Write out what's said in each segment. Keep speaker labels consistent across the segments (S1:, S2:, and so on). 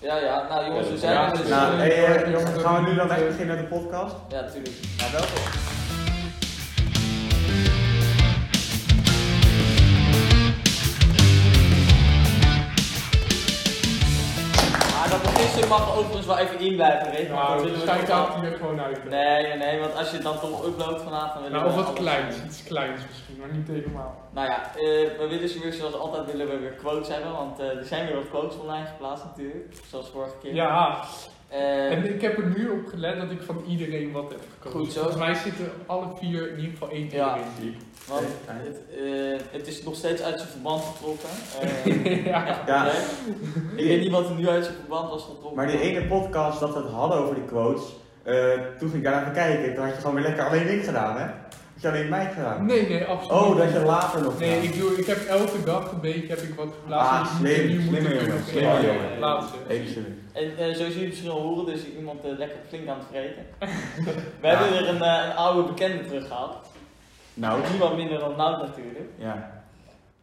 S1: Ja, ja, nou jongens, we zijn
S2: Ja,
S1: er dus.
S2: nou,
S1: eh,
S2: hey, eh, gaan we nu dan echt beginnen met de podcast?
S1: Ja, natuurlijk. Nou, welkom. Maar dat beginsel mag overigens wel even in blijven, weet je. want dat
S3: Nou,
S1: willen
S3: dus
S1: we
S3: kijk
S1: niet
S3: dat
S1: al-
S3: hier gewoon uit.
S1: Nee, nee, nee, want als je het dan toch uploadt vanavond... willen
S3: Nou, of
S1: we
S3: wat
S1: alles-
S3: kleins, iets kleins misschien, maar niet helemaal.
S1: Nou ja, eh, we willen ze weer zoals altijd willen we weer quotes hebben, want eh, er zijn weer wat quotes online geplaatst natuurlijk, zoals vorige keer.
S3: Ja,
S1: Eh,
S3: en ik heb er nu op gelet dat ik van iedereen wat heb gekozen.
S1: Goed zo.
S3: Volgens mij zitten alle vier in ieder geval één keer
S1: Ja.
S3: in die.
S1: want
S2: Hey, fijn.
S1: het, eh, het is nog steeds uit zijn verband getrokken. Eh,
S3: ja.
S2: Ja,
S1: nee? Ik weet niet wat er nu uit zijn verband was getrokken.
S2: maar die ene podcast dat we het hadden over die quotes, eh, toen ging ik daar even kijken, toen had je gewoon weer lekker alleen ik gedaan, hè? Had je alleen mij gedaan?
S3: Nee, nee, absoluut.
S2: Oh, dat
S3: niet.
S2: je later nog
S3: Nee,
S2: gedaan.
S3: ik, doe, ik heb elke dag een beetje heb ik wat geplaatst.
S2: Ah,
S3: dus die
S2: slim,
S3: nu moeten
S2: slimme
S3: kunnen
S2: jongen,
S3: plaatsen.
S1: slimme jongen.
S3: Plaatsen.
S2: Even slim.
S1: En eh, zoals jullie misschien al horen, dus iemand eh, lekker flink aan het vreten. We hebben weer een, eh, een oude bekende teruggehaald.
S2: Nou,
S1: Niemand minder dan Nout natuurlijk.
S2: ja.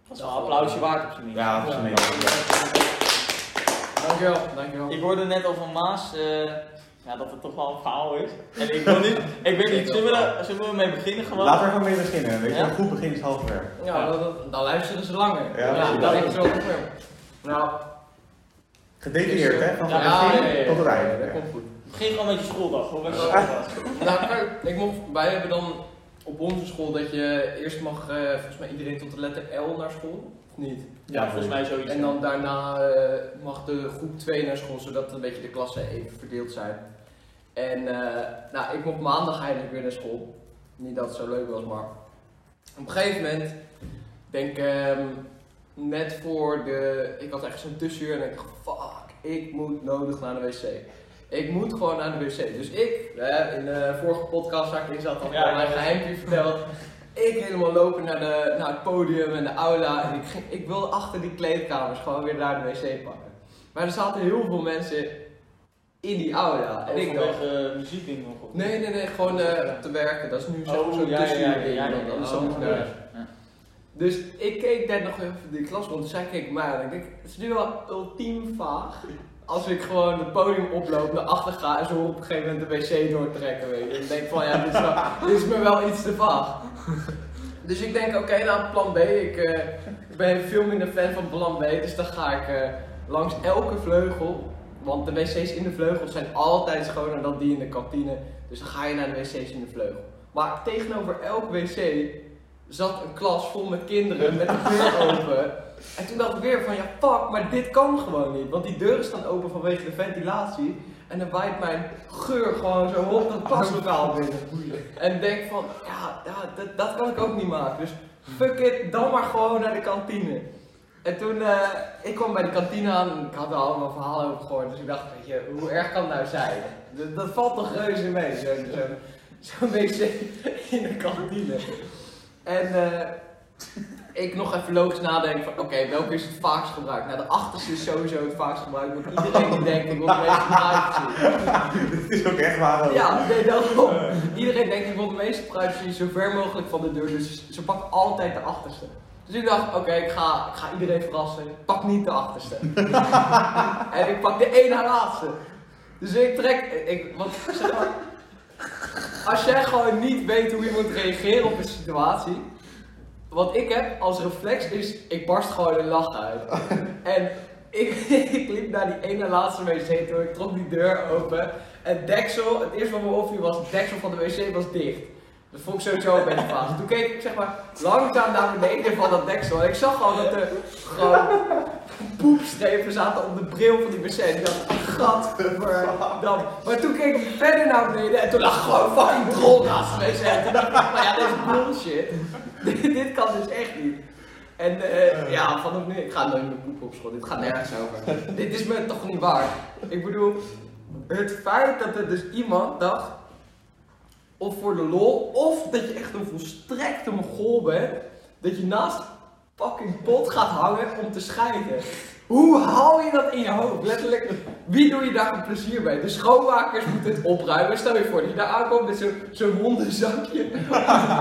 S1: Dat is wel een applausje waard op zijn minst.
S2: Ja, dat is een
S3: Dankjewel, dankjewel.
S1: Ik hoorde net al van Maas eh, ja, dat het toch wel een verhaal is. En ik wil niet, ik weet niet, zullen we, daar- zullen we mee beginnen gewoon?
S2: Laten we gewoon mee beginnen, weet je,
S1: Ja?
S2: een goed begin is half werk.
S4: Ja, dat- dat- dan luisteren ze langer.
S2: Ja,
S4: Ja,
S2: precies.
S4: dat is wel goed. Nou,
S2: Gedetailleerd, hè? Van
S1: Ja,
S2: het begin
S4: nee, nee,
S2: tot het
S4: nee,
S2: einde.
S4: Dat komt goed.
S1: Begin gewoon met je schooldag, hoor. Met je
S4: Ah.
S1: schooldag.
S4: Nou, kijk, ik mocht, wij hebben dan op onze school dat je eerst mag, eh, volgens mij iedereen tot de letter L naar school, of niet?
S1: Ja, volgens mij zoiets.
S4: En dan daarna eh, mag de groep 2 naar school, zodat een beetje de klassen even verdeeld zijn. En eh, nou, ik mocht maandag eindelijk weer naar school. Niet dat het zo leuk was, maar op een gegeven moment, denk ehm, net voor de, ik had echt zo'n tussenuur en ik dacht, fuck, ik moet nodig naar de wc. Ik moet gewoon naar de wc. Dus ik, hè, in de vorige podcast waar ik in zat, had ik
S1: Ja,
S4: al mijn
S1: ja.
S4: geheimje verteld. Ik helemaal lopen naar, de, naar het podium en de aula. En ik, ging, ik wilde achter die kleedkamers gewoon weer naar de wc pakken. Maar er zaten heel veel mensen in die aula. En ik dacht,
S1: vanwege eh, muziek in nog op.
S4: nee, nee, nee, gewoon eh, te werken. Dat is nu
S1: Oh,
S4: zo'n zo
S1: ja, ja, ja, ja, ja,
S4: dat is
S1: ja, ja.
S4: zo nodig. Dus ik keek net nog even die klas rond. dus Zij keek mij aan. Ik denk, het is nu wel ultiem vaag. Als ik gewoon het podium oploop, naar achter ga en zo op een gegeven moment de wc doortrekken. Weet je. Dan denk ik van ja, dit is, wel, dit is me wel iets te vaag. Dus ik denk, oké, nou plan B. Ik eh, ik ben veel minder fan van plan B. Dus dan ga ik eh, langs elke vleugel. Want de wc's in de vleugels zijn altijd schoner dan die in de kantine. Dus dan ga je naar de wc's in de vleugel. Maar tegenover elk wc zat een klas vol met kinderen met de deur open. En toen dacht ik weer van ja fuck, maar dit kan gewoon niet. Want die deuren staan open vanwege de ventilatie. En dan waait mijn geur gewoon zo op dat klaslokaal binnen. En denk van ja, ja dat, dat kan ik ook niet maken. Dus fuck it, dan maar gewoon naar de kantine. En toen, eh, ik kwam bij de kantine aan en ik had er allemaal verhalen over gehoord. Dus ik dacht, weet je, hoe erg kan het nou zijn? Dat, dat valt toch reuze mee, zo'n zo, zo'n wc in de kantine. En eh, ik nog even logisch nadenken van, oké, welke is het vaakst gebruikt? Nou, de achterste is sowieso het vaakst gebruikt, want iedereen die denkt, ik wil de meeste privacy.
S2: Dit is ook echt waar. hoor.
S4: Ja, nee, daarom. Iedereen denkt, ik wil de meeste privacy zo ver mogelijk van de deur, dus ze pakken altijd de achterste. Dus ik dacht, oké, ik, ga, ik ga iedereen verrassen, ik pak niet de achterste. en ik pak de ene laatste. Dus ik trek, ik, want zeg maar, als jij gewoon niet weet hoe je moet reageren op een situatie, wat ik heb als reflex is, ik barst gewoon een lach uit. En ik, ik liep naar die ene laatste wc toe, ik trok die deur open. En deksel, het eerste wat me opviel was, het deksel van de wc was dicht. Dat vond ik sowieso een beetje vaag. Dus Toen keek ik zeg maar langzaam naar beneden van dat deksel. En ik zag gewoon dat er gewoon poepstrepen zaten op de bril van die wc. En ik dacht, gadverdam. Maar toen keek ik verder naar beneden en toen lag gewoon fucking drol naast de wc. En toen dacht ik, maar ja, dit is bullshit. Dit- dit kan dus echt niet. En eh, ja, vanaf nu, ik ga nooit meer poepen op school. Dit gaat nergens over. Dit is me toch niet waar. Ik bedoel, het feit dat er dus iemand dacht, of voor de lol, of dat je echt een volstrekte mogol bent, dat je naast fucking pot gaat hangen om te scheiden. Hoe hou je dat in je hoofd? Letterlijk, wie doe je daar een plezier bij? De schoonmakers moeten het opruimen. Stel je voor dat je daar aankomt met zo'n zo'n wondenzakje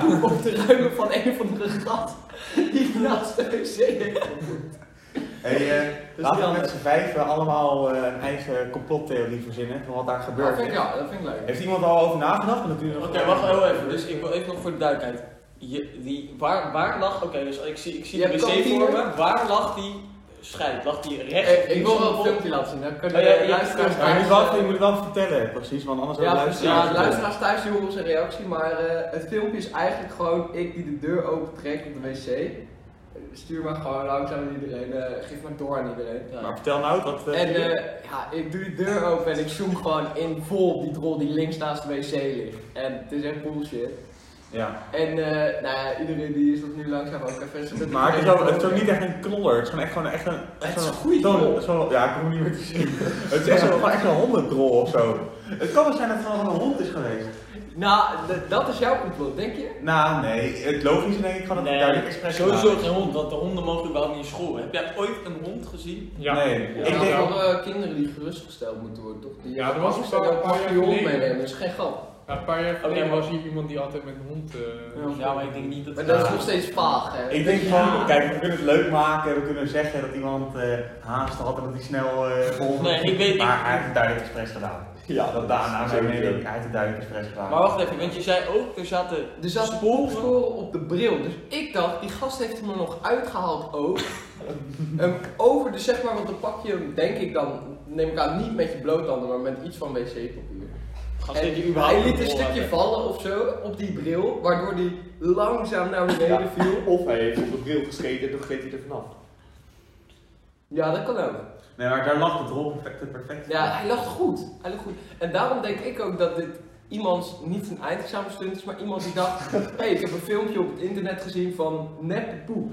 S4: om op te ruimen van een van de gat die naast de wc ligt.
S2: Hey, eh,
S1: Dus
S4: is
S2: laten
S4: niet
S2: we met
S4: anders.
S2: z'n vijven allemaal eh, een eigen complottheorie verzinnen van wat daar
S4: Dat
S2: gebeurd
S4: vind ik,
S2: is.
S4: ja, dat vind ik leuk.
S2: Heeft iemand er al over nagedacht? Want
S1: Oké, wacht heel even. Dus ik wil even nog voor de duidelijkheid. Je, die, waar, waar lag, oké, dus ik zie, ik zie
S4: Je
S1: de wc
S4: hebt kantine. Eh,
S1: voor me. Waar lag die scheid? Lag die rechts?
S4: Ik, ik wil
S1: links
S4: wel
S1: of-
S4: een filmpje laten zien, dan kunnen
S1: Oh, ja,
S4: de
S1: ja,
S4: luisteraars
S1: ja,
S2: Maar je moet, wel, je
S4: thuis...
S2: moet wel vertellen, precies, want anders
S4: Ja, precies.
S2: luisteren.
S4: Ja, de luisteraars thuis die horen onze reactie, maar eh, het filmpje is eigenlijk gewoon ik die de deur opentrek op de wc. Stuur maar gewoon langzaam aan iedereen, eh, geef maar door aan iedereen.
S2: Maar
S1: Ja.
S2: vertel nou wat. eh,
S4: En eh, ja, ik doe die deur open en ik zoom gewoon in vol op die drol die links naast de wc ligt. En het is echt bullshit.
S2: ja.
S4: En eh, nou ja, iedereen die is dat nu langzaam ook even... zit met-
S2: Maar het is, ook, het is ook niet echt een knoller, het is gewoon echt, gewoon echt een. echt
S1: Het is
S2: zo'n-
S1: een goeie
S2: zo'n-
S1: knol.
S2: zo'n- Ja, ik hoef niet meer te zien. Het is echt zo'n- gewoon echt een hondendrol of zo. Het kan wel zijn dat het gewoon een hond is geweest.
S4: Nou, d- dat is jouw complot, denk je?
S2: Nou, nee, het logische denk ik gewoon dat het
S1: Nee,
S2: duidelijk expres
S1: Sowieso
S2: gedaan
S1: geen hond, want de honden mogen überhaupt niet in school. Heb jij ooit een hond gezien?
S3: Ja.
S2: Nee,
S3: Ja,
S2: ik
S4: Ik
S2: denk-
S4: denk
S3: nou,
S4: wel eh, kinderen die gerustgesteld moeten worden, toch? Die
S3: Ja, er was
S4: angst
S3: een paar-
S4: hebben,
S3: paar jaar
S4: die hond
S3: geleden.
S4: meenemen, dat is geen grap.
S3: Ja, een paar jaar geleden
S1: Oké, maar-
S3: was hier iemand die altijd met een hond. eh,
S4: Ja.
S1: Oh, Ja, maar ik denk niet dat
S4: Maar dat is
S2: Ja.
S4: nog steeds vaag, hè?
S2: Ik denk gewoon, kijk, we kunnen het leuk maken, we kunnen zeggen dat iemand eh, haast had en dat hij snel eh volgende.
S1: Nee, ik weet-
S2: Maar
S1: ik-
S2: hij heeft het duidelijk expres gedaan.
S5: Ja,
S2: Dat daarna zijn mening, hij heeft het duidelijk expres gedaan.
S1: Maar wacht even, want je zei ook, er zaten
S4: Er zat sporen op de bril, dus ik dacht, die gast heeft hem er nog uitgehaald ook. Hem over, dus zeg maar, want dan pak je hem, denk ik dan, neem ik aan, niet met je bloothanden, maar met iets van wc-papier.
S1: gasten
S4: En
S1: die
S4: hij
S1: überhaupt
S4: liet een
S1: niet
S4: stukje
S1: hebben.
S4: vallen of zo op die bril, waardoor die langzaam naar beneden viel.
S5: Of hij heeft op de bril gescheten en toen gleed hij er vanaf.
S4: Ja, dat kan ook.
S2: Nee, maar daar lag de rol perfect. perfect.
S4: Ja, hij lag goed. Hij lag goed. En daarom denk ik ook dat dit iemand niet een eindexamenstunt is, maar iemand die dacht: hé, hey, ik heb een filmpje op het internet gezien van nep poep.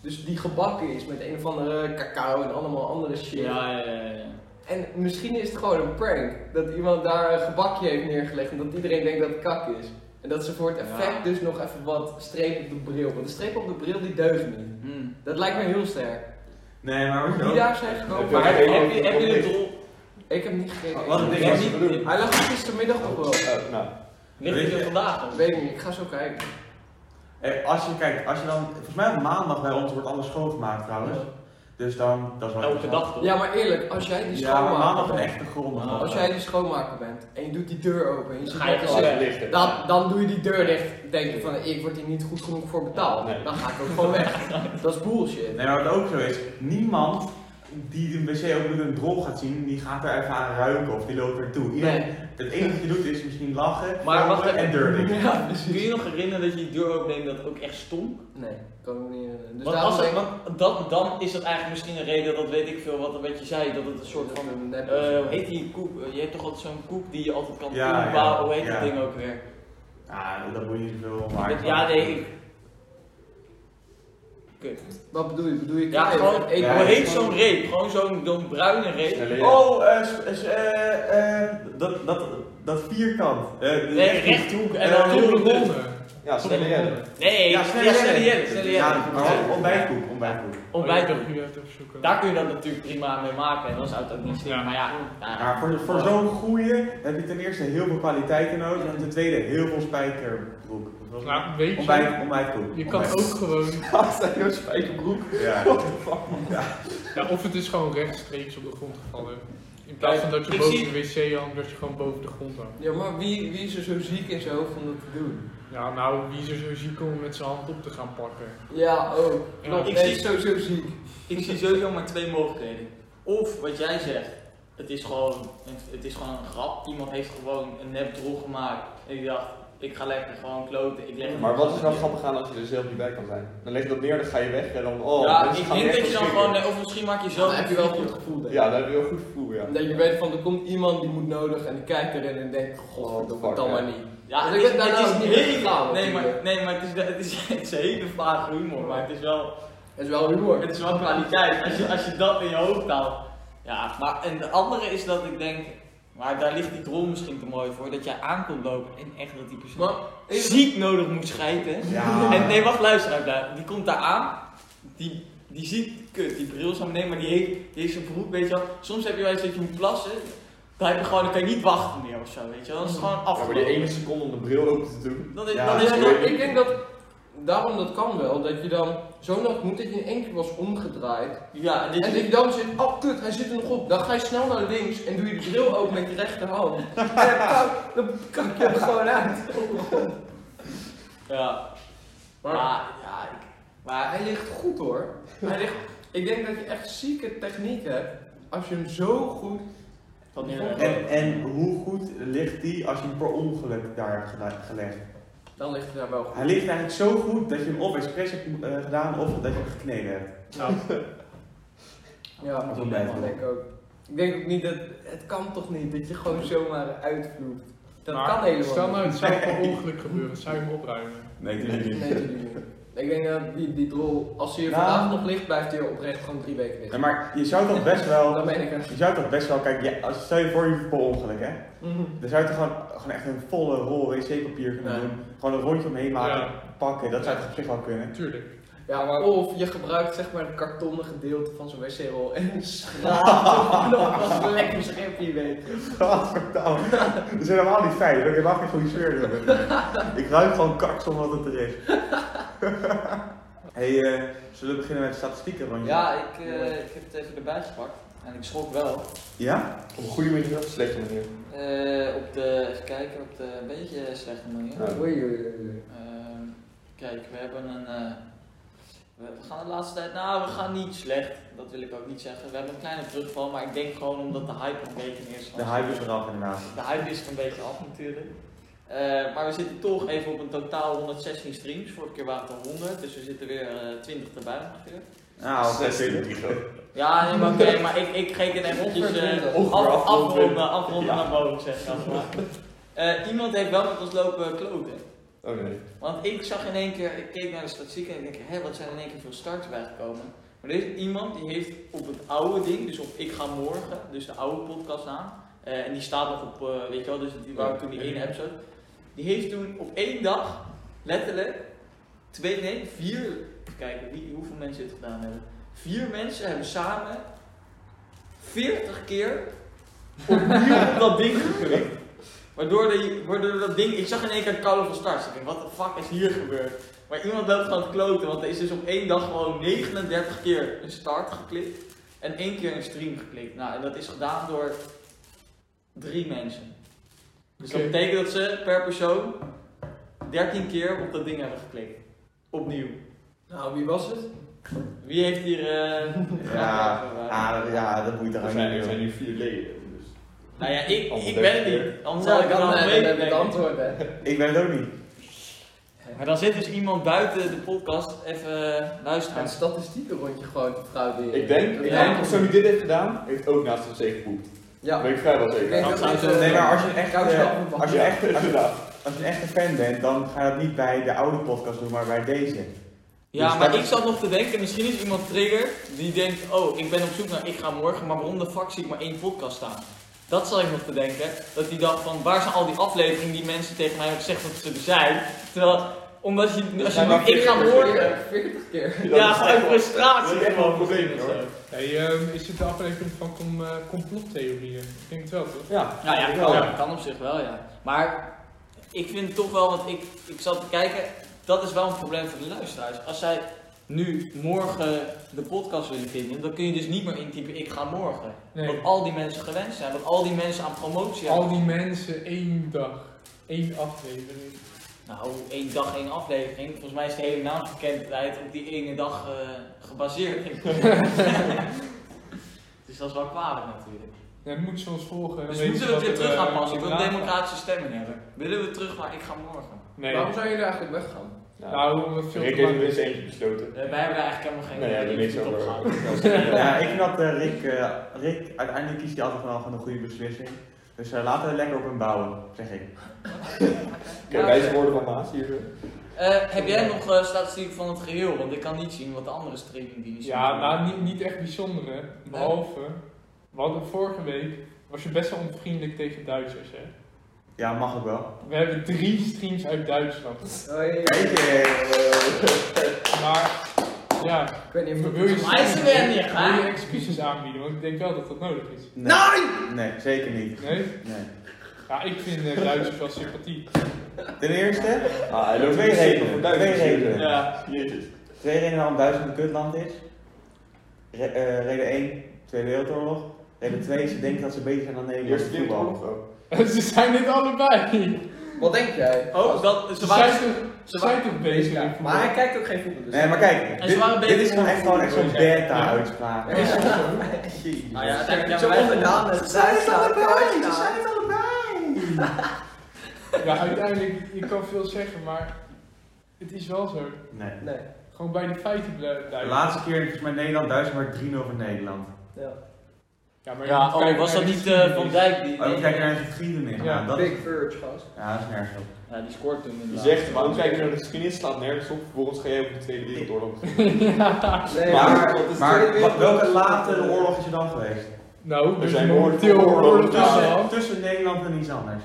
S4: Dus die gebakken is met een of andere cacao en allemaal andere shit.
S1: Ja, ja, ja, ja.
S4: En misschien is het gewoon een prank. Dat iemand daar een gebakje heeft neergelegd en dat iedereen denkt dat het kak is. En dat ze voor het effect
S1: Ja.
S4: dus nog even wat streep op de bril. Want de streep op de bril die deugt niet.
S1: Hmm.
S4: Dat lijkt me heel sterk.
S2: Nee, maar wat je
S4: Die
S2: ook.
S4: daar zijn gekomen.
S1: Maar heb, heb, je- heb je
S5: Oké.
S1: de drol?
S4: Ik heb hem niet gegeven.
S2: Wat een
S1: Ik
S2: ding
S1: heb
S2: was.
S1: niet-
S5: bedoeling.
S4: Hij lag gistermiddag op wel.
S5: Eh, nou,
S1: Oh, Ligt
S2: Weet
S1: het
S2: je-
S1: er vandaag?
S4: Weet ik niet, ik ga zo kijken.
S2: Eh, als je kijkt, als je dan, volgens mij op maandag bij ons wordt alles schoongemaakt trouwens. Dus dan, dat is wel
S1: Elke
S2: interessant.
S1: dag toch?
S4: Ja, maar eerlijk, als jij die
S2: Ja, maar maandag
S4: schoonmaker
S2: een
S4: bent,
S2: echte grond.
S1: Ah.
S4: als jij die schoonmaker bent en je doet die deur open en je zit
S1: Ga je
S4: lekker
S1: wel
S4: zitten,
S1: weg.
S5: lichter.
S4: dan, dan doe je die deur dicht. Denk je van, ik word hier niet goed genoeg voor betaald.
S5: Nee.
S4: Dan ga ik ook gewoon weg. Dat is bullshit.
S2: Nee, maar Nou wat ook zo is, niemand die de wc ook met een drol gaat zien, die gaat er even aan ruiken of die loopt ertoe. Iedereen,
S4: Nee.
S2: Het enige wat je doet is misschien lachen,
S1: Maar wacht
S2: vrouwen
S1: even.
S2: en deur dicht.
S4: Ja,
S1: Kun
S4: precies.
S1: je je nog herinneren dat je die deur opneemt dat het ook echt stonk?
S4: Nee, ik kan me niet herinneren. Dus
S1: want
S4: daarom
S1: als dat,
S4: denk ik...
S1: want dan, dan is dat eigenlijk misschien een reden dat weet ik veel wat, wat je zei, dat het een soort van.
S4: een nep is.
S1: eh, hoe heet die koek? Eh, je hebt toch altijd zo'n koek die je altijd kan
S2: Ja,
S1: koeken,
S2: ja,
S1: hoe heet
S2: ja.
S1: dat ding ook weer?
S2: Ja, dat moet je niet zoveel maken.
S1: ja, nee, ik. Kut.
S4: Wat bedoel je? Bedoel je
S1: Ja,
S4: kaaien?
S1: gewoon.
S4: Eet-
S2: Ja,
S1: hoe
S2: ja.
S1: heet zo'n reep? Gewoon zo'n zo'n bruine reep.
S5: Snelle-
S2: Oh, eh, s- eh, s- eh, eh, dat, dat, dat vierkant. Eh, de-
S1: Nee, rechthoek en
S2: Eh,
S1: dan heel
S3: Tot de
S1: rond.
S3: honden.
S5: Ja, snelle jelle.
S1: Nee, ja,
S2: Ja,
S1: snelle jelle.
S2: snelle
S1: snelle
S2: Ja, maar
S1: jelle.
S2: on- ontbijtkoek, ontbijtkoek.
S1: Ontbijt.
S3: Oh, ik dacht, nu even zoeken.
S1: Daar kun je dat natuurlijk prima mee maken en dan zou het ook niet slim.
S3: Ja.
S1: Maar ja, ja.
S2: Maar voor, voor zo'n goeie heb je ten eerste heel veel kwaliteiten nodig en ten tweede heel veel spijkerbroek. Wat was het?
S3: Nou, weet je,
S2: Ontbijt, ontbijtkoek.
S3: je kan
S2: Ontbijt.
S3: ook gewoon.
S5: Haast hij een spijkerbroek?
S2: Ja.
S3: Ja, of het is gewoon rechtstreeks op de grond gevallen. In plaats van dat je
S1: Ik
S3: boven
S1: zie-
S3: de wc hangt, dat je gewoon boven de grond hangt.
S4: Ja, maar wie, wie is er zo ziek in zijn hoofd om dat te doen?
S3: Ja, nou, wie is er zo ziek om met zijn hand op te gaan pakken?
S4: Ja, oh.
S3: Ja,
S4: Klopt,
S1: ik
S4: nee,
S1: zie-
S4: is sowieso ziek.
S1: Ik zie sowieso maar twee mogelijkheden. Of wat jij zegt, het is gewoon, het is gewoon een grap. Iemand heeft gewoon een nep drol gemaakt. En die dacht, ik ga lekker gewoon kloten. Ik leg het
S5: Maar
S1: op.
S5: wat is nou grappig aan als je er zelf niet bij kan zijn? Dan leg je dat neer, dan ga je weg en dan. Oh,
S1: ja,
S5: mensen
S1: ik
S5: gaan
S1: denk
S5: echt
S1: dat je dan
S5: verschrikken.
S1: gewoon, nee, of misschien maak je zelf
S4: Dan heb je wel een goed gevoel, denk ik.
S5: Ja, dan heb je wel goed gevoel, ja.
S4: Dat je weet van er komt iemand die moet nodig en die kijkt erin en denkt:
S5: Oh,
S4: Godverdomme,
S5: fuck,
S4: dan
S5: ja.
S4: maar niet.
S1: Ja,
S4: Want
S1: het
S4: ik
S1: is,
S4: heb daarna
S1: het is
S4: ook niet
S1: heel-
S4: geslapen,
S1: Nee, maar,
S4: natuurlijk.
S1: nee, maar het is, het is, het is hele vage humor, maar het is wel,
S4: Dat is wel humor.
S1: het is wel kwaliteit. Als je, als je dat in je hoofd houdt. Ja, maar en de andere is dat ik denk, maar daar ligt die drol misschien te mooi voor, dat jij aankomt lopen en echt dat die persoon
S4: Maar even-
S1: ziek nodig moet schijten.
S2: Ja.
S1: En nee, wacht, luister even daar. Die komt daar aan. Die, die ziet, kut, die bril is aan beneden, maar die heeft, die heeft zijn broek, weet je wel. Soms heb je wel eens dat je moet plassen. Dan, heb je gewoon, dan kan je niet wachten meer of zo, weet je wel. Dan is het gewoon
S5: Ja, maar die
S1: afgelopen.
S5: ene seconde om de bril open te doen.
S1: Dan is,
S2: Ja,
S1: dan is
S4: Ja,
S1: het
S4: maar
S1: nog...
S4: ik denk dat daarom dat kan wel, dat je dan zo nat moet dat je in één keer was omgedraaid.
S1: Ja, en dit
S4: En
S1: is
S4: dat je dan zegt, oh kut, hij zit er nog op. Dan ga je snel naar links en doe je de bril open met je rechterhand. En dan kak- dan kak je hem gewoon uit.
S1: Ja.
S4: Maar,
S1: Maar-
S4: ja, ik- maar hij ligt goed hoor. Hij ligt, ik denk dat je echt zieke techniek hebt als je hem zo goed...
S1: Tot nu toe.
S2: En, en hoe goed ligt die als je hem per ongeluk daar hebt gele- gelegd?
S4: Dan ligt hij daar wel goed.
S2: Hij ligt eigenlijk zo goed dat je hem of expres hebt eh, gedaan of dat je hem gekneden hebt.
S3: Nou,
S4: Ja,
S2: Dat is een bijval.
S4: dat denk ik ook. Ik denk ook niet dat. Het kan toch niet dat je gewoon zomaar uitvloeit. Dat
S3: maar
S4: kan helemaal
S3: Stel
S4: niet.
S3: nou, het zou per ongeluk gebeuren, zou je hem opruimen?
S2: Nee,
S4: Nee, natuurlijk niet. Ik denk dat die, die drol, als hij hier
S2: Nou.
S4: vandaag nog ligt, blijft hij er oprecht gewoon drie weken
S2: Ja,
S4: liggen.
S2: maar je zou toch best wel.
S4: Dat meen ik echt.
S2: Je zou toch best wel, kijk, ja, als, stel je voor je hebt per ongeluk hè.
S4: Mhm.
S2: Dan zou je toch gewoon, gewoon echt een volle rol wc-papier kunnen
S4: Ja.
S2: doen. Gewoon een rondje omheen maken,
S3: Ja.
S2: pakken, dat zou toch op zich wel kunnen.
S3: Natuurlijk.
S4: Ja, maar of je gebruikt zeg maar het kartonnen gedeelte van zo'n wc-rol en schraapt nog wat een lekker schipje weet. je.
S2: Gadverdamme. Dat is helemaal niet fijn, dat mag geen goede sfeer doen. Ik ruik gewoon kaksel wat het er is. hey, eh, zullen we beginnen met statistieken? Want
S1: Ja, ik, eh, ik heb het even erbij gepakt. En ik schrok wel.
S2: Ja?
S5: Op een goede manier of een slechte manier?
S1: Eh, op de, even kijken, op de een beetje slechte manier.
S5: Ja.
S4: Oei, oei, oei.
S1: Ehm, kijk, we hebben een. eh, we, we gaan de laatste tijd. Nou, we gaan niet slecht. Dat wil ik ook niet zeggen. We hebben een kleine terugval, maar ik denk gewoon omdat de hype nog een beetje is.
S2: De hype is eraf inderdaad.
S1: De hype is er een beetje af natuurlijk. Eh, maar we zitten toch even op een totaal 116 streams. Vorige keer waren het al 100, dus we zitten weer eh, 20 erbij ongeveer.
S5: Ah,
S2: Nou, oké, oké.
S5: kilo.
S1: Ja, nee, maar oké, maar ik, ik reken eventjes eh,
S5: Ongeveer
S1: af,
S5: afronden.
S1: afronden, afronden
S2: Ja.
S1: naar boven, zeg ik altijd maar. Eh, iemand heeft wel met ons lopen kloten.
S5: Oh nee.
S1: Want ik zag in één keer, ik keek naar de statistieken en ik denk, hé, wat zijn er in één keer veel starts bijgekomen? Maar er is iemand die heeft op het oude ding, dus op Ik Ga Morgen, dus de oude podcast aan, eh, en die staat nog op, eh, weet je wel, dus die waren toen die ene episode, die heeft toen op één dag, letterlijk, twee, nee, vier, even kijken wie, hoeveel mensen dit gedaan hebben. Vier mensen hebben samen 40 keer opnieuw op dat ding geklikt. Waardoor, die, waardoor dat ding, ik zag in één keer Call van Stars. Ik denk, wat de fuck is hier gebeurd? Maar iemand loopt gewoon te kloten, want er is dus op één dag gewoon 39 keer een start geklikt en één keer een stream geklikt. Nou, en dat is gedaan door drie mensen. Dus
S3: Oké.
S1: dat betekent dat ze per persoon 13 keer op dat ding hebben geklikt. Opnieuw.
S4: Nou, wie was het?
S1: Wie heeft hier. eh,
S2: Ja,
S1: vragen?
S2: ah, dat- ja, dat moet je
S5: Er
S2: toch
S5: zijn, er
S2: niet
S5: zijn
S2: doen.
S5: nu vier leden. Dus.
S1: Nou ja, ik,
S5: Allemaal
S1: ik
S5: 30
S1: ben het
S5: keer.
S1: niet. Anders
S4: Nou,
S1: had ik het
S4: dan
S1: al
S4: eh, dan heb je het
S1: meegekregen.
S4: antwoord, hè.
S2: Ik ben het ook niet.
S1: Maar dan zit dus iemand buiten de podcast even eh, luisteren.
S4: Een statistieken rondje gewoon te frauderen.
S5: Ik denk, ik
S4: Ja.
S5: denk, de persoon die dit heeft gedaan, heeft ook naast ons zee geboekt.
S4: Ja.
S5: Dat weet ik vrijwel zeker.
S4: Ik denk dat
S1: zou
S4: dit,
S1: het-
S4: eh,
S2: Nee, maar als je echt,
S4: koude
S2: eh,
S4: schappen van-
S2: als je
S5: Ja,
S2: echt- als je-
S5: inderdaad.
S2: Als je echt een fan bent, dan ga je dat niet bij de oude podcast doen, maar bij deze.
S1: Ja,
S2: Dus
S1: maar
S2: dat-
S1: ik zat nog te denken, misschien is iemand trigger die denkt, oh, ik ben op zoek naar ik ga morgen, maar waarom de fuck zie ik maar één podcast staan? Dat zat ik nog te denken, dat die dacht van, waar zijn al die afleveringen die mensen tegen mij hebben gezegd dat ze er zijn? Terwijl, omdat je, als je
S5: zijn maar
S1: doet, ik ga
S5: 40
S1: morgen,
S4: 40 keer.
S5: Dat
S1: ja,
S5: is
S1: gewoon
S5: echt wel-
S1: frustratie.
S5: dat is eh, echt wel een
S1: gewoon
S5: probleem,
S1: of
S5: hoor.
S1: zo.
S3: Hey, ehm, is dit de aflevering van com- eh, complottheorieën? Ik denk het wel, toch?
S5: Ja,
S1: Nou ja,
S5: ik
S1: kan,
S5: wel.
S1: kan op zich wel, ja. Maar ik vind toch wel, want ik, ik zat te kijken, dat is wel een probleem voor de luisteraars. Als zij nu morgen de podcast willen vinden, dan kun je dus niet meer intypen ik ga morgen.
S3: Nee.
S1: Wat al die mensen gewend zijn, wat al die mensen aan promotie
S3: Al
S1: hebben.
S3: die mensen, één dag, één aflevering.
S1: Nou, één dag, één aflevering. Volgens mij is de hele naamsbekendheid op die ene dag eh, gebaseerd. dus dat is wel kwalijk natuurlijk.
S3: Ja, dan moeten ze ons volgen.
S1: Dus
S3: weten
S1: moeten we het
S3: wat
S1: weer
S3: er,
S1: terug gaan
S3: eh,
S1: passen. Ik wil
S3: gedaan
S1: democratische stemming hebben. Willen we terug naar ik ga morgen?
S3: wordt. Nee.
S4: Waarom zou je er eigenlijk weggaan?
S5: Nou,
S3: Nou, we veel
S5: Rick
S3: te
S5: heeft dus
S3: lang.
S5: er eens eentje besloten.
S1: Eh, Wij hebben er eigenlijk helemaal geen
S5: Nee, ja, er niks
S1: invloed
S5: over.
S1: gehad.
S2: Ja, ik vind dat eh, Rick, eh, Rick, uiteindelijk kiest hij altijd wel gewoon een goede beslissing. Dus eh, laten we lekker op hem bouwen, zeg ik.
S5: Oké, wijze woorden van Maas hier. zo.
S1: Eh, heb jij nog eh, statistiek van het geheel? Want ik kan niet zien wat de andere streamingdiensten
S3: Ja,
S1: doen.
S3: nou niet, niet echt bijzonder hè. Behalve, we hadden vorige week, was je best wel onvriendelijk tegen Duitsers hè.
S2: Ja, mag ook wel.
S3: We hebben drie streams uit Duitsland.
S4: Oh,
S2: Kijk, eh,
S3: Maar, ja,
S4: Ik weet niet
S3: wil
S4: of
S3: je,
S1: Maar is er weer niet, hè?
S3: wil je excuses aanbieden, want ik denk wel dat dat nodig is.
S2: nee. Nee, zeker niet.
S3: Nee?
S2: Nee.
S3: Ja, ik vind eh, Duitsers wel sympathiek.
S2: Ten eerste,
S5: Ah, hij
S2: loopt
S5: twee
S2: niet zeker
S5: redenen.
S2: voor duizend
S5: Twee
S2: precies,
S5: redenen.
S1: Ja.
S5: Jezus.
S2: twee redenen waarom Duitsland een kutland is. Re- eh, reden 1, Tweede Wereldoorlog. Reden 2, ze denken dat ze beter zijn dan
S5: De
S2: Nederland.
S5: Eerste Wereldoorlog ook.
S3: Ze zijn dit allebei.
S4: Wat denk jij?
S1: Oh, dat,
S3: Ze
S1: ze waren,
S3: zijn toch,
S1: ze
S3: ze
S1: waren-
S3: zijn toch bezig
S4: Ja,
S3: in voetbal?
S4: maar hij kijkt ook geen voetbal. Dus
S2: Nee, maar kijk,
S1: En ze
S2: dit,
S1: waren
S2: dit
S1: beter
S2: is gewoon
S1: dan
S2: echt gewoon echt zo'n
S3: voor de-
S2: beta-uitspraak.
S4: Ja. Nou
S1: Ah ja,
S4: Zo
S1: uiteindelijk- ja,
S4: zo
S1: wij-
S4: onderaan, het Duitsland, Duitsland.
S3: Ja, uiteindelijk, je kan veel zeggen, maar het is wel zo.
S2: Nee.
S4: Nee,
S3: Gewoon bij de feiten blij-
S2: De
S3: blijven.
S2: laatste keer volgens mij Nederland, Duitsland maar 3-0 voor Nederland.
S4: ja.
S3: Ja, maar je
S1: Ja,
S3: moet
S1: oh,
S3: kijken
S1: was
S3: naar
S1: dat
S3: de
S1: niet eh, Van
S3: geschiedenis.
S1: Dijk die...
S2: Oh, we kijken naar zijn vrienden in. Ja,
S3: Ja,
S2: dat is,
S4: Big Verge, gast.
S2: ja, dat is nergens op.
S1: Ja, die scoort toen
S5: Je
S1: inderdaad.
S5: zegt, waarom kijk je naar de geschiedenis, slaat nergens op. Vervolgens ga je over de Tweede Wereldoorlog.
S4: Nee,
S2: Maar-
S4: het is
S2: Maar
S4: Tweede
S2: wa-
S4: Wereldoorlog.
S2: welke latere oorlog is er dan geweest?
S3: Nou, er
S5: zijn
S3: zijn momenteel
S5: oorlogen.
S3: oorlog tussen.
S2: Tussen, tussen Nederland en iets anders.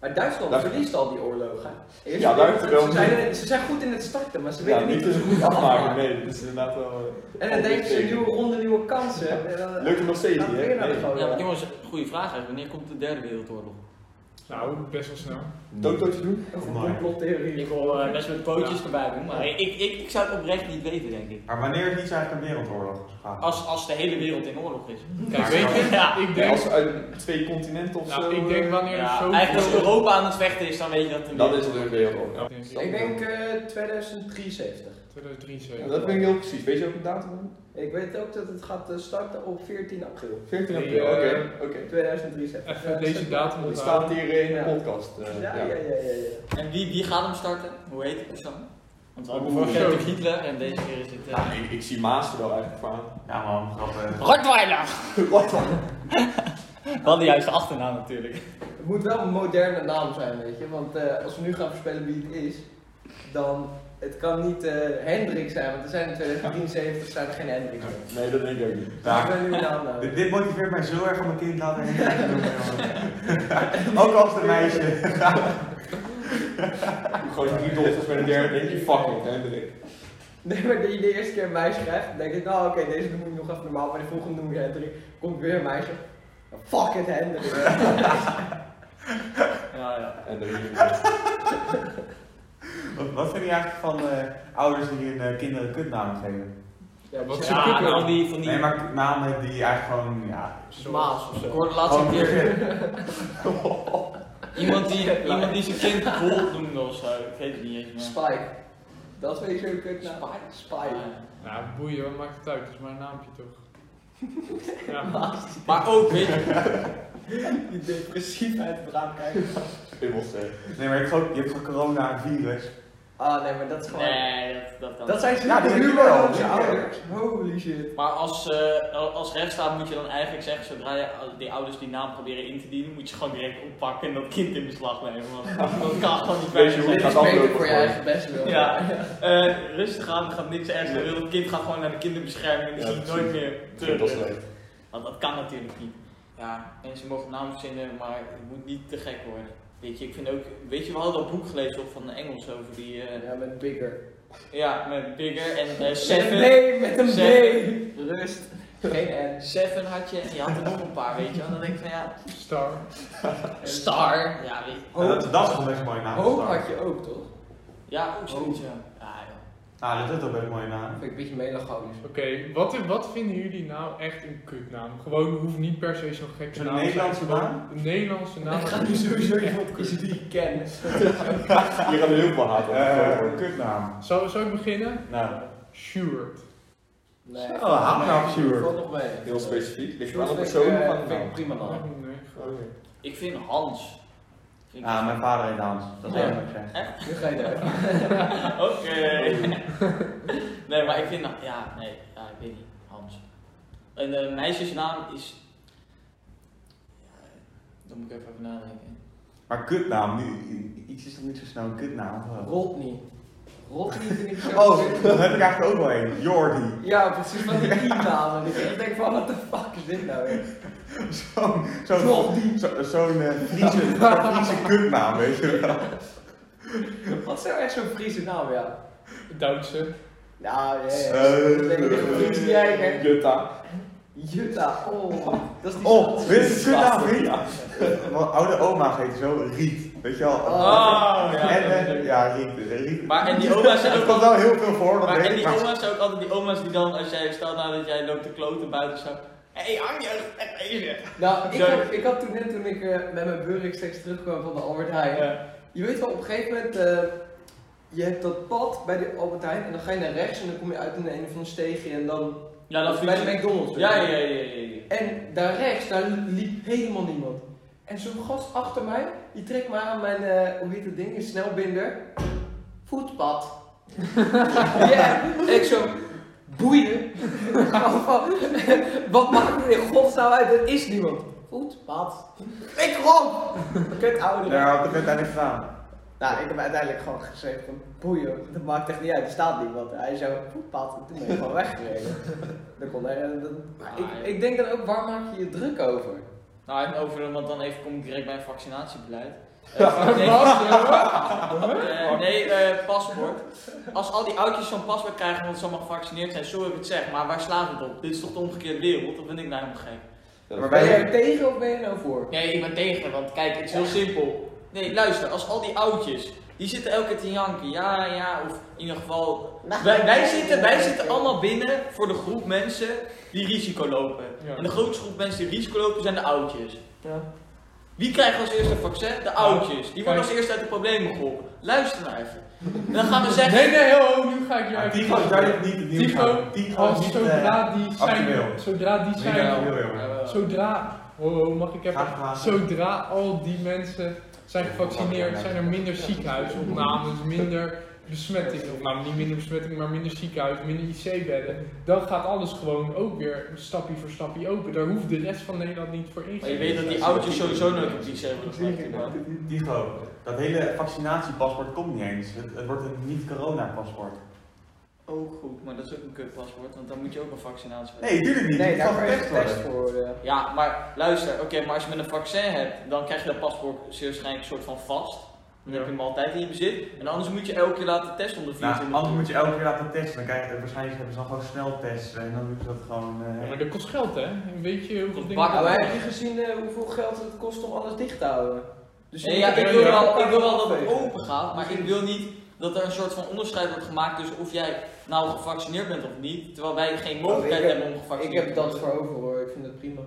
S4: Maar Duitsland
S5: Daar-
S4: verliest al die oorlogen. hè? Eerst-
S5: Ja, daar heeft het wel-
S4: ze, zijn, ze zijn goed in het starten, maar ze
S5: Ja,
S4: weten
S5: niet
S4: niet.
S5: is goed afmaken. Nee, dat is inderdaad wel...
S4: En dan denken ze nieuwe ronde, nieuwe kansen.
S5: eh, Lukt het nog steeds niet, hè? Nee.
S1: Ja, maar jongens, goede vraag eigenlijk. Wanneer komt de derde wereldoorlog?
S3: Nou, best wel snel.
S5: Dood, dood te doen.
S2: Amai.
S4: complottheorie.
S1: Ik wil eh, best met pootjes
S3: Ja.
S1: erbij doen, maar ik, ik, ik zou het oprecht niet weten, denk ik.
S2: Maar wanneer is niet zo eigenlijk een wereldoorlog gegaan?
S1: Als, als de hele wereld in oorlog is.
S3: Kijk, weet je,
S1: Ja.
S3: Oh, ik
S5: Ja,
S3: denk,
S5: Als uit twee continenten of zo... eh.
S3: nou, ik denk wanneer
S1: Ja,
S3: zo
S1: eigenlijk als Europa aan het vechten is, dan weet je dat het
S5: Dat is het een wereldoorlog.
S3: Ja, ik denk
S4: Ik denk eh, 2073.
S3: 2073.
S5: Ja, dat vind ik heel precies. Weet je ook een datum?
S4: Ik weet ook dat het gaat eh, starten op 14 april
S5: 14
S3: Nee,
S5: april. Oké,
S3: eh,
S5: oké.
S4: 2073.
S3: Even
S4: Ja,
S3: deze datum
S5: Het
S3: onthouden.
S5: staat hier eh, in
S4: Ja.
S5: de podcast. eh,
S4: Ja, ja, ja, ja. ja.
S1: En wie, wie gaat hem starten? Hoe heet die persoon? Want we hadden
S5: Oeh,
S1: vorige keer
S3: zo.
S1: natuurlijk Hitler en deze keer is het... eh,
S5: Ja, ik, ik zie Maas er wel eigenlijk voor aan.
S2: Ja man, eh, grappig.
S1: Rottweiler!
S5: Wat dan?
S1: Wel de juiste achternaam natuurlijk.
S4: Het moet wel een moderne naam zijn, weet je. Want eh, als we nu gaan voorspellen wie het is, dan... Het kan niet eh, Hendrik zijn, want er zijn in 2073 zijn er geen Hendriks meer.
S5: Nee, dat denk ik ook niet.
S4: Dus ik
S2: Daar.
S4: ben nu een naam nou.
S2: Dit, dit motiveert mij zo erg om mijn kind later heen te doen. Ook als een meisje.
S5: Gewoon drie dochters met een derde, denk je, fuck it, Hendrik.
S4: Nee, maar dat je de eerste keer een meisje krijgt, dan denk ik, nou oké, deze noem ik nog even normaal, maar de volgende noem je Hendrik. Komt weer een meisje. Fuck it, Hendrik.
S1: Ja, ja.
S5: Hendrik.
S2: Wat, wat vind je eigenlijk van eh, ouders die hun eh, kinderen kutnamen geven?
S4: Ja,
S3: Wat
S4: wat
S3: is-
S1: Ja, en al die van die...
S2: Nee, maar namen die eigenlijk gewoon, ja...
S4: Maas of
S1: Ik
S4: zo.
S1: hoorde de laatste
S5: Oh.
S2: gewoon-
S1: keer iemand die, iemand die zijn kind Bolt noemde of zo. Ik weet het niet eens meer.
S4: Spike. Dat weet je ook kut naam. Spike?
S3: Nou, boeien, wat maakt het uit? Het is maar een naampje toch? ja.
S1: Maar ook, weet je,
S4: Die depressief uit het raam kijken.
S5: Ik was zeggen.
S2: Nee, maar je hebt gewoon, je hebt gewoon corona, een virus.
S4: Ah nee, maar dat is gewoon...
S1: nee, dat, dat kan
S4: Dat zijn ze
S2: Ja, die
S4: die
S2: heb je
S4: humor
S2: wel.
S4: van zijn ouders. Holy shit.
S1: Maar als, eh, als rechtsstaat moet je dan eigenlijk zeggen, zodra je die ouders die naam proberen in te dienen, moet je gewoon direct oppakken en dat kind in beslag nemen. Want dat kan gewoon niet
S5: Weet je
S1: veilig
S5: hoe-
S1: zijn.
S4: Dit is
S5: aflopen
S4: beter voor je
S5: gewoon.
S4: eigen best wel.
S1: Ja, eh, rustig aan, er gaat niks ergs gebeuren. Het kind gaat gewoon naar de kinderbescherming en die
S5: Ja,
S1: zie je
S5: precies.
S1: nooit meer
S5: Dat was
S1: terug.
S5: leuk.
S1: Want dat kan natuurlijk niet. Ja, mensen mogen namen verzinnen, maar het moet niet te gek worden. Weet je, ik vind ook, weet je, we hadden dat boek gelezen op van de Engels over die, eh,
S4: Ja, met bigger.
S1: ja, met Bigger en eh,
S4: Met
S1: Seven.
S4: een B, met een
S1: Seven.
S4: B. Rust. Geen N.
S1: Seven had je en je had er nog een paar, weet je. En dan denk ik van ja,
S3: Star.
S1: Star. Ja, weet je.
S3: Oh.
S2: En Dat, dat is gewoon best een mooie naam.
S4: Hoop had je ook, toch?
S1: Ja, ook
S5: Oh.
S1: zoiets, ja. Ja, joh.
S2: Nou, dat is ook best een mooie naam.
S4: Dat vind ik een beetje melancholisch.
S3: Oké, wat, wat vinden jullie nou echt een kutnaam? Gewoon, hoeft niet per se zo'n gekke
S2: Zo'n
S3: naam. te zijn.
S2: Nederlandse naam?
S3: Een Nederlandse naam.
S4: ik ga nu sowieso iemand kiezen die ik ken.
S5: Hier gaan we heel veel haat op.
S2: Eh, een kutnaam.
S3: Zal, zal ik beginnen?
S2: Nou.
S3: Sjoerd.
S4: Nee.
S2: Zo, haat nou,
S4: Nee,
S2: Sjoerd.
S4: Valt nog mee.
S5: Heel specifiek. Ligt
S4: Sjoerd
S5: wel een
S4: vind ik,
S5: persoon
S4: eh,
S5: of aan de
S4: vind ik
S5: naam?
S4: prima dan.
S3: Oh, nee.
S5: Oké.
S1: Ik vind Hans. Vind ik-
S2: Ah, mijn vader heet Hans. Dat is
S1: Ja.
S2: wel wat ik zeg.
S4: Nu ga je daar.
S1: Oké. nee, maar ik vind, ja, nee, ja, ik weet niet, Hans. Een eh, meisjesnaam is, ja, dan moet ik even over nadenken.
S2: Maar kutnaam, nu, i- iets is toch niet zo snel een kutnaam? of wel?
S4: Rodney. Rodney vind ik zo
S2: Oh, daar heb ik eigenlijk ook wel een. Jordi.
S4: Ja, precies van die namen. Ik denk van, what the fuck is dit nou weer?
S2: Zo'n zo, zo, zo'n eh, Friese, zo'n Friese kutnaam, weet je wel.
S4: Wat is nou echt zo'n Friese naam, ja?
S3: Duitse.
S4: Nou, ja, ja.
S2: Eh,
S4: Ik denk echt een Friese kijker.
S5: Jutta.
S4: Jutta, oh. Dat is die
S2: Oh, dit is
S5: Ja.
S2: goed aan, vriend. Mijn oude oma heette zo Riet. Weet je wel.
S1: Oh, ja.
S2: en, eh, ja, Riet. eh, Riet.
S1: Maar en die oma's zijn
S2: Het
S1: ook
S2: komt
S1: altijd,
S2: wel heel veel voor, dat
S1: maar,
S2: weet
S1: en
S2: ik.
S1: die
S2: maar-
S1: oma's zijn ook altijd die oma's die dan, als jij, stel nou dat jij loopt te kloten buiten, zo, hé hey, Arjen, echt even.
S4: Nou, ik
S1: Sorry.
S4: had, ik had toen net, toen ik eh, met mijn Burix steeds terugkwam van de Albert Heijn.
S1: Ja.
S4: Je weet wel, op een gegeven moment, eh, je hebt dat pad bij de Albert Heijn en dan ga je naar rechts en dan kom je uit in een of ander steegje en dan
S1: Ja, dat vind
S4: bij de
S1: ik.
S4: McDonald's.
S1: Ja, ja, ja, ja, ja. ja.
S4: En daar rechts, daar liep helemaal niemand. En zo'n gast achter mij, die trekt me aan mijn, eh, hoe heet dat ding, een snelbinder, voetpad. ja, ik zo, boeien. Wat maakt het in godsnaam uit, er is niemand. Voetpad. Ik rond! Kut ouder.
S2: Ja, op de punt uiteindelijk gedaan.
S4: Nou, ik heb uiteindelijk gewoon gezegd van, boeien, dat maakt echt niet uit, er staat niemand. Hij zo, voetpad, en toen ben ik gewoon weggereden. Dan kon hij, eh, dat- maar ik, ik denk dan ook, waar maak je je druk over?
S1: Nou, en over, want dan even kom ik direct bij vaccinatiebeleid. Eh, nee, eh, nee eh, paspoort. Als al die oudjes zo'n paspoort krijgen omdat ze allemaal gevaccineerd zijn, zo heb ik het zeg, maar waar slaat het op? Dit is toch de omgekeerde wereld? Dat vind ik nou helemaal gek.
S2: Maar
S4: Ben je
S2: wij-
S4: er tegen of ben je er nou voor?
S1: Nee, ik ben tegen, want kijk, het is heel simpel. Nee, luister, als al die oudjes, die zitten elke keer te janken, ja, ja, of in ieder geval...
S4: Nou,
S1: Wij, wij, zitten, wij zitten allemaal binnen voor de groep mensen die risico lopen.
S3: Ja.
S1: En de grootste groep mensen die risico lopen zijn de oudjes.
S4: Ja.
S1: Wie krijgen als eerste een vaccin? De oudjes. Die worden als eerste uit de problemen geholpen. Luister nou even. En dan gaan we zeggen...
S3: Nee, nee, ho, nu ga ik je
S2: Maar
S3: even...
S2: Tycho is duidelijk niet het nieuws.
S3: Tycho,
S2: aan. Tycho is
S3: Als
S2: niet eh,
S3: zodra die zijn,
S2: actueel.
S3: zodra die
S2: niet
S3: zijn,
S2: actueel, jongen.
S3: zodra, ho, ho, mag ik even,
S2: Graag gedaan.
S3: zodra al die mensen zijn gevaccineerd, zijn er minder ziekenhuisopnames, minder besmettingen, of nou niet minder besmettingen, maar minder ziekenhuis, minder IC-bedden, dan gaat alles gewoon ook weer stapje voor stapje open. Daar hoeft de rest van Nederland niet voor in te
S1: Maar je weet dat die oudjes sowieso nooit op die hebben gemaakt, man.
S2: Tycho, dat hele vaccinatiepaspoort komt niet eens. Het, het wordt een niet-corona-paspoort.
S1: Ook goed, maar dat is ook een kutpaspoort, want dan moet je ook een vaccinatie hebben.
S2: Nee, tuurlijk niet.
S4: Nee,
S2: Het
S4: daar
S2: kan
S4: kan je
S2: getest
S4: een test
S2: worden.
S4: voor eh. Nou, worden.
S1: Ja, maar luister, oké, maar als je met een vaccin hebt, dan krijg je dat paspoort zeer waarschijnlijk een soort van vast. Dan heb je hem altijd in je bezit. En anders moet je elke keer laten testen om de
S2: Nou,
S1: 24
S2: anders moet je elke keer laten testen. Dan krijg je, waarschijnlijk hebben ze dan gewoon sneltests en dan doen ze dat gewoon. eh,
S3: Ja, maar dat kost geld, hè? Weet je hoeveel
S1: Kost
S3: dingen...
S1: bakken.
S4: Nou, maar heb je gezien eh, hoeveel geld het kost om alles dicht te houden? Dus
S1: Nee,
S4: je
S1: ja,
S4: moet-
S1: ik wil,
S3: Ja, ja.
S1: wel, ik wil wel dat het open gaat, maar ik wil niet dat er een soort van onderscheid wordt gemaakt tussen of jij nou gevaccineerd bent of niet, terwijl wij geen mogelijkheid
S4: Oh, ik heb-
S1: hebben om
S4: Ik
S1: gevaccineerd
S4: heb
S1: te
S4: dat
S1: worden.
S4: voor over hoor, ik vind het prima.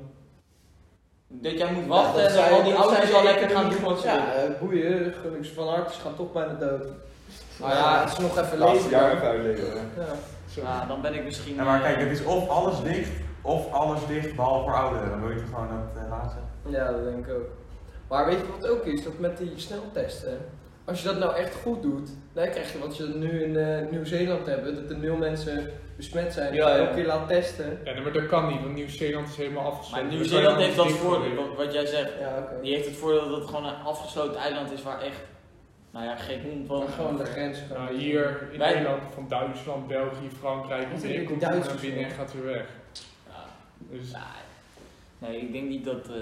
S1: Dat jij moet wachten
S4: Ja,
S1: en
S4: Nou,
S1: dan
S4: dat zij-
S1: eh, al die
S4: dat
S1: ouders
S4: zij
S1: al
S4: de
S1: lekker gaan
S4: economie-
S1: doen wat ze
S4: Ja,
S1: willen.
S4: eh, boeien, gelukkig ze van harte, ze gaan toch bijna dood.
S1: Nou
S4: Nou
S1: ja,
S4: ja, het is nog even
S5: Laatste
S4: leven.
S5: jaar even uitleven. hè.
S4: Ja.
S2: Ah.
S1: Ja, dan ben ik misschien...
S2: Ja, maar kijk,
S1: eh,
S2: het is of alles dicht, of alles dicht behalve voor ouderen. Dan wil je toch gewoon dat eh, laten.
S4: Ja, dat denk ik ook. Maar weet je wat het ook is? Dat met die sneltesten. Als je dat nou echt goed doet, dan krijg je wat ze nu in eh, Nieuw-Zeeland hebben. Dat er nul mensen besmet zijn.
S1: Ja,
S4: Ja,
S1: ja.
S4: elke keer laat testen.
S3: Ja, nee, maar dat kan niet, want Nieuw-Zeeland is helemaal
S1: Maar
S3: afgesloten.
S1: Nieuw-Zeeland heeft dat
S3: voor.
S1: voordeel, wat- wat jij zegt.
S4: Ja, oké.
S1: Die heeft het voordeel dat het gewoon een afgesloten eiland is waar echt, nou ja, geen hond
S4: Maar
S1: woont.
S4: gewoon de grens.
S3: Nou, hier in
S1: Wij-
S3: Nederland, van Duitsland, België, Frankrijk,
S4: Wat
S3: iedereen
S4: hebben
S3: komt
S4: die
S3: hier naar
S4: Duitsers
S3: binnen en
S4: voor?
S3: gaat weer weg.
S1: Ja,
S3: Dus
S1: nou, nee, ik denk niet dat. eh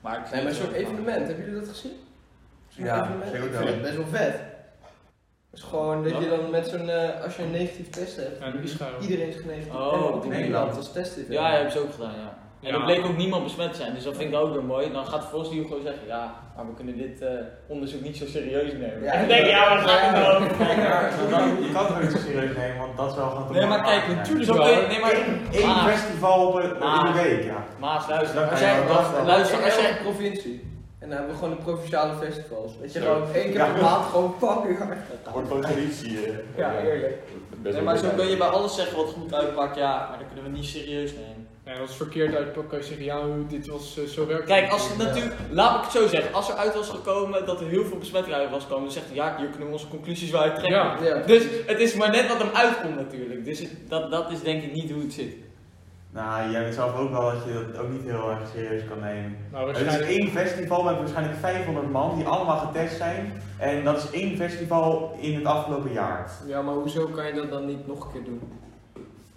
S1: maar ik
S4: Nee, maar zo'n
S1: vind het wel-
S4: evenement, hebben jullie dat gezien? Zo'n
S2: Ja,
S4: evenement?
S2: zeker
S4: Ik
S2: wel.
S4: vind het best wel vet. Het is gewoon dat
S1: Wat?
S4: je dan met zo'n, eh, als je een negatief test hebt,
S3: ja, Israël.
S4: iedereen is genegatief.
S1: Oh,
S4: en
S1: op
S4: op
S1: die
S4: Nederland
S2: manier.
S4: als test dit.
S1: Ja, ja, hebben ze ook gedaan, ja. En
S3: Ja.
S1: er bleek ook niemand besmet te zijn, dus dat vind ik ook weer mooi. Dan gaat volgens die gewoon zeggen, ja, maar we kunnen dit eh, onderzoek niet zo serieus nemen.
S4: Ja.
S1: En dan denk ik, ja, we gaan het erover.
S2: Kijk, maar dan- je kan het niet zo serieus nemen, want dat is wel gewoon te
S1: Nee, maar
S2: makkelijk.
S1: kijk,
S2: Ja.
S1: natuurlijk
S3: Zo
S1: wel.
S3: kun je-
S1: Nee, maar
S2: Eén
S1: Ah.
S2: festival op een, in
S1: Ah.
S2: de week, ja.
S1: Maas, luister.
S2: Dan
S1: Als
S2: kan je
S1: jij,
S2: wel wachten.
S1: luister, als jij,
S4: een provincie. En dan hebben we gewoon de provinciale festivals. Dat je
S5: Zo.
S4: gewoon één keer per
S2: Ja.
S4: maand gewoon fucking hard
S5: Dat
S4: gaat.
S5: Wordt gewoon traditie. eh.
S4: Ja, eerlijk.
S5: Best
S1: nee,
S5: wel
S1: maar
S5: leuk
S1: zo kun je
S5: eigenlijk.
S1: bij alles zeggen wat goed uitpakt, ja, maar dat kunnen we niet serieus nemen.
S3: Nee, als het verkeerd uitpakt, kan je zeggen, ja, hoe- dit was eh, zo werkt.
S1: Kijk, als het
S4: Ja.
S1: natuurlijk, laat ik het zo zeggen, als er uit was gekomen dat er heel veel besmettingen uit was gekomen, dan zegt hij ja, hier kunnen we onze conclusies wel uit trekken.
S3: Ja.
S4: Ja.
S1: Dus het is maar net wat hem uitkomt natuurlijk. Dus het- dat, dat is denk ik niet hoe het zit.
S2: Nou, jij weet zelf ook wel dat je dat ook niet heel erg serieus kan nemen.
S3: Nou,
S2: Het is
S3: waarschijnlijk.
S2: één festival met waarschijnlijk 500 man die allemaal getest zijn. En dat is één festival in het afgelopen jaar.
S4: Ja, maar hoezo kan je dat dan niet nog een keer doen?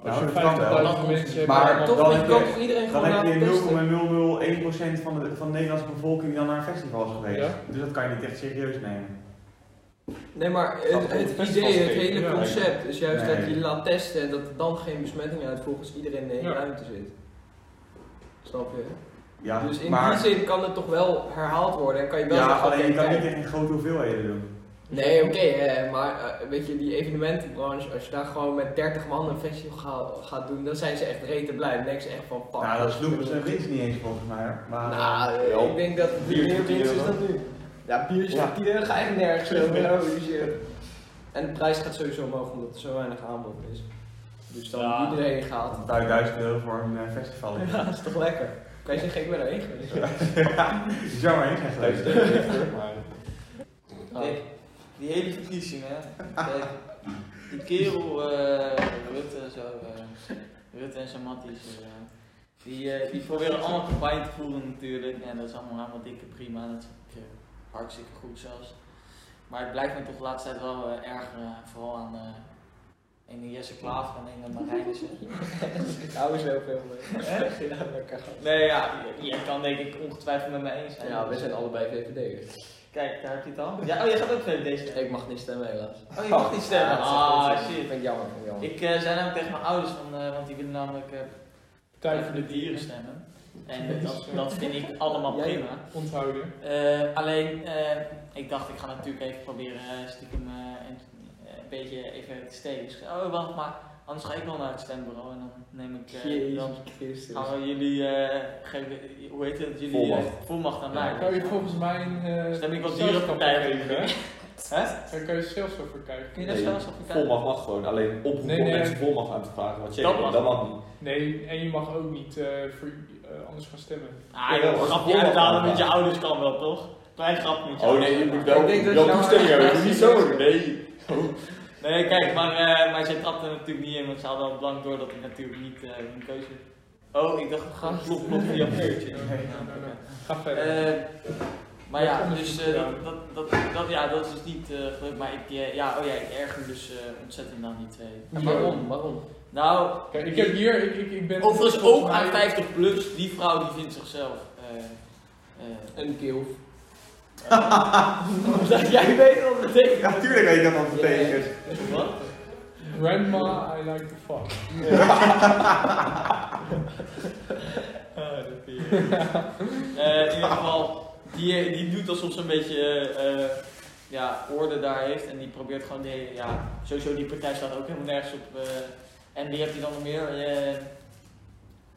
S3: Als
S2: Nou,
S3: je
S2: dat kan wel.
S3: 50.000 mensen hebt,
S2: Maar
S3: dan-
S4: toch,
S2: dan
S4: je
S2: heb
S4: kan
S2: je-
S4: toch iedereen
S2: Dan
S4: gewoon
S2: heb
S4: laten testen?
S2: je 0,001% van de, van de Nederlandse bevolking die dan naar een festival is geweest.
S3: Ja.
S2: Dus dat kan je niet echt serieus nemen.
S4: Nee, maar
S5: Dat
S4: het,
S5: komt
S4: het
S5: best
S4: idee,
S5: wel
S4: het
S5: steeds,
S4: hele
S3: ja.
S4: concept is juist
S2: Nee.
S4: dat je laat testen en dat er dan geen besmetting uit volgens iedereen in de
S3: Ja.
S4: ruimte zit. Snap je?
S2: Ja,
S4: dus in
S2: maar,
S4: die zin kan het toch wel herhaald worden en kan je wel
S2: ja,
S4: zeggen,
S2: alleen je
S4: oké,
S2: kan
S4: kijk.
S2: niet in grote hoeveelheden doen.
S4: Nee, oké, hè, maar eh, weet je, die evenementenbranche, als je daar gewoon met 30 man een festival gaat, gaat doen, dan zijn ze echt reten blij. Dan denken ze echt van, pak.
S2: nou, dat is Loepers
S4: Nou,
S2: en Vince niet eens volgens mij. hoor. Maar,
S4: eh,
S5: Ja.
S4: ik denk dat het
S5: Biertje
S4: meer
S5: voor 10
S4: mensen is
S5: euro.
S4: dan nu. Ja, biertje
S2: Ja.
S4: voor 10 euro ga echt nergens over. hoor, dus, eh. En de prijs gaat sowieso omhoog omdat er zo weinig aanbod is. Dus dan
S1: Ja.
S4: iedereen gaat.
S2: Dat duikt 1000 euro voor een eh, festival. is.
S4: Ja, dat is toch lekker. Kan je zeggen, ik ben erheen geweest.
S2: Jammer, heen zijn
S5: Thuis
S2: geweest.
S5: tegen maar
S4: Ah.
S1: Kijk, die hele verkiezing, hè. Kijk, die kerel, eh, Rutte, zo, eh, Rutte en zijn matties, eh, die, eh, die proberen allemaal campagne te voeren natuurlijk. En dat is allemaal helemaal dikke prima, dat is ook, eh, hartstikke goed zelfs. Maar het blijft me toch de laatste tijd wel eh, erger, vooral aan eh ene Jesse Klaver en ene Marijnissen.
S4: Ik hou er zo veel mee. Echt? Ja, lekker.
S1: Nee, ja, j- jij kan denk ik ongetwijfeld met mij eens zijn.
S4: Ja, we zijn allebei VVD'ers.
S1: Kijk, daar heb je het al. Ja, oh, jij gaat ook twee deze
S4: Ik mag niet stemmen helaas.
S1: Oh, je mag niet stemmen.
S4: Ja,
S1: Ah,
S4: dat is-
S1: shit.
S4: vind ik jammer, vind ik jammer.
S1: Ik eh zei namelijk tegen mijn ouders, van, eh, want die willen namelijk eh
S3: Partij voor de
S1: dieren
S3: dieren.
S1: stemmen. En dat, dat vind ik allemaal
S4: Ja, ja.
S1: prima.
S3: Onthouden.
S1: Eh, alleen, eh, ik dacht, ik ga natuurlijk even proberen eh, stiekem eh, een, een beetje even te steken. Dus ik zei, oh wacht, maar anders ga ik wel naar het stembureau en dan neem ik, eh, dan
S4: Jezus Christus.
S1: gaan we jullie, eh, geven, hoe heet het, jullie eh,
S5: Volmacht.
S1: volmacht aan
S5: Ja.
S1: mij.
S3: Daar kan je Nou, volgens mij een. eh,
S1: Stem ik wel
S3: zelfstandig
S1: dierenpartij
S3: voor
S1: geven,
S3: krijgen,
S1: Hè?
S3: hè? Daar kan je zelfs voor krijgen.
S1: Kun je daar
S5: Nee,
S1: zelfs op kijken?
S5: volmacht mag gewoon. Alleen oproepen
S3: Nee,
S5: om
S3: nee.
S5: mensen volmacht aan te vragen. Wat checken,
S1: Dat mag.
S5: dat, mag niet.
S3: Nee, en je mag ook niet eh, voor, eh, anders gaan stemmen.
S1: Ah,
S5: Jawel,
S1: joh,
S5: als
S1: grapje
S5: volmacht
S1: uithalen
S5: aan
S1: met je
S5: vragen.
S1: ouders kan wel, toch? Klein grapje met je
S5: Oh
S1: ouders.
S5: nee, je moet
S4: Ik
S5: wel,
S4: denk dat
S5: wel
S4: je-
S5: toestemming hebben. Je moet niet zo, nee.
S1: Nee, kijk, maar, eh, maar zij trapte er natuurlijk niet in, want ze hadden al blank door dat ik natuurlijk niet eh een keuze Oh, ik dacht, we gaan klopt, klopt via een vuurtje.
S3: Nee, nee, nee. Ga verder.
S1: Eh, maar ja,
S3: Met
S1: dus
S3: onderzoek
S1: eh,
S3: gedaan.
S1: dat, dat, dat, dat- ja, dat is dus niet eh, gelukt, maar ik, eh, ja, oh ja, ik erger me dus eh, ontzettend aan die twee.
S4: En waarom? Waarom?
S1: Nou,
S3: Kijk, ik heb hier, ik, ik, ik ben.
S1: overigens
S3: volgens
S1: ook
S3: mij-
S1: aan 50 plus, die vrouw die vindt zichzelf. eh, eh,
S4: Een keel.
S1: Jij weet wat het betekent.
S2: Ja, tuurlijk weet ik dat wat betekent.
S1: Wat?
S3: Grandma, I like to fuck.
S1: Eh, in ieder geval, die, die doet alsof ze een beetje eh, eh, ja, orde daar heeft. En die probeert gewoon, die, hele- ja, sowieso die partij staat ook helemaal nergens op. eh, en wie heb je dan nog meer? Eh,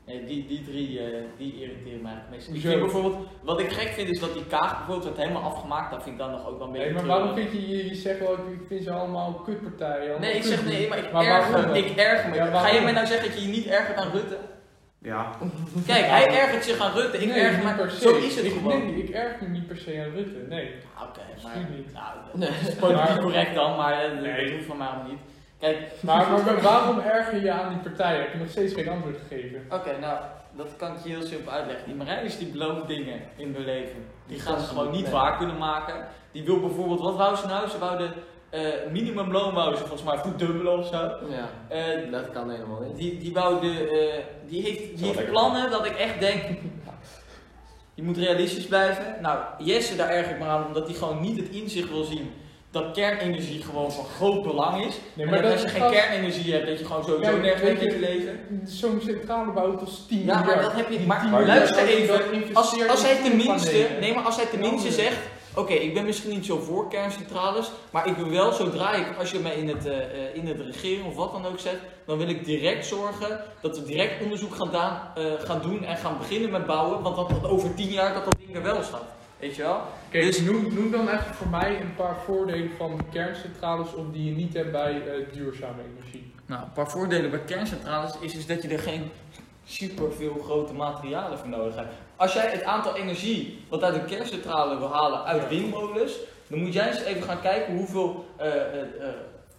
S1: nee, die, die drie, eh, die irriteren mij eigenlijk het meest. Ik
S3: Hoezo?
S1: vind bijvoorbeeld, wat ik gek vind is dat die kaag bijvoorbeeld wordt helemaal afgemaakt. Dat vind ik dan nog ook wel een beetje
S3: Nee, maar
S1: treurig.
S3: waarom vind je, je, je zegt wel, ik ik vind ze allemaal kutpartijen. allemaal
S1: Nee, ik zeg
S3: kut-
S1: nee, maar ik
S3: Maar
S1: erger
S3: waarom?
S1: me. Ik erger me.
S3: Ja, waarom?
S1: Ga jij mij nou zeggen dat je je niet ergert aan Rutte?
S2: Ja.
S1: Kijk, hij ergert zich aan Rutte. Ik
S3: Nee,
S1: erger
S3: niet
S1: me.
S3: per se.
S1: Zo is het
S3: ik,
S1: gewoon.
S3: Nee, ik erg me niet per se aan Rutte, nee.
S1: Ah, Oké, maar.
S3: Absoluut niet.
S1: Nou,
S4: Nee.
S1: dat is politiek
S3: Maar-
S1: correct dan, maar eh,
S3: Nee.
S1: dat hoeft van mij allemaal niet. Kijk,
S3: Maar, maar waar- waarom erger je aan die partijen? Heb je nog steeds geen antwoord gegeven?
S1: oké, nou, dat kan ik je heel simpel uitleggen. Die Marijnis die belooft dingen in hun leven. Die gaan ze gewoon niet
S4: Nee.
S1: waar kunnen maken. Die wil bijvoorbeeld, wat wou ze nou? Ze wou de eh, minimumloon, wou ze volgens mij verdubbelen of zo.
S4: Ja,
S1: Eh,
S4: dat kan helemaal niet.
S1: die, die wou de, eh, die heeft, die
S5: wel
S1: heeft
S5: lekker.
S1: plannen dat ik echt denk, je moet realistisch blijven. Nou, Jesse daar erg ik me aan, omdat hij gewoon niet het inzicht wil zien dat kernenergie gewoon van groot belang is.
S3: Nee,
S1: en dat, als je
S3: is
S1: geen
S3: gast-
S1: kernenergie hebt, dat je gewoon sowieso
S3: Ja,
S1: nergens
S3: weet
S1: mee kunt
S3: je-
S1: leven.
S3: Zo'n centrale bouw kost 10
S1: Ja, maar
S3: miljard.
S1: dat heb je.
S3: Die
S1: Maar
S3: 10
S5: maar
S3: miljard
S1: luister
S3: euro
S1: even,
S3: dat investeer
S1: als,
S3: je
S1: als
S3: in
S1: hij tenminste,
S3: zonnepanelen.
S1: nee, maar als hij tenminste
S3: Andere.
S1: zegt. Oké, ik ben misschien niet zo voor kerncentrales, maar ik wil wel, zodra ik, als je mij in het, eh, eh, in het regering of wat dan ook zet, dan wil ik direct zorgen dat we direct onderzoek gaan, daan- eh, gaan doen en gaan beginnen met bouwen, want dat, dat over tien jaar dat dat ding er wel staat. Weet je wel?
S3: Oké,
S1: Dus-
S3: noem, noem dan echt voor mij een paar voordelen van kerncentrales op die je niet hebt bij eh, duurzame energie.
S1: Nou, een paar voordelen bij kerncentrales is, is dat je er geen super veel grote materialen voor nodig hebt. Als jij het aantal energie wat uit een kerncentrale wil halen uit
S3: Ja.
S1: windmolens, dan moet jij eens even gaan kijken hoeveel eh, eh, eh,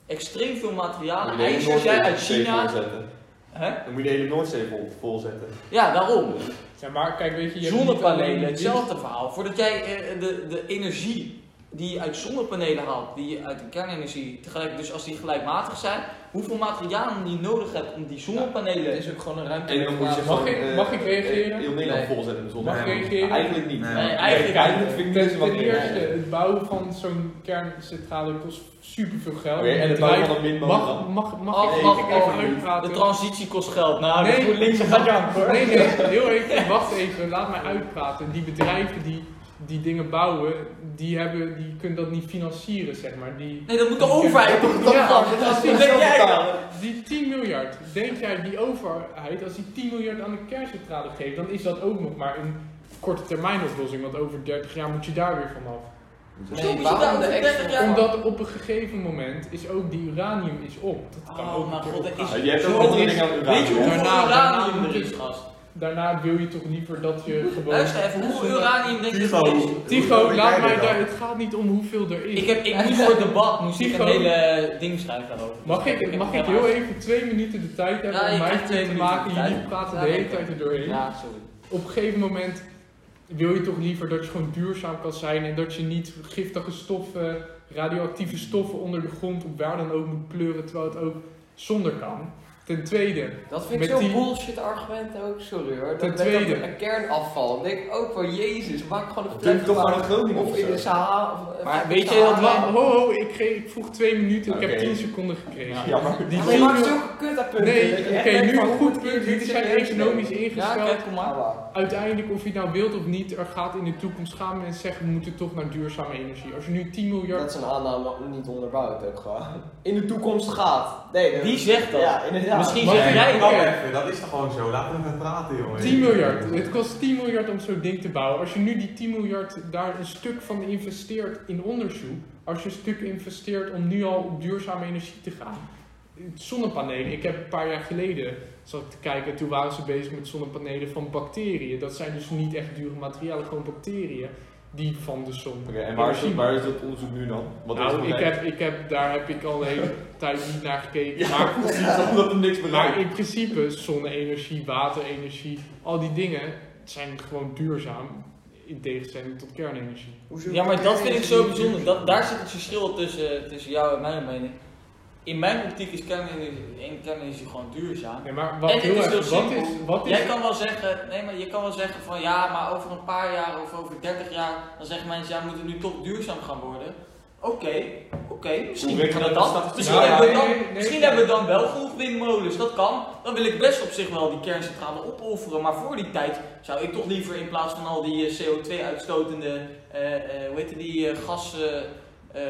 S1: extreem veel materialen,
S5: de hele
S1: ijzers jij uit
S5: Noordzee
S1: China.
S5: volzetten.
S1: Hè?
S5: Dan moet je de hele Noordzee vol, volzetten.
S1: Ja, daarom.
S3: Ja, maar kijk, weet je, je hebt niet alleen
S1: Zonnepanelen,
S3: die-
S1: hetzelfde verhaal. Voordat jij eh, de, de energie die je uit zonnepanelen haalt, die je uit de kernenergie, tegelijk, dus als die gelijkmatig zijn, hoeveel materialen je nodig hebt om die zonnepanelen.
S4: Het is ook gewoon een ruimte.
S5: En dan moet je
S3: Mag
S5: gewoon,
S3: ik-
S5: eh,
S3: mag ik reageren?
S5: Heel Nederland
S4: Nee.
S5: volzetten met zonnepanelen.
S3: Mag ik reageren?
S5: Eigenlijk niet.
S2: Nee,
S1: eigenlijk
S5: eigenlijk vind ik
S3: Ten,
S5: niet zo wat
S3: ten
S5: meer.
S3: eerste, het bouwen van zo'n kerncentrale kost superveel geld.
S5: Oké, en het bouwen van een windmolen
S3: Mag,
S5: dan?
S3: mag, mag,
S1: Mag-
S3: ik,
S1: mag-
S3: mag ik even
S1: oh,
S3: uitpraten?
S1: de transitie kost geld. Nou,
S3: Nee.
S1: nee. moet links gaat janken hoor.
S3: Nee, nee, heel even, wacht even, laat mij uitpraten. Die bedrijven die, die dingen bouwen, die, hebben, die kunnen dat niet financieren, zeg maar. Die,
S1: Nee, dat moet de overheid toch
S3: Ja,
S1: betalen.
S3: dat
S1: Wat
S3: is
S1: denk jij dan?
S3: die 10 miljard, denk jij die overheid, als die 10 miljard aan de kerncentrale geeft, dan is dat ook nog maar een korte termijn oplossing, want over 30 jaar moet je daar weer vanaf.
S1: Hoezo
S4: Nee,
S1: moet je
S4: waarom
S1: daar
S4: de
S1: over 30
S4: extra-
S1: jaar-
S3: Omdat op een gegeven moment is ook die uranium is op. Dat kan ook
S1: Oh,
S3: een
S1: mijn
S3: keer
S1: god, dat
S3: opgaan.
S1: is.
S5: Je hebt ook
S1: zo-
S5: andere dingen aan het
S1: Weet je
S5: uranium, hè?
S1: hoeveel
S3: Daarna-
S1: uranium
S3: daarna-
S1: er is, gast?
S3: Daarna wil je toch liever dat je gewoon...
S1: Luister even, hoeveel uranium denk je dat er is?
S2: Tycho.
S3: Tycho, laat mij daar...
S2: daar.
S3: Het gaat niet om hoeveel er is.
S1: Ik heb ik moest voor debat moest ik
S3: Tycho.
S1: een hele ding schrijven daarover.
S3: Mag ik, mag ik heel even twee minuten de tijd hebben
S1: Ja, je
S3: om mij
S1: krijgt twee
S3: te
S1: minuten
S3: maken?
S1: de tijd.
S3: Jullie praten de
S1: Ja,
S3: hele
S1: oké.
S3: tijd er doorheen.
S1: Ja, sorry.
S3: Op een gegeven moment wil je toch liever dat je gewoon duurzaam kan zijn en dat je niet giftige stoffen, radioactieve stoffen onder de grond op waar dan ook moet pleuren, terwijl het ook zonder kan. Ten tweede,
S4: Dat vind ik
S3: Met
S4: zo'n
S3: die-
S4: bullshit argument ook, sorry hoor.
S3: Ten
S4: Dat met dat
S3: tweede.
S4: Een kernafval. Dan denk ik ook van jezus, maak gewoon een
S5: Doe toch gewoon
S4: vluchtwagen.
S5: een Groningen
S4: Of in de Sahara. of, eh,
S1: Maar
S4: de
S1: weet je dat
S4: Sahara.
S1: wel-
S3: ho, ho, ik, ge- ik vroeg twee minuten, ik heb
S5: Oké.
S3: 10 seconden gekregen.
S1: Ja.
S5: Ja, maar
S3: Die
S4: Maar je maakt
S3: 10
S4: zulke kut aan punten.
S3: Nee,
S4: dat je
S3: oké,
S4: echt denkt
S3: nu
S4: van,
S3: een
S4: hoe
S3: goed
S4: moet je
S3: punt.
S4: dit
S3: Jullie zijn
S4: serieus
S3: economisch
S4: nemen?
S1: Ja,
S3: ingesteld.
S1: kijk, kom maar.
S3: Uiteindelijk, of je het nou wilt of niet, er gaat in de toekomst gaan mensen zeggen we moeten toch naar duurzame energie. Als je nu 10 miljard.
S4: Dat is een aanname niet onderbouwd ook gewoon. In de toekomst gaat. Nee, dat-
S1: Wie zegt dat?
S4: Ja, inderdaad.
S1: Misschien
S3: Mag
S1: zeg
S3: ik-
S1: jij
S3: Mag
S1: dat.
S3: ik-
S2: even, dat is toch gewoon zo? Laten we even praten, jongen.
S3: 10 miljard. Het kost 10 miljard om zo'n ding te bouwen. Als je nu die 10 miljard daar een stuk van investeert in onderzoek. Als je een stuk investeert om nu al op duurzame energie te gaan. Zonnepanelen. Ik heb een paar jaar geleden zat ik te kijken. Toen waren ze bezig met zonnepanelen van bacteriën. Dat zijn dus niet echt dure materialen. Gewoon bacteriën die van de zon.
S5: Oké, en waar is, dat,
S3: energie
S5: waar is dat onderzoek nu dan? Wat is
S3: nou,
S5: het
S3: ik
S5: bereikt?
S3: heb, ik heb, daar heb ik al de hele tijd niet naar gekeken.
S5: Ja,
S3: maar,
S5: precies, omdat er niks
S3: maar
S5: bereikt.
S3: in principe, zonne-energie, waterenergie, al die dingen zijn gewoon duurzaam. In tegenstelling tot kernenergie.
S4: Hoezo-
S1: Ja, maar dat vind ik zo bijzonder. Dat, daar zit het verschil tussen, tussen jou en mijn mening. In mijn optiek is kernenergie, en kernenergie gewoon duurzaam.
S3: Nee, maar wat,
S1: En het
S3: heel
S1: is
S3: erg-
S1: heel
S3: wat
S1: simpel.
S3: is, wat is,
S1: Jij kan wel zeggen, nee, maar je kan wel zeggen van ja, maar over een paar jaar of over 30 jaar, dan zeggen mensen ja, we moeten nu toch duurzaam gaan worden. Oké, oké, misschien
S5: Hoe
S1: doen we
S5: werkt
S1: dat
S5: dat
S1: dan.
S5: dan?
S1: Misschien,
S3: Nou,
S1: hebben, we
S3: nee,
S1: dan,
S3: nee, nee,
S1: misschien
S3: nee.
S1: hebben we dan wel genoeg windmolens, dat kan. Dan wil ik best op zich wel die kerncentrale opofferen, maar voor die tijd zou ik toch liever in plaats van al die eh, CO2-uitstotende, eh, eh, hoe heet die, eh, gas, eh,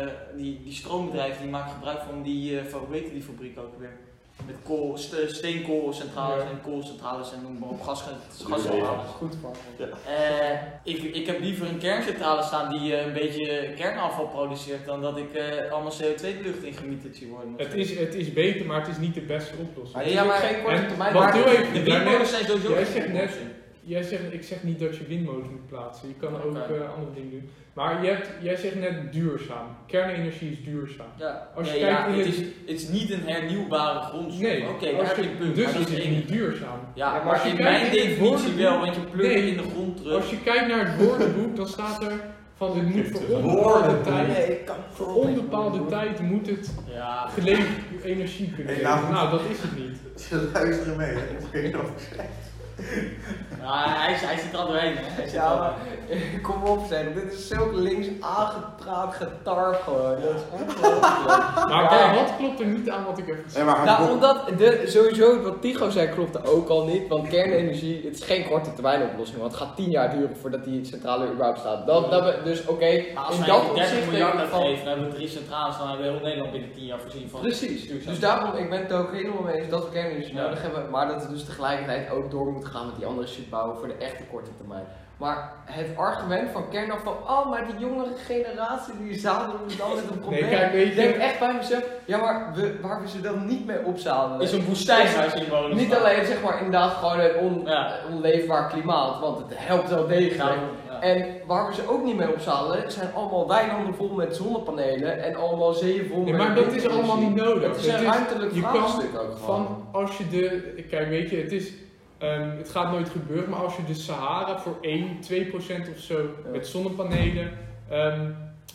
S1: eh, die, die stroombedrijven, die maken gebruik van die, eh, van, hoe heet die fabriek ook weer? Met kool, ste- steenkoolcentrales
S3: Ja.
S1: en koolcentrales en noem maar op, gas-
S5: Ja.
S1: gascentrales.
S4: Goed van.
S1: Eh, ik, ik heb liever een kerncentrale staan die eh, een beetje kernafval produceert dan dat ik eh, allemaal CO2-lucht ingemieterd zie worden.
S3: het, is, het is beter, maar het is niet de beste oplossing.
S4: Maar het is
S1: Ja,
S4: ook
S1: maar-
S4: geen korte
S3: En
S4: termijn.
S3: wat
S4: maar-
S3: doe ik?
S1: De
S3: Jij
S1: windmolens
S3: net-
S1: zijn sowieso
S3: jij
S1: geen
S3: zegt
S1: goede
S3: net-
S1: optie.
S3: Jij zegt, ik zeg niet dat je windmolens moet plaatsen. Je kan ook
S1: Oké.
S3: eh, andere dingen doen. Maar je hebt, jij zegt net duurzaam. Kernenergie is duurzaam.
S1: Ja,
S3: Als je
S1: Nee,
S3: kijkt
S1: ja,
S3: in
S1: het,
S3: het-
S1: is, het is niet een hernieuwbare grondstof.
S3: Nee,
S1: Oké, daar
S3: als
S1: heb
S3: je-
S1: je een punt.
S3: dus
S1: maar dat
S3: is
S1: is
S3: het
S1: één-
S3: niet duurzaam.
S1: Ja,
S4: Ja,
S1: maar,
S4: maar als
S1: in
S3: je
S1: mijn
S3: kijkt in het
S1: definitie
S3: woordenboek-
S1: wel, want je plukt
S3: Nee.
S1: in de grond terug.
S3: Als je kijkt naar het woordenboek, dan staat er van het moet voor
S5: Woorden.
S3: onbepaalde tijd.
S4: Nee, ik kan
S3: Voor onbepaalde tijd moet het
S1: Ja,
S3: geleverd energie kunnen
S2: Hey,
S3: worden.
S2: nou-
S3: Nou, dat is het niet.
S2: Ze luisteren mee, hè? Oké, dan.
S1: maar nou, hij, hij zit er al doorheen. hè. Hij zit er al
S4: Ja,
S1: doorheen.
S4: maar kom op zeg, dit is zo links aangepraat getar gewoon. Dat is ongelooflijk.
S3: Maar
S4: Ja.
S3: wat klopt er niet aan wat ik heb
S2: Nee,
S3: gezegd?
S2: maar haar
S4: nou,
S2: bot-
S4: omdat de, sowieso wat Tigo zei klopte ook al niet, want kernenergie, het is geen korte termijn oplossing, want het gaat 10 jaar duren voordat die centrale überhaupt staat. Dat, dat we- dus oké,
S1: Maar als
S4: in
S1: wij
S4: dat
S1: 30
S4: opzicht
S1: miljard
S4: denk ik
S1: hebben
S4: van...
S1: gegeven, dan hebben we drie centrales, dan hebben we heel Nederland binnen 10 jaar voorzien van.
S4: Precies,
S1: Duurzaam.
S4: dus daarom, ik ben het er ook helemaal mee eens dat we kernenergie
S1: Ja.
S4: nodig hebben, maar dat we dus tegelijkertijd ook door moeten gaan met die andere shit bouwen voor de echte korte termijn. Maar het argument van kernafval, oh maar die jongere generatie die zadelen we dan met een probleem.
S3: Nee, kijk, weet
S4: Ik denk
S3: je.
S4: echt bij mezelf, ja maar we, waar we ze dan niet mee opzadelen.
S1: Is een woestijnhuis in wonen.
S4: niet alleen zeg maar inderdaad gewoon een on-
S1: Ja.
S4: onleefbaar klimaat, want het helpt wel degelijk.
S1: Ja.
S4: En waar we ze ook niet mee opzadelen, zijn allemaal weilanden vol met zonnepanelen en allemaal zeeën vol
S3: Nee,
S4: met...
S3: maar dat is allemaal niet nodig.
S4: Het is een ruimtelijk
S3: je kan
S4: vraagstuk ook gewoon.
S3: Van als je de. Kijk, weet je, het is. ehm, het gaat nooit gebeuren, maar als je de Sahara voor 1, 2% of zo met zonnepanelen ehm,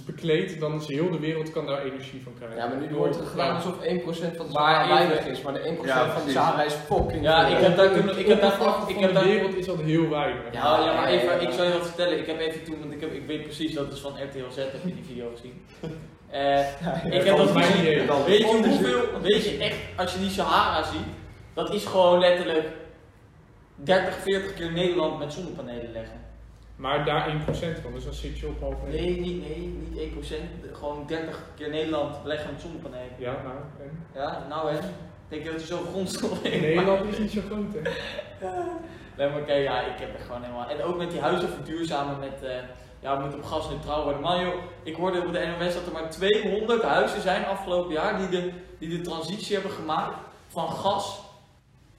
S3: bekleedt, dan is heel de wereld kan daar energie van krijgen.
S4: Ja, maar nu
S3: Door-
S4: wordt er gedaan
S3: Ja.
S4: alsof 1% van de
S1: Maar
S4: Sahara weinig
S1: even-
S4: is, maar de
S5: Ja,
S4: 1% van de
S5: precies.
S4: Sahara is fucking
S1: Ja,
S4: veel.
S1: ik heb daar kunnen,
S3: De
S1: ik heb daar,
S3: oppervlakte van
S1: ik heb
S3: de
S1: daar,
S3: wereld is dat heel weinig.
S1: Ja, ja, maar
S4: ja, ja,
S1: even,
S4: ja.
S1: ik zal je wat vertellen. Ik heb even toen, want ik, heb, ik weet precies dat is van RTL Z, heb je die video gezien. Eh, ik heb dat
S3: volgens mij
S1: gezien.
S3: niet eens.
S1: Weet je hoeveel, weet je echt, als je die Sahara ziet, dat is gewoon letterlijk 30, 40 keer Nederland met zonnepanelen leggen.
S3: Maar daar 1% van, dus dan zit je op half één.
S1: Nee, niet, nee, niet 1%, gewoon 30 keer Nederland leggen met zonnepanelen.
S3: Ja, nou, en?
S1: Ja, nou hè, ik denk dat je zo'n grondstof in
S3: Nederland is niet zo groot, hè?
S1: Nee, maar kijk, ja, ik heb er gewoon helemaal. En ook met die huizen verduurzamen met. eh, ja, we moeten op gas neutraal worden. Maar joh, ik hoorde op de NOS dat er maar 200 huizen zijn afgelopen jaar die de, die de transitie hebben gemaakt van gas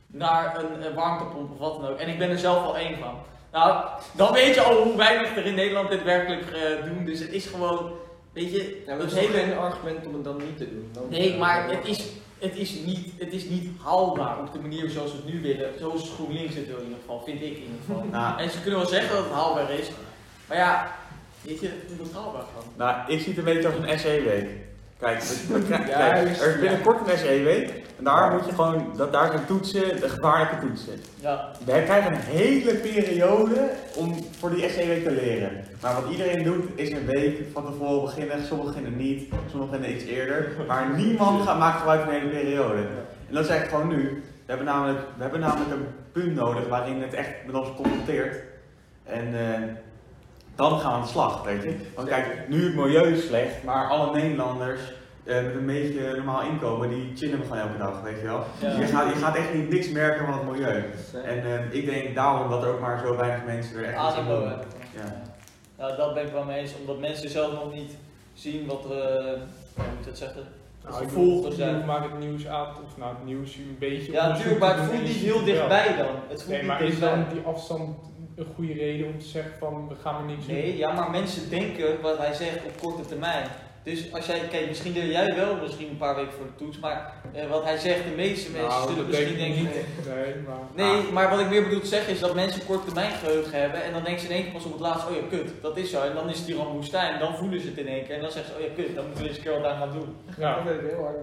S1: naar een, eh, warmtepomp of wat dan ook. En ik ben er zelf al één van. Nou, dan weet je al hoe weinig er in Nederland dit werkelijk eh, doen. Dus het is gewoon, weet je,
S4: Ja, maar
S1: het
S4: dat is ook
S1: hele
S4: geen argument om het dan niet te doen. Dan-
S1: Nee, maar het is, het, is niet, het is niet haalbaar op de manier zoals we het nu willen. Zoals GroenLinks het wil in ieder geval, vind ik in ieder geval.
S2: Nou,
S1: En ze kunnen wel zeggen dat het haalbaar is, maar ja, weet je, het moet haalbaar gaan.
S2: nou, ik zie het een beetje als een SE-week. Kijk, we- we krijgen-
S4: Ja,
S2: kijk,
S4: juist,
S2: er is binnenkort een SE-week. En daar moet je gewoon, dat, daar zijn toetsen, de gevaarlijke toetsen.
S1: Ja,
S2: Wij krijgen een hele periode om voor die SE-week te leren. Maar wat iedereen doet, is een week van tevoren beginnen. Sommigen beginnen niet, sommigen beginnen iets eerder. Maar niemand gaat, maakt gebruik van de hele periode. En dat is eigenlijk gewoon nu. We hebben namelijk, we hebben namelijk een punt nodig waarin het echt met ons confronteert. En eh, dan gaan we aan de slag, weet je. Want kijk, nu het milieu is slecht, maar alle Nederlanders eh, met een beetje normaal inkomen, die chillen we gewoon elke dag, weet je wel.
S1: Ja.
S2: Je, gaat, je gaat echt niet niks merken van het milieu. En eh, ik denk daarom dat er ook maar zo weinig mensen er echt iets aan
S1: ASMO.
S2: doen.
S1: Ah, hè.
S2: Ja.
S1: Nou, dat ben ik wel mee eens, omdat mensen zelf nog niet zien wat, eh, hoe moet ik dat zeggen? De
S3: Nou, ik
S1: gevolgen
S3: bedoel,
S1: zijn.
S3: maak het nieuws aan, of nou het nieuws een beetje.
S1: Ja, natuurlijk,
S3: onderzoek
S1: maar
S3: te
S1: het voelt
S3: doen en je
S1: niet
S3: ziet
S1: heel
S3: het wel.
S1: dichtbij dan. Het voelt
S3: Nee, maar
S1: niet
S3: is dan
S1: dichtbij.
S3: die afstand een goede reden om te zeggen van we gaan er niks doen?
S1: Nee, ja, maar mensen denken wat hij zegt op korte termijn. Dus als jij, kijk, misschien leer jij wel misschien een paar weken voor de toets, maar eh, wat hij zegt, de meeste mensen
S3: Nou,
S1: zullen
S3: dat denk
S1: misschien
S3: ik
S1: denken.
S3: niet. Nee, maar...
S1: Nee, maar wat ik meer bedoel te zeggen is dat mensen kort termijn geheugen hebben en dan denken ze in één keer pas op het laatst, oh ja, kut, dat is zo. En dan is het hier al een woestijn, dan voelen ze het in één keer en dan zeggen ze, oh ja, kut, dan moeten we eens een keer wat aan gaan doen.
S3: Ja.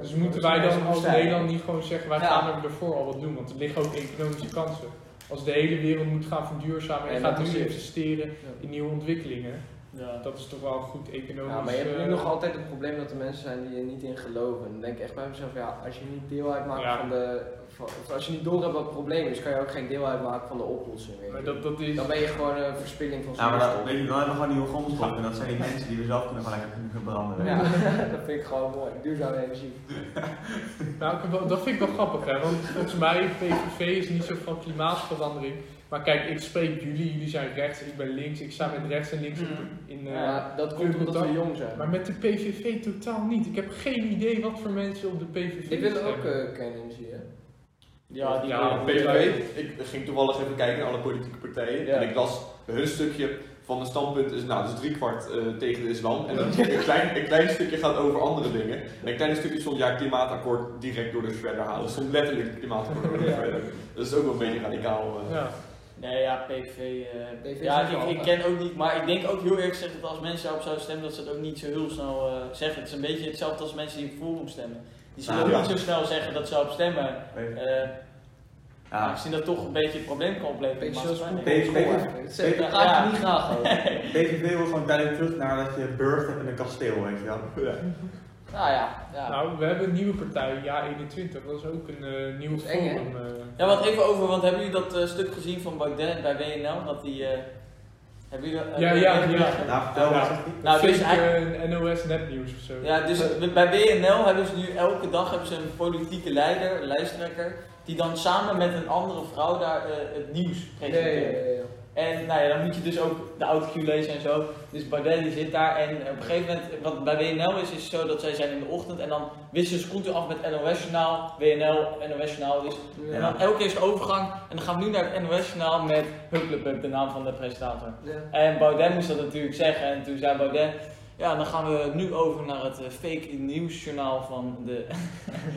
S3: Dus moeten wij dan als Nederland niet gewoon zeggen, wij
S1: Ja.
S3: gaan er ervoor al wat doen, want er liggen ook economische kansen. Als de hele wereld moet gaan verduurzamen en,
S4: En
S3: gaat
S4: dat is
S3: nu
S4: het.
S3: investeren in nieuwe ontwikkelingen,
S1: Ja.
S3: dat is toch wel goed economisch.
S4: Ja, maar je hebt
S3: eh,
S4: nu nog altijd het probleem dat er mensen zijn die er niet in geloven. En dan denk ik echt bij mezelf, ja, als je niet deel uitmaakt
S3: Ja.
S4: van de... Van, of als je niet door hebt wat het probleem is, kan je ook geen deel uitmaken van de oplossing. weet je.
S3: maar dat, dat is...
S4: Dan ben je gewoon een verspilling van
S2: Nou, maar dat,
S4: zuurstof.
S2: weet je, dan hebben we gewoon nieuwe grondstoffen. En dat zijn die mensen die we zelf kunnen gewoon lekker kunnen branden. weet je.
S4: Ja, dat vind ik gewoon mooi. Duurzame energie.
S3: Nou, ik heb wel- dat vind ik wel grappig, hè? Want volgens mij, PVV is niet zo van klimaatverandering. Maar kijk, ik spreek jullie, jullie zijn rechts, ik ben links, ik sta met rechts en links
S1: Mm.
S3: op- in. eh,
S4: Ja, dat komt
S3: Duurzaam
S4: omdat we
S3: dag.
S4: jong zijn.
S3: Maar met de PVV totaal niet. Ik heb geen idee wat voor mensen op de PVV
S4: Ik wil ook
S3: stemmen.
S4: eh kernenergie, hè?
S1: Ja, die
S3: Ja,
S5: PVV, ik ging toevallig even kijken naar alle politieke partijen.
S4: Ja.
S5: En ik las hun stukje van het standpunt is, nou, dus drie kwart tegen de islam. En dan een, klein, een klein stukje gaat over andere dingen. En een klein stukje stond, ja, klimaatakkoord direct door de shredder halen. Het stond letterlijk klimaatakkoord door de
S3: Ja.
S5: shredder. Dat is ook wel een beetje radicaal. eh.
S3: Ja.
S1: Nee, ja, PV. eh,
S4: PV
S1: ja,
S4: is
S1: ik,
S4: wel
S1: ik
S4: altijd.
S1: ken ook niet, maar ik denk ook heel eerlijk gezegd dat als mensen daarop zouden stemmen, dat ze dat ook niet zo heel snel eh, zeggen. Het is een beetje hetzelfde als mensen die op Forum stemmen. Die zullen
S2: Nou,
S1: ook
S5: ja.
S1: niet zo snel zeggen dat ze op stemmen.
S2: Weet je.
S1: eh
S2: Ja.
S1: Aangezien dat toch een beetje een probleem kan opleveren.
S4: Beetje
S1: in de
S4: zoals
S1: maatschappij.
S2: voetbal. PVV.
S4: PVV. Daar ga ik niet graag over.
S2: PVV wil gewoon tijdelijk terug naar dat je burcht hebt in een kasteel, weet je wel.
S5: Ja.
S1: Nou ja, ja.
S3: Nou, we hebben een nieuwe partij, Ja 21. Dat is ook een eh nieuw
S4: Dat is eng, hè?
S3: forum. eh.
S1: Ja, wat even over, want hebben jullie dat eh, stuk gezien van Baudet bij WNL? Dat die. eh, hebben jullie dat? eh,
S3: Ja, ja,
S1: hebben jullie
S3: ja.
S1: dat-
S2: Nou, vertel maar, zegt hij.
S3: Dat
S1: Nou,
S3: vind
S1: dus
S3: ik,
S1: hij-
S3: eh, een NOS nepnieuws of zo.
S1: Ja, dus
S3: Eh.
S1: bij WNL hebben ze nu elke dag hebben ze een politieke leider, een lijsttrekker, die dan samen met een andere vrouw daar eh, het nieuws
S4: Nee,
S1: presenteert.
S4: nee,
S1: En nou ja, dan moet je dus ook de autocue lezen en zo. Dus Baudet die zit daar en op een gegeven moment, wat bij WNL is, is zo dat zij zijn in de ochtend en dan wisselen ze continu af met NOS Journaal, WNL, NOS Journaal. Dus en
S4: nee.
S1: dan elke keer is de overgang en dan gaan we nu naar het NOS Journaal met Hupplepup, de naam van de presentator.
S4: Ja.
S1: En Baudet moest dat natuurlijk zeggen en toen zei Baudet, Ja, dan gaan we nu over naar het eh, fake nieuwsjournaal van de.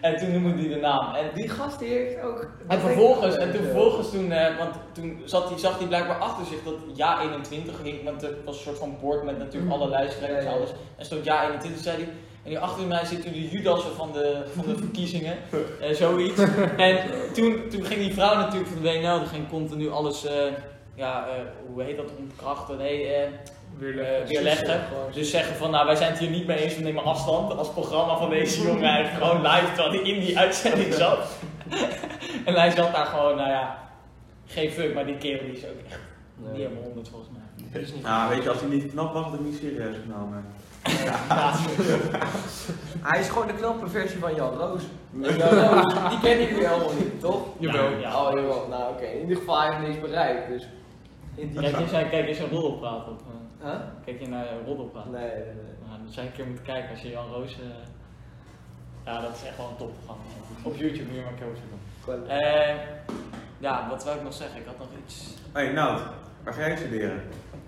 S1: en toen noemde hij de naam. En,
S4: Die gast die heeft ook...
S1: en
S4: dat
S1: vervolgens,
S4: denk ik-
S1: en toen, vervolgens toen, eh, want toen zat hij, zag hij blijkbaar achter zich dat ja 21 ging, want er was een soort van bord met natuurlijk alle luisteraars en
S4: Mm. Ja, ja.
S1: alles. En stond ja 21, zei hij. En hier achter mij zitten de Judassen van de, van de verkiezingen, en zoiets. En toen, toen ging die vrouw natuurlijk van de WNL, die ging continu alles, eh, ja, eh, hoe heet dat, ontkrachten, nee, eh,
S3: Weer
S1: eh, weerleggen. Dus zeggen van, nou wij zijn het hier niet mee eens, we nemen afstand als programma van deze jongen. Hij heeft gewoon live terwijl hij in die uitzending zat. en hij zat daar gewoon, nou ja, geen fuck, maar die kerel die is ook echt niet
S4: eh. Nee.
S1: helemaal 100 volgens mij. Die is niet
S2: Nou, weet je, als hij niet knap was, had ik niet serieus genomen.
S4: Hij is gewoon de knappe versie van Jan Roos. En Jan Roos, die kennen jullie helemaal niet, toch?
S3: Jawel.
S1: Nou,
S4: Ja, oh, jawel. Nou, oké. In ieder geval, hij heeft niks bereikt, dus... In die...
S1: Kijk eens naar, kijk eens naar roddelpraat op. eh,
S4: Huh?
S1: Kijk je naar eh, roddelpraat.
S4: Nee, nee, nee.
S1: Nou, dat zou je een keer moeten kijken als je Jan Roos... eh, ja, dat is echt wel een topprogramma. Op YouTube moet je maar een keer opzoeken.
S4: Gewoon-
S1: Eh, ja, wat wil ik nog zeggen? Ik had nog iets...
S2: Hé, hey, Nout, waar ga jij studeren?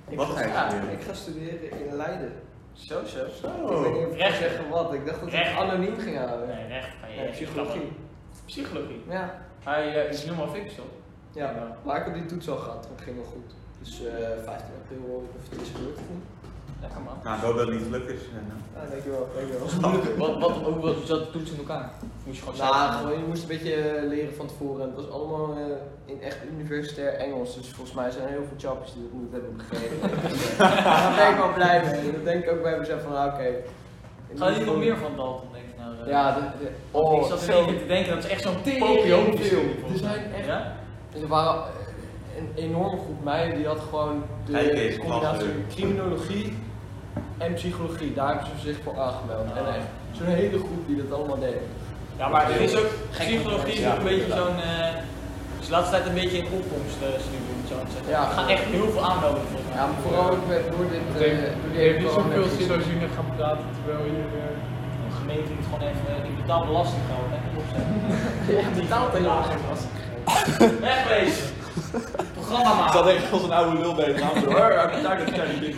S4: Ik
S2: Wat
S4: ga
S2: ga je
S4: ja,
S2: studeren? Oh.
S4: Ik ga studeren in Leiden. Zo, zo. Ik weet
S2: Zo.
S4: niet of ik
S1: Recht.
S4: ga zeggen wat. Ik dacht dat ik
S1: Recht.
S4: het anoniem ging houden.
S1: Nee, recht ga je.
S4: Nee, Oh psychologie.
S1: Psychologie.
S4: Ja.
S1: Hij eh, is helemaal fix toch?
S4: ja.
S1: Ja.
S4: Maar ik heb die toets al gehad. Dat ging wel goed. Dus eh 15 april hoor ik of het is gelukt of niet.
S1: Lekker man.
S2: Nou, ik hoop dat het niet gelukt is. eh, nou.
S4: Ah, dankjewel, dankjewel.
S1: Wat, wat, hoe was dat toets in elkaar? Moest je gewoon
S4: Nou,
S1: zelf-
S4: gewoon, je moest een beetje eh, leren van tevoren. Het was allemaal eh, in echt universitair Engels. Dus volgens mij zijn er heel veel chappies die dat niet hebben begrepen. Dus, eh, Daar ben ik wel blij mee. Dat denk ik ook bij mezelf van, ah, oké.
S1: Ga je hier nog meer van Dalton denken? Nou, eh,
S4: Ja, de, de,
S1: want
S4: oh,
S1: ik zat
S4: zo.
S1: er even te denken, dat is echt zo'n
S4: Tering
S1: popio.
S4: veel. Er zijn echt-
S1: Ja?
S4: Dus Er waren eh, een enorme groep meiden die had gewoon de
S2: Kijk eens,
S4: combinatie
S2: lachen.
S4: criminologie en psychologie. Daar hebben ze zich voor aangemeld. En
S1: Ah.
S4: echt zo'n hele groep die dat allemaal deed.
S1: ja, maar er is ook psychologie is
S4: Ja,
S1: ook een beetje
S4: inderdaad.
S1: zo'n... eh is de laatste tijd een beetje in opkomst eh is nu, moet je zo zeggen.
S4: Ja.
S1: Ik ga echt heel veel aanmelden volgens mij.
S4: Ja, maar vooral ook met- door dit...
S3: Het
S4: eh,
S3: heeft-
S4: door
S3: het
S4: die
S3: heeft niet
S4: corona-
S3: zoveel zin als je net gaat praten terwijl je... eh,
S1: De gemeente moet gewoon even... eh, Die betaal belasting gewoon even opzetten.
S4: Ja, die taal te laag was.
S1: Wegwezen! Programma
S5: Ik
S1: maken!
S5: zat echt als een oude lul bij het naam. Daar daar dat kleine ding.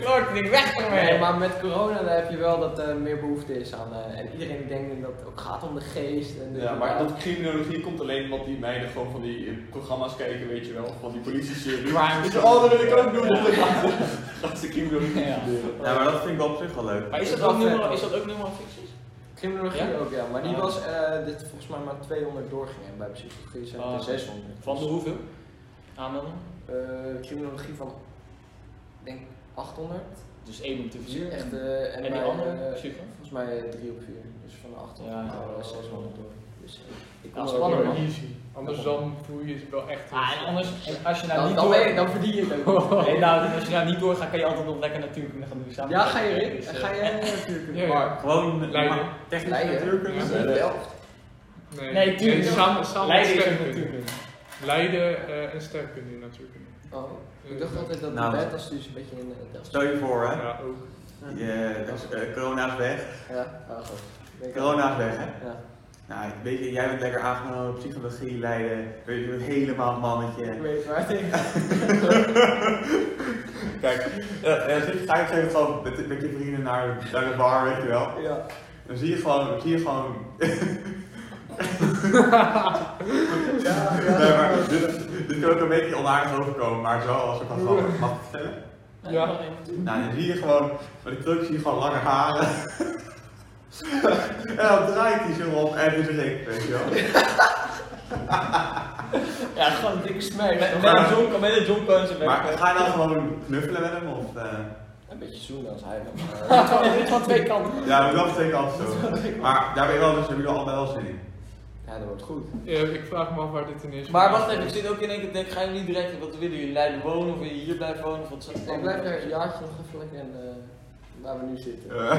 S1: Klopt, ik weg ermee!
S4: Nee, maar met corona dan heb je wel dat er meer behoefte is aan. eh, en iedereen denkt dat het ook gaat om de geest. En de
S5: Ja, maar dat criminologie komt alleen omdat die meiden gewoon van die eh, programma's kijken, weet je wel, van die politie-serie.
S1: Crime
S5: Dus,
S1: Story.
S5: oh, dat wil ik ook doen, dan gaan ze- gaan ze criminologie
S1: Ja.
S5: studeren.
S2: Ja, maar dat vind ik wel op zich wel leuk.
S1: Maar is dat,
S4: Dat
S1: ook
S4: is wel
S1: nummer,
S4: vet.
S1: is dat ook nummer ficties?
S4: Criminologie
S1: Ja?
S4: ook, ja. Maar die
S1: Ah.
S4: was eh, dit volgens mij maar 200 doorgingen. Bij psychologie zijn het
S1: Ah.
S4: er 600.
S1: Van de hoeveel? Aanmelding?
S4: Eh, criminologie van, ik denk 800.
S1: Dus 1 op de
S4: Dus
S1: 4.
S4: echt, eh, en
S1: en die
S4: bij,
S1: andere?
S4: eh,
S1: Super.
S4: volgens mij 3 op 4. Dus van de 800
S1: Ja,
S4: naar
S1: ja.
S4: eh, 600 door. Dus eh, ik
S1: Ja,
S4: kom er ook
S1: spannend,
S4: in.
S1: man.
S3: Easy. Anders dan voel je je wel echt...
S1: Ah, en anders, en als je nou
S4: Dan,
S1: niet
S4: dan,
S1: door...
S4: ben je- dan verdien je het ook.
S1: Nee, nou, als je nou niet doorgaat, kan je altijd nog lekker natuurkunde gaan doen. Samen
S4: Ja, ga je
S1: erin?
S4: erin? Ga je natuurlijk.
S3: Ja, ja.
S4: Maar
S2: Gewoon eh,
S3: Leiden.
S2: maar technische
S4: Leiden.
S2: natuurkunde.
S5: Ja.
S4: wel.
S1: Nee, tuurlijk.
S3: samen, samen
S1: Leiden is ook
S3: sterkpunten.
S1: natuurkunde.
S3: Leiden eh en sterkkunde natuurlijk.
S4: Oh, ik dacht altijd dat
S2: Nou,
S4: de beta's dus een beetje in de Delft.
S2: Stel je voor, hè.
S3: Ja, ook.
S2: Je, eh, corona is weg.
S4: Ja, ah, goed. Ik-
S2: Corona is weg, hè.
S4: Ja.
S2: Nou, weet je, jij bent lekker aangenomen op psychologie, Leiden. Weet je, je bent helemaal een mannetje.
S4: Ik weet waar ik
S2: Kijk, eh, eh, zit- ga je even gewoon met, met je vrienden naar, naar de bar, weet je wel.
S4: Ja.
S2: Dan zie je gewoon, dan zie je gewoon
S4: Ja,
S2: Nee, maar dit, dit kan ook een beetje onaardig overkomen, maar zo als ik van van mag ik het vertellen.
S1: eh.
S3: Ja.
S2: Nou, dan zie je gewoon, bij de truck zie je gewoon lange haren. en dan draait hij zo op en is gek, weet je wel.
S1: Ja, gewoon een dikke smerk. Met, met
S2: Maar-
S1: een jonko, met een jonko en zijn werk.
S2: Maar ga je dan gewoon knuffelen met hem of? eh?
S4: Een beetje zoenen als hij dan. maar- eh,
S1: Dit is van twee kanten.
S2: Ja, dat vind ik altijd zo. Maar daar ben je wel, dus heb je wel allebei wel zin in.
S4: Ja, dat wordt goed.
S3: Eh, ik vraag me af waar dit in is.
S1: Maar wacht even, ik zit ook in één keer te denken, gaan jullie direct, wat willen jullie, Leiden wonen of wil je hier blijven wonen? Of wat is dat?
S4: Ik blijf er een jaartje nog even lekker in, eh, waar we nu zitten.
S2: Eh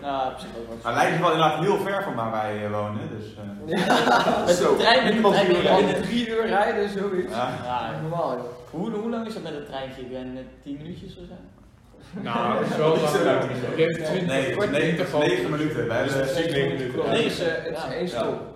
S1: Nou, op zich ook wel.
S2: maar Leiden is wel inderdaad heel ver van waar wij eh, wonen, dus. eh,
S1: Met de
S5: Zo,
S1: trein, met de
S5: niemand
S1: trein.
S5: wil
S1: ben je
S4: Al
S1: binnen-
S4: drie uur rijden, zoiets.
S2: ja.
S1: Ja,
S4: Normaal, joh.
S1: Hoe, hoe lang is dat met het treintje? Ik ben eh, 10 minuutjes of zo.
S3: Nou, zo lang.
S5: Zo lang.
S3: Je hebt 20
S2: Nee,
S3: kort
S2: nee,
S3: niet
S2: Dus het is 9 minuten. Wij hebben
S5: Precies negen minuten.
S4: Het is, eh, het is
S1: Ja.
S4: één stop.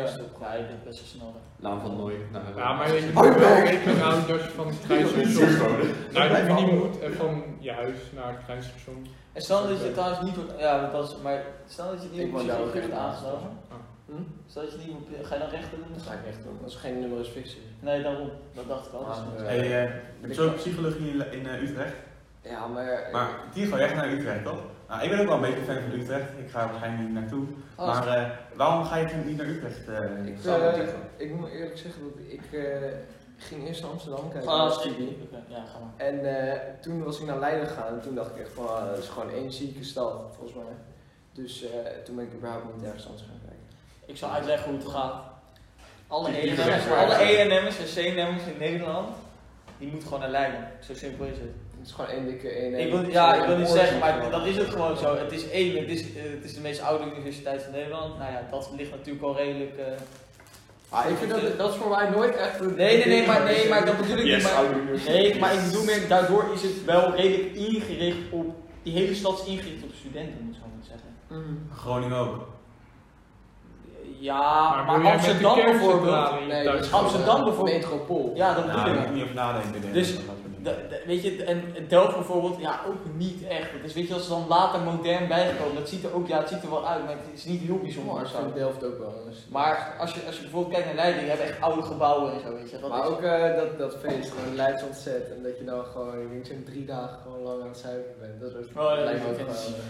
S1: Ja, stop, ja, ik ben best wel snel.
S5: Naam van Nooit. Nou,
S3: Ja, maar je
S4: Hoi,
S3: moet wel
S4: Berk.
S3: even naar het jasje van het treinstation. Nou, Naar de miniboot en van je huis naar het treinstation.
S1: En stel dat je trouwens niet wordt, ja, want dat is, maar stel dat je niet
S4: Ik
S1: op
S4: word daar ook
S1: psychologie wordt
S4: echt
S1: aangenomen.
S3: naast.
S4: Hm?
S1: Stel dat je niet op, ga je dan rechten doen?
S4: Dat ga ik echt doen. Dat is geen nummer fictie.
S1: Nee, daarom. Dat dacht ik al. dus-
S4: Ah,
S2: Hey, eh, ik heb zo'n psychologie in, in eh, Utrecht.
S4: Ja, maar. eh,
S2: Maar die gaat echt naar Utrecht, toch? Nou, ik ben ook wel een beetje fan van Utrecht. Ik ga er waarschijnlijk niet naartoe.
S4: Oh,
S2: maar eh, waarom ga je niet naar Utrecht? eh?
S4: ik,
S5: zou
S4: eh,
S5: het niet doen.
S4: ik moet eerlijk zeggen dat ik eh, ging eerst naar Amsterdam kijken.
S1: Ah,
S4: naar
S1: oké.
S4: studie.
S1: Oké, Ja, ga maar.
S4: En eh, toen was ik naar Leiden gegaan en toen dacht ik echt van, ah, dat is gewoon één zieke stad, volgens mij. Dus eh, toen ben ik überhaupt niet ergens anders gaan kijken.
S1: Ik zal uitleggen hoe het gaat. Alle
S5: Die- die
S1: E&M's,
S5: zijn
S1: alle
S5: zwaar.
S1: E&M's en C&M's in Nederland, die moeten gewoon naar Leiden. Zo simpel is het.
S4: Het is gewoon één dikke één.
S1: Ik wil, ja, ik wil niet zeggen, maar dat is het gewoon zo. Het is één, het is, eh, het is de meest oude universiteit van Nederland. Nou ja, dat ligt natuurlijk al redelijk. eh,
S4: Ah, ik vind dat, dat is voor mij nooit echt een...
S1: Nee, nee, nee, maar, nee, maar dat bedoel ik
S5: Yes,
S1: niet. Maar,
S5: oude universiteit.
S1: nee, maar ik bedoel meer, daardoor is het wel redelijk ingericht op. Die hele stad is ingericht op studenten, moet ik zo maar zeggen.
S4: Mm.
S2: Groningen ook.
S1: Ja, maar, Amsterdam bijvoorbeeld.
S4: Nee, dat is
S1: Amsterdam
S4: gewoon, eh,
S1: bijvoorbeeld.
S4: Metropool.
S1: Ja, dat
S2: Nou,
S1: bedoel
S2: daar
S1: ik.
S2: moet ik niet over nadenken. denk ik.
S1: Dus,
S2: Dat soort dingen.
S1: De- de- weet je, en Delft bijvoorbeeld, ja, ook niet echt. Dus weet je, als ze dan later modern bijgekomen, dat ziet er ook, ja, het ziet er wel uit, maar het is niet heel bijzonder.
S4: Maar
S1: of
S4: ik
S1: zo.
S4: vind Delft ook wel dus. eens.
S1: Maar als je, als je bijvoorbeeld kijkt naar Leiden, die hebben echt oude gebouwen en zo, weet je. Dat
S4: maar
S1: is-
S4: ook eh, dat, dat feest, gewoon Leids ontzet. En dat je dan gewoon, ik denk zo'n drie dagen gewoon lang aan het zuipen bent. Dat is ook,
S1: Oh, ja,
S4: lijkt me
S1: dat
S4: ook
S1: vind ik
S4: gewoon,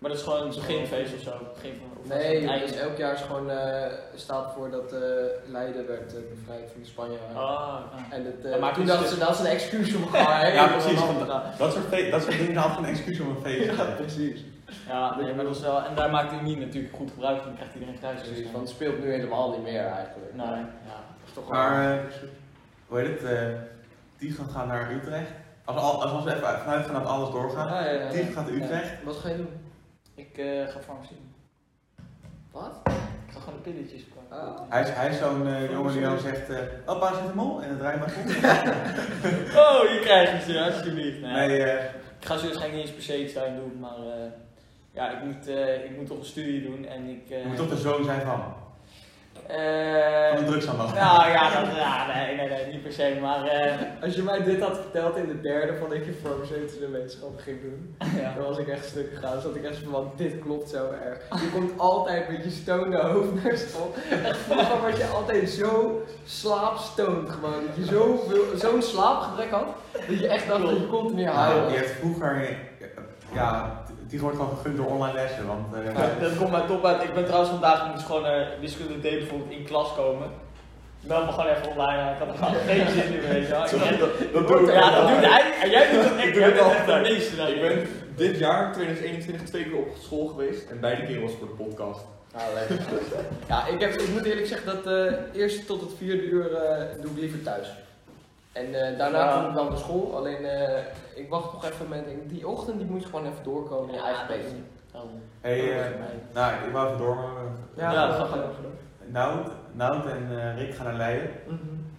S1: maar dat is gewoon een beginfeest of zo. Begin van, of
S4: eh, Nee,
S1: het
S4: joh,
S1: eind.
S4: dus elk jaar is gewoon, eh, staat voor dat eh, Leiden werd eh, bevrijd van de Spanjaarden.
S1: Ah, ja.
S4: En dat, eh,
S1: Maar maakt
S4: toen
S1: niet
S4: dachten ze, dat is een excuus om gewoon... hè,
S2: Ja,
S4: om
S2: precies,
S4: een
S2: want-
S4: ander-
S2: Dat soort, fe- dat soort dingen zijn altijd een excuus om een feest te
S4: Ja,
S2: hebben.
S4: precies.
S1: Ja, nee, maar dat is wel, en daar maakt hij niet natuurlijk goed gebruik van, krijgt iedereen thuis.
S4: Precies, want het speelt nu helemaal niet meer eigenlijk. Nou,
S1: nee, ja.
S4: Dat is toch wel-
S2: Maar, eh, hoe heet het? eh Tigan gaat naar Utrecht. Als, al, als we even vanuit gaan dat alles doorgaat.
S4: Ja, ja, ja.
S2: Tigan gaat naar Utrecht.
S4: Wat ga je doen?
S1: Ik eh, ga farmacie doen.
S4: Wat?
S1: Ik ga gewoon de pilletjes kopen.
S4: Ah.
S2: Hij is, hij is zo'n eh, jongen die dan zegt, eh oh, paracetamol, en dan draai je maar goed.
S1: Oh, je krijgt het, ja, alsjeblieft. Nee.
S2: Nee, eh,
S1: Ik ga zo waarschijnlijk niet eens per se iets daarin doen, maar eh, ja, ik moet, eh, ik moet toch een studie doen en ik... eh,
S2: je moet toch de zoon zijn van,
S1: eh,
S2: van de
S5: Oh.
S2: drugshandel.
S1: nou ja, dat, ja nee, nee, nee, niet per se, maar... eh,
S4: Als je mij dit had verteld in de derde van dat je farmaceutische wetenschap ging doen,
S1: ja.
S4: dan was ik echt stuk gegaan. Dus dat ik echt van, want dit klopt zo erg. Je komt altijd met je stoned hoofd naar school. Echt vroeger was je altijd zo slaapstoned gewoon. Dat je zoveel- zo'n slaapgebrek had, dat je echt dacht dat je continu
S2: Nou, je
S4: huilen.
S2: hebt vroeger, eh, ja, die wordt gewoon gegund door online lessen, want eh,
S1: Ja, dat komt mij top uit. Ik ben trouwens vandaag, ik moest gewoon eh wiskunde D bijvoorbeeld in klas komen. Meld me gewoon even online aan, ik had er gewoon geen zin in, weet je wel. Ik ben-
S5: Dat doe ik
S1: Ja, dat
S5: altijd.
S1: doet hij, en jij doet dat
S5: Ik
S1: ik,
S5: doe
S1: jij
S5: het
S1: bent echt de
S5: altijd.
S1: meeste
S5: Ik
S1: daarin.
S5: ben dit jaar, 2021, twee keer op school geweest. En beide keer was voor de podcast.
S4: Ja, Nou, lekker. Ja, ik, heb, ik moet eerlijk zeggen dat eh eerst tot het vierde uur eh, doe ik liever thuis. En eh, daarna
S1: Ja.
S4: kom ik dan naar school. Alleen eh, ik wacht nog even met. Die ochtend die moet gewoon even doorkomen in je eigen pace.
S2: hey, eh, nou, ik wou even door, maar we-
S1: Ja, Ja, dat dat
S4: gaat
S1: gaat gaat wel.
S2: Nout, Nout en eh, Rick gaan naar Leiden,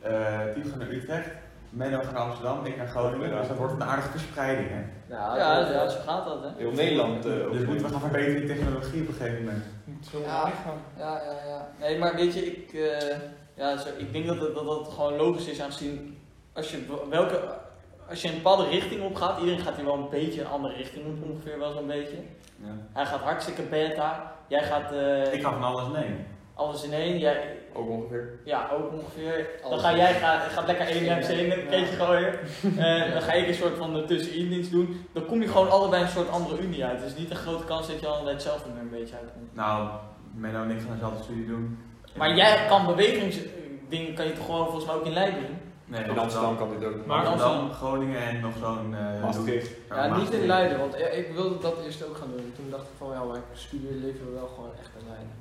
S2: Eh Tief gaan naar Utrecht, Menno gaat naar Amsterdam, ik naar Groningen, dus dat wordt een aardige verspreiding, hè.
S4: Ja,
S1: Ja,
S4: dat-
S1: ja, zo gaat dat, hè.
S5: Heel Nederland. eh, ook.
S2: Dus moeten we gaan verbeteren in technologie op een gegeven moment.
S3: Moet zo
S1: Ja.
S3: weggaan.
S1: Ja, ja, ja. Nee, maar weet je, ik, eh, ja, zo, ik denk dat het, dat dat gewoon logisch is aangezien als je w- welke, als je een bepaalde richting op gaat, iedereen gaat hier wel een beetje een andere richting op, ongeveer wel zo'n beetje.
S2: Ja.
S1: Hij gaat hartstikke beta, jij gaat eh,
S2: Ik ga van alles nemen.
S1: alles in één, jij,
S5: Ook ongeveer.
S1: ja, ook ongeveer. Dan
S4: Alles
S1: ga
S4: in
S1: jij
S4: één.
S1: gaat, gaat lekker één MC in een
S4: Ja.
S1: keertje gooien. Eh, dan ga ik een soort van de tussenin iets doen. Dan kom je gewoon allebei een soort andere unie uit. Dus niet een grote kans dat je allebei hetzelfde er een beetje uitkomt.
S2: Nou, Menno en ik gaan dezelfde studie doen.
S1: Maar jij kan bewegingsdingen kan je toch gewoon volgens mij ook in Leiden doen?
S2: Nee,
S5: In Amsterdam kan dit ook.
S3: Maar-
S2: Amsterdam, Groningen en nog zo'n... eh,
S5: Maastricht.
S2: doek.
S4: Ja, niet
S2: Maastricht.
S4: in Leiden, want eh, ik wilde dat eerst ook gaan doen. Toen dacht ik van ja, maar ik studeer leven wel gewoon echt in Leiden.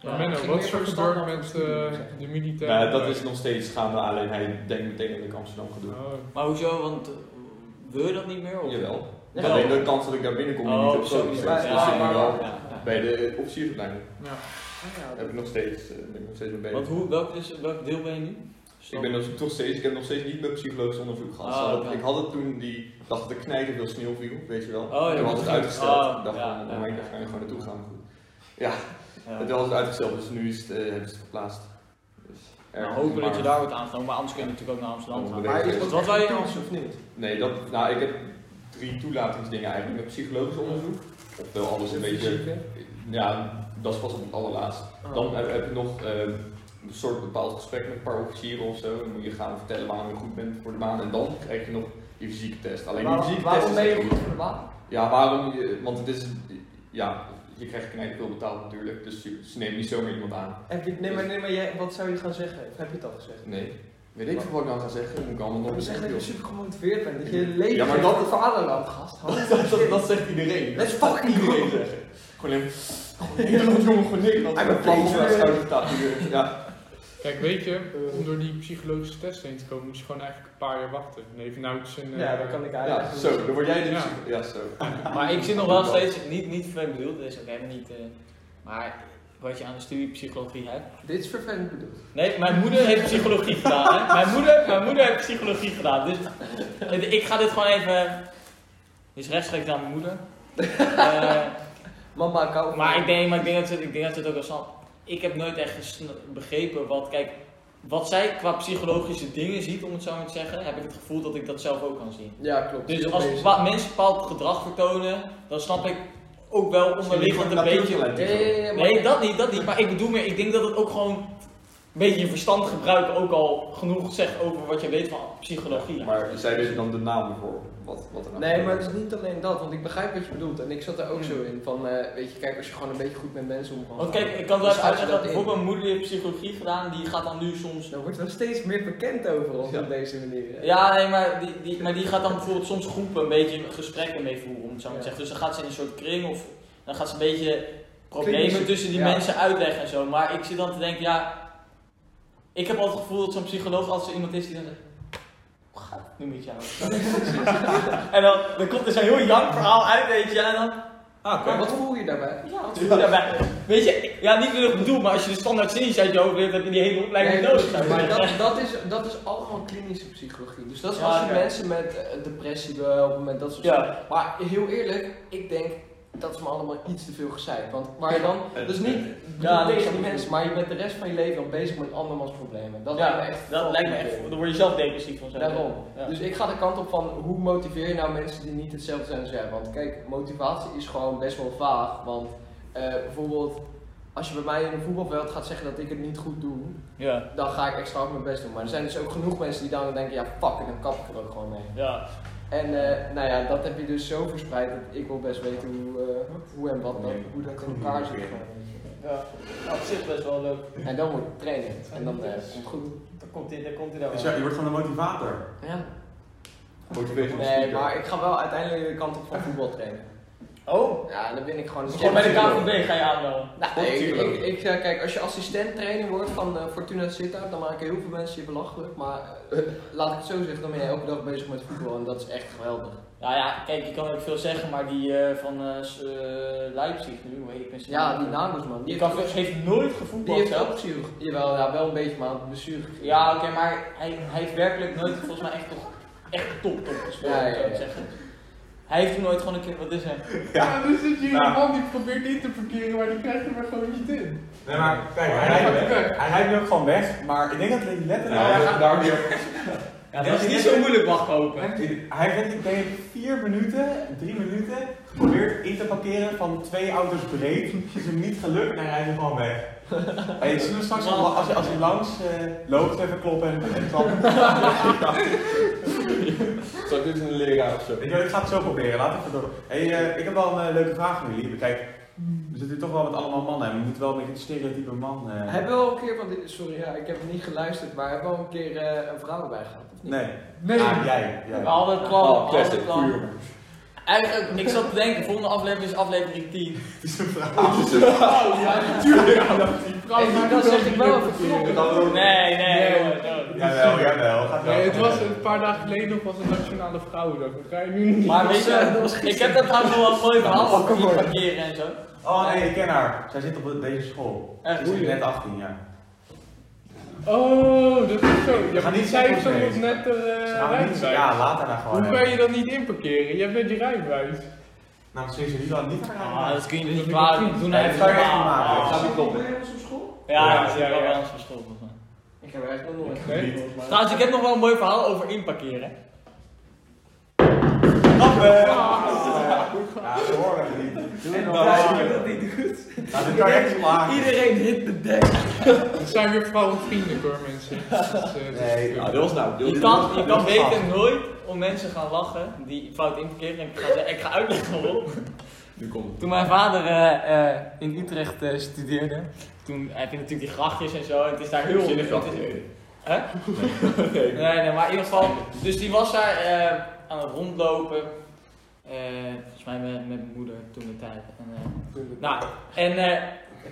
S1: Ja,
S3: Maar Menno,
S4: ging
S3: wat
S4: meer
S3: is er
S4: voor standaard
S3: gebeurd met
S4: voor studie,
S3: eh,
S4: zeg maar.
S3: de militairen?
S5: Nou, dat is nog steeds gaande, alleen hij denkt meteen dat ik Amsterdam ga doen.
S3: Oh.
S1: Maar hoezo? Want eh, wil je dat niet meer? Of?
S5: Jawel.
S1: Ja.
S5: Alleen de kans dat ik daar binnenkom die niet
S1: Oh,
S5: op
S1: zo.
S5: zo is.
S4: Ja,
S5: Dus ik
S4: ja,
S5: zit nu
S4: maar-
S5: wel
S1: ja, ja.
S5: bij de officiersopleiding.
S3: Ja.
S4: Ah,
S5: Heb ik nog steeds, eh, ben ik nog steeds mee bezig.
S1: Want hoe, welk, is, welk deel ben je nu?
S5: Ik, ben nog, toch steeds, ik heb nog steeds niet mijn psychologisch onderzoek gehad.
S1: Ah,
S5: Ze hadden-
S1: oké.
S5: Ik had het toen die dacht dat er knijter veel sneeuw viel, weet je wel.
S1: Oh, ja,
S5: toen
S1: dat
S5: was het
S1: is-
S5: uitgesteld.
S1: oh,
S5: ik dacht
S1: ja,
S5: van,
S1: ja,
S5: oh, ik
S1: ja.
S5: ga er gewoon naartoe gaan. Goed. Ja, En toen was het uitgesteld, dus nu is het, eh, hebben ze het geplaatst. Dus,
S1: Nou,
S5: erg,
S1: hopen dat
S5: maar-
S1: je daar wordt aangenomen, maar anders kun je natuurlijk ook naar Amsterdam
S5: Ja,
S1: gaan.
S5: maar
S4: Maar is
S5: Wat
S4: dat
S1: wij
S4: echt
S1: hier-
S4: toets of niet?
S5: Nee, dat, nou, ik heb drie toelatingsdingen eigenlijk. Ik heb psychologisch onderzoek, ofwel alles een beetje...
S4: Fysieke?
S5: Ja, dat is pas op het allerlaatst.
S4: Oh.
S5: Dan heb, heb je nog eh, een soort bepaald gesprek met een paar officieren of zo. Dan moet je gaan vertellen waarom je goed bent voor de maan. En dan krijg je nog je fysieke test. Alleen die
S4: Waarom-
S5: fysieke
S4: Waarom
S5: test
S4: ben
S5: is
S4: je
S5: echt-
S4: goed voor de baan?
S5: Ja, waarom je... Want het is... Ja, je krijgt knijpveel betaald natuurlijk. Dus je- ze nemen niet zomaar iemand aan.
S4: Heb je, nee, maar, nee, maar jij, wat zou je gaan zeggen? Of heb je het al gezegd?
S5: Nee. Weet ik veel wat ik nou ga zeggen. Dat moet ik allemaal nog
S4: Dat
S5: eens
S4: is echt dat je
S5: zeggen,
S4: super gemotiveerd bent. Dat je leven
S5: Ja, maar
S4: geeft
S5: dat-
S4: voor het vaderland, gast.
S5: joh. dat, dat, dat zegt iedereen.
S4: Let's fucking
S5: iedereen
S4: go!
S5: zeggen. Gewoon even... Oh, Nederland, jongen, gewoon Nederland.
S2: Hij
S5: Hij met
S2: bent
S5: plannen
S2: plannen.
S5: Ja,
S3: Kijk, weet je, om door die psychologische test heen te komen, moet je gewoon eigenlijk een paar jaar wachten. En even nou zijn. eh,
S4: Ja, dat kan ik
S5: ja,
S4: eigenlijk
S5: zo. Dan word jij de...
S3: Ja.
S5: psycho- Ja, zo.
S1: Maar ik zit nog wel steeds, niet, niet vervelend bedoeld, dat is ook helemaal niet. eh, maar wat je aan de studie psychologie hebt.
S4: Dit is vervelend bedoeld.
S1: Nee, mijn moeder heeft psychologie gedaan. Hè? Mijn, moeder, mijn moeder heeft psychologie gedaan. Dus eh, ik ga dit gewoon even. Dus rechtstreeks aan mijn moeder. Eh,
S4: Mama, ik hou van
S1: maar
S4: je.
S1: ik denk, maar ik denk dat ze, ik denk dat ze het ook al snap. Ik heb nooit echt gesn- begrepen wat, kijk, wat zij qua psychologische dingen ziet, om het zo maar te zeggen, heb ik het gevoel dat ik dat zelf ook kan zien.
S4: Ja, klopt.
S1: Dus
S4: Heel
S1: als
S4: bezig.
S1: bepa- mensen bepaald gedrag vertonen, dan snap ik ook wel onderliggend een beetje
S4: Ja, ja, ja, ja, maar-
S1: Nee, dat niet, dat niet. Maar ik bedoel meer, ik denk dat het ook gewoon een beetje je verstand gebruiken ook al genoeg zegt over wat je weet van psychologie.
S5: Maar zij weten dan de naam voor wat, wat er nou
S4: Nee, maar
S5: gebeurt.
S4: het is niet alleen dat, want ik begrijp wat je bedoelt. En ik zat er ook zo in van, eh, weet je, kijk, als je gewoon een beetje goed met mensen omgaat.
S1: Hmm. Want kijk, ik kan wel even
S4: Dus als je
S1: uitleggen dat
S4: dat in-
S1: bijvoorbeeld mijn moeder die heeft psychologie gedaan, die gaat dan nu soms.
S4: Dan wordt wel steeds meer bekend over ons
S5: Ja.
S4: op deze manier. hè.
S1: Ja, nee, maar die, die, maar die gaat dan bijvoorbeeld soms groepen een beetje gesprekken mee voeren, om het zo maar te zeggen. Dus dan gaat ze in een soort kring of dan gaat ze een beetje problemen
S4: Klinische-
S1: tussen die
S4: ja.
S1: mensen uitleggen en zo. Maar ik zit dan te denken, ja. Ik heb altijd het gevoel dat zo'n psycholoog, als er iemand is die dan zegt. "Hoe gaat het nu met jou? en dan, dan komt er zo'n heel jank verhaal uit, weet je. En dan. Ah,
S4: Maar wat voel je daarbij?
S1: ja, wat voel je daarbij? Weet je, ja, niet meer bedoel, maar als je de standaard zinnetjes uit je hoofd leert, heb je die hele opleiding
S4: Nee,
S1: niet nodig. zou
S4: precies,
S1: ik
S4: maar
S1: zeggen.
S4: dat, dat, is, dat is allemaal klinische psychologie. Dus dat is
S1: Ja,
S4: als je
S1: oké.
S4: mensen met eh, depressie behelpen, met dat soort
S1: Ja.
S4: dingen. Maar heel eerlijk, ik denk dat is me allemaal iets te veel gezeid. Want waar je dan, dus niet
S1: Ja, nee,
S4: tegen
S1: dat is-
S4: die mensen, maar je bent de rest van je leven al bezig met andermans problemen. Dat lijkt me
S1: ja,
S4: echt.
S1: dat lijkt me echt. Dan word je zelf depressief van zo.
S4: Daarom.
S1: Ja.
S4: Dus ik ga de kant op van hoe motiveer je nou mensen die niet hetzelfde zijn als jij? Want kijk, motivatie is gewoon best wel vaag. Want eh, bijvoorbeeld, als je bij mij in een voetbalveld gaat zeggen dat ik het niet goed doe,
S1: Ja.
S4: dan ga ik extra hard mijn best doen. Maar er zijn dus ook genoeg mensen die dan denken, ja fuck, en dan kap ik er ook gewoon mee.
S1: Ja,
S4: En eh, nou ja, dat heb je dus zo verspreid dat ik wil best weten hoe, eh, hoe en wat dat, hoe dat in elkaar zit.
S1: ja. Nou, op zich best wel leuk.
S4: En dan moet ik trainen en dan eh, komt het goed.
S1: Dan komt hij, dan komt hij daar
S2: Dus ja, je wordt gewoon een motivator.
S4: Ja.
S5: Motivational
S4: Nee,
S5: speaker.
S4: maar ik ga wel uiteindelijk de kant op van voetbal trainen.
S1: Oh,
S4: Ja, dan ben ik gewoon een
S1: gewoon bij de
S4: champion.
S1: KVB ga je aanmelden.
S4: Nou,
S5: Goed,
S4: ik, ik,
S5: tuurlijk.
S4: ik zeg, kijk, als je assistent trainer wordt van eh, Fortuna Sittard, dan maken heel veel mensen je belachelijk. Maar eh, laat ik het zo zeggen, dan ben je elke dag bezig met voetbal en dat is echt geweldig.
S1: Nou ja, kijk, je kan ook veel zeggen, maar die eh, van eh, S- eh, Leipzig nu, hoe heet ik ben zijn
S4: Ja,
S1: naam
S4: die
S1: kwijt.
S4: Nagelsman,
S1: Die
S4: die
S1: kan,
S4: heeft,
S1: heeft nooit
S4: die
S1: gevoetbald
S4: heeft
S1: zelf.
S4: ook blessure. Jawel, ja, wel een beetje, maar een blessure. gekregen.
S1: Ja, oké, maar hij, hij heeft werkelijk nooit volgens mij echt, toch- echt top top gespeeld,
S4: Ja, ja,
S1: zou ik
S4: ja.
S1: zeggen. Hij heeft toen nooit gewoon een keer, wat is hij?
S3: Ja, dus zit hier
S2: Ja.
S3: een man die probeert in te parkeren, maar die krijgt er maar gewoon niet in.
S2: Nee, maar kijk,
S3: Maar
S2: hij
S3: hij
S2: rijdt
S3: gaat
S2: weg.
S3: weg.
S2: Hij rijdt nu ook gewoon weg, maar ik denk dat hij letterlijk...
S5: Nou, daar weer.
S1: Ja, dat is niet zo moeilijk, wacht open.
S2: Hij heeft ik denk ik vier minuten, drie minuten, geprobeerd in te parkeren van twee auto's breed. Het is hem niet gelukt en hij rijdt er gewoon weg. Hey, zullen we straks, al- als, je- als hij langs eh, loopt, even kloppen en, en klappen?
S5: Zal ik dit een leraar of zo?
S2: Weet je wel, ik ga het zo proberen, laat even door. Hey, eh, ik heb wel een eh, leuke vraag aan jullie. Kijk, we zitten hier toch wel met allemaal mannen en we moeten wel een beetje een stereotype man... eh,
S4: Hebben we al een keer van dit, sorry, ja, ik heb niet geluisterd, maar hebben we al een keer eh, een vrouw erbij gehad? Of niet?
S2: Nee,
S3: Nee,
S2: Ah, jij.
S1: We
S2: jij.
S1: hadden het plan,
S5: Oh,
S1: we hadden het
S5: classic.
S1: plan.
S5: Goeie jongen.
S1: Eigenlijk, ik zat te denken, volgende aflevering is aflevering 10.
S2: Het is een vraag. Oh,
S4: Nee, maar dat zeg ik wel even
S3: verkeerd.
S4: kloppen.
S1: Nee, nee,
S3: Nee.
S1: jongen, no.
S2: Jawel, jawel. Gaat wel.
S3: Nee, het was een paar dagen geleden nog was het Nationale Vrouwendag. Dat ga je nu niet.
S1: Maar
S4: Dat
S1: weet
S4: was, eh, dat was
S1: je, ik heb dat trouwens wel een mooi verhaal over die parkeren en zo.
S2: Oh nee, ik ken haar. Zij zit op deze school.
S1: Echt?
S2: Ze is net 18 jaar.
S3: Oh, dat is zo.
S2: We
S3: Ja,
S2: gaan
S3: maar
S2: niet
S3: die zei ik zo
S2: zeggen,
S3: nog
S2: nee.
S3: net er
S2: Ze
S3: eh
S2: gaan niet-
S3: rijbewijs.
S2: Ja, laat haar nou gewoon.
S3: Hoe kan je dat niet inparkeren? Jij bent je rijbewijs.
S2: Nou, dat is niet aan niet aan.
S1: Ah, dat kun je
S3: Dat
S1: niet
S3: ik
S1: waar
S3: het niet
S1: doen.
S2: Nee,
S1: hè.
S2: dat kan je echt niet maken.
S1: Ah.
S2: Dat
S1: Ja,
S2: gaat niet kloppen.
S4: Doe je dat op school?
S1: ja,
S3: Ja,
S1: dat is wel
S3: ja, ja.
S1: wel eens verschil volgens mij.
S4: Ik heb er echt nog nooit
S3: Nee.
S4: gezien, volgens mij.
S1: Trouwens, ik heb nog wel een mooi verhaal over inparkeren.
S2: Klappen! eh. Ja, dat horen we niet. Doe
S4: En
S2: nou.
S4: daar zie je dat niet doet.
S2: Nou, dit kan je echt niet maken.
S4: Iedereen hit de dek.
S3: Het zijn weer vrouwenvriendelijk hoor, mensen. Dus, eh, het is
S2: Nee,
S3: een-
S5: Ja, dat was nou.
S1: Je
S5: dit
S1: kan, je
S2: dit
S1: kan
S2: is vast.
S1: beter nooit om mensen gaan lachen die fout inparkeren. En ik ga, ik ga uitleggen waarom.
S5: was- Nu komt het.
S1: Toen mijn vader eh, eh, in Utrecht eh, studeerde, toen heb je natuurlijk die grachtjes en zo. En het is daar heel
S5: Zinnig
S1: het
S5: dat
S1: is-
S5: idee.
S1: Hè?
S5: Nee.
S1: Nee, nee, maar in ieder geval. Dus die was daar eh, aan het rondlopen. Eh, volgens mij met, met mijn moeder toen de tijd. En, eh, nou, en eh,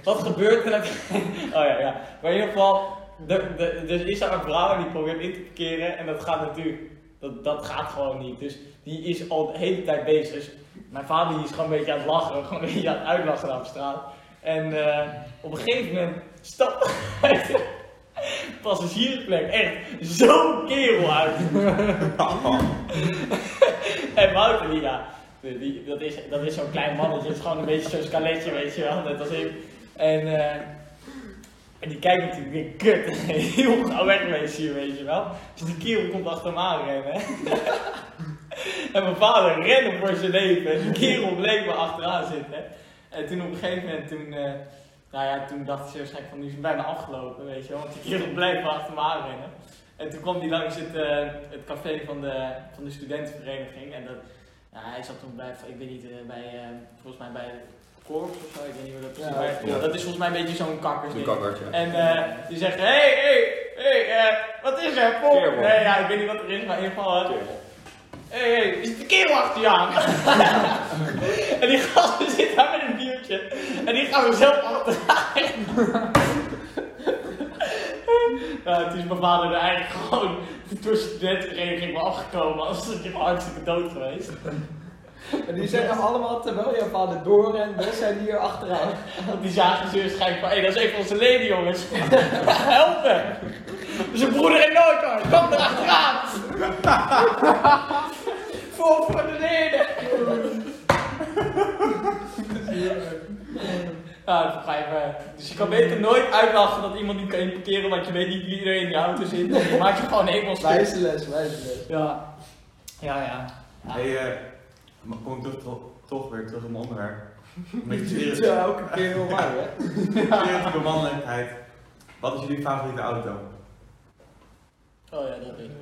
S1: wat gebeurt er? oh ja, ja. Maar in ieder geval, er- er- er is daar een vrouw en die probeert in te parkeren. En dat gaat natuurlijk, dat, dat gaat gewoon niet. Dus die is al de hele tijd bezig. Dus mijn vader die is gewoon een beetje aan het lachen. Gewoon een beetje aan het uitlachen daar op straat. En eh, op een gegeven moment stapt hij passagiersplek echt zo'n kerel uit. en Wouter, die, ja, die, die- dat is, dat is zo'n klein mannetje. Het is gewoon een beetje zo'n skaletje, weet je wel, net als ik. En, eh, en die kijkt natuurlijk weer kut. Heel gauw wegwezen hier, weet je wel. Dus die kerel komt achter me aanrennen. en mijn vader rende voor zijn leven. En die kerel bleef me achteraan zitten. En toen op een gegeven moment, toen, eh, nou ja, toen dacht ze waarschijnlijk van nu is het bijna afgelopen, weet je wel. Want die kerel bleef me achter me aanrennen. En toen kwam hij langs het, eh, het café van de, van de studentenvereniging. En dat, nou, hij zat toen bij, ik weet niet, eh, bij, eh, volgens mij bij Corps of zo, ik weet niet hoe dat precies
S4: Ja,
S1: maar
S5: ja.
S1: Dat is volgens mij een beetje zo'n kakkers.
S5: Een kakkertje.
S1: En eh, die zegt, hé, hé, hé, eh, wat is er, Pop?
S5: Kerel.
S1: Nee, ja, ik weet niet wat er is, maar in ieder geval... eh, Hé, hey, hey, is de kerel achter je aan? en die gast die zit daar met een biertje. En die gaan we zelf achteraan. nou, toen is mijn vader er eigenlijk gewoon door studentenvereniging wel afgekomen. Anders is hij maar hartstikke dood geweest.
S4: En die zeggen allemaal terwijl je vader doorrent, we zijn hier achteraan.
S1: Want die zagen ze waarschijnlijk van, hé, dat is een van onze leden, jongens. Helpen! Zijn broeder in Noordkant, kom er achteraan! Vol voor de leden! Ja, Ah, dat begrijp ik. Dus je kan beter nooit uitlachen dat iemand niet kan inparkeren, want je weet niet wie er in die auto zit. Je maakt je gewoon helemaal stuk.
S4: Wijze les, wijze les.
S1: Ja. Ja, ja.
S2: Hey, eh, maar kom ik toch, toch, toch weer terug op mijn onderwerp. Met
S4: Dit is
S2: je
S4: wel elke keer heel waar, hè?
S2: stereotype mannelijkheid. Wat is jullie favoriete auto?
S1: Oh ja, dat weet ik.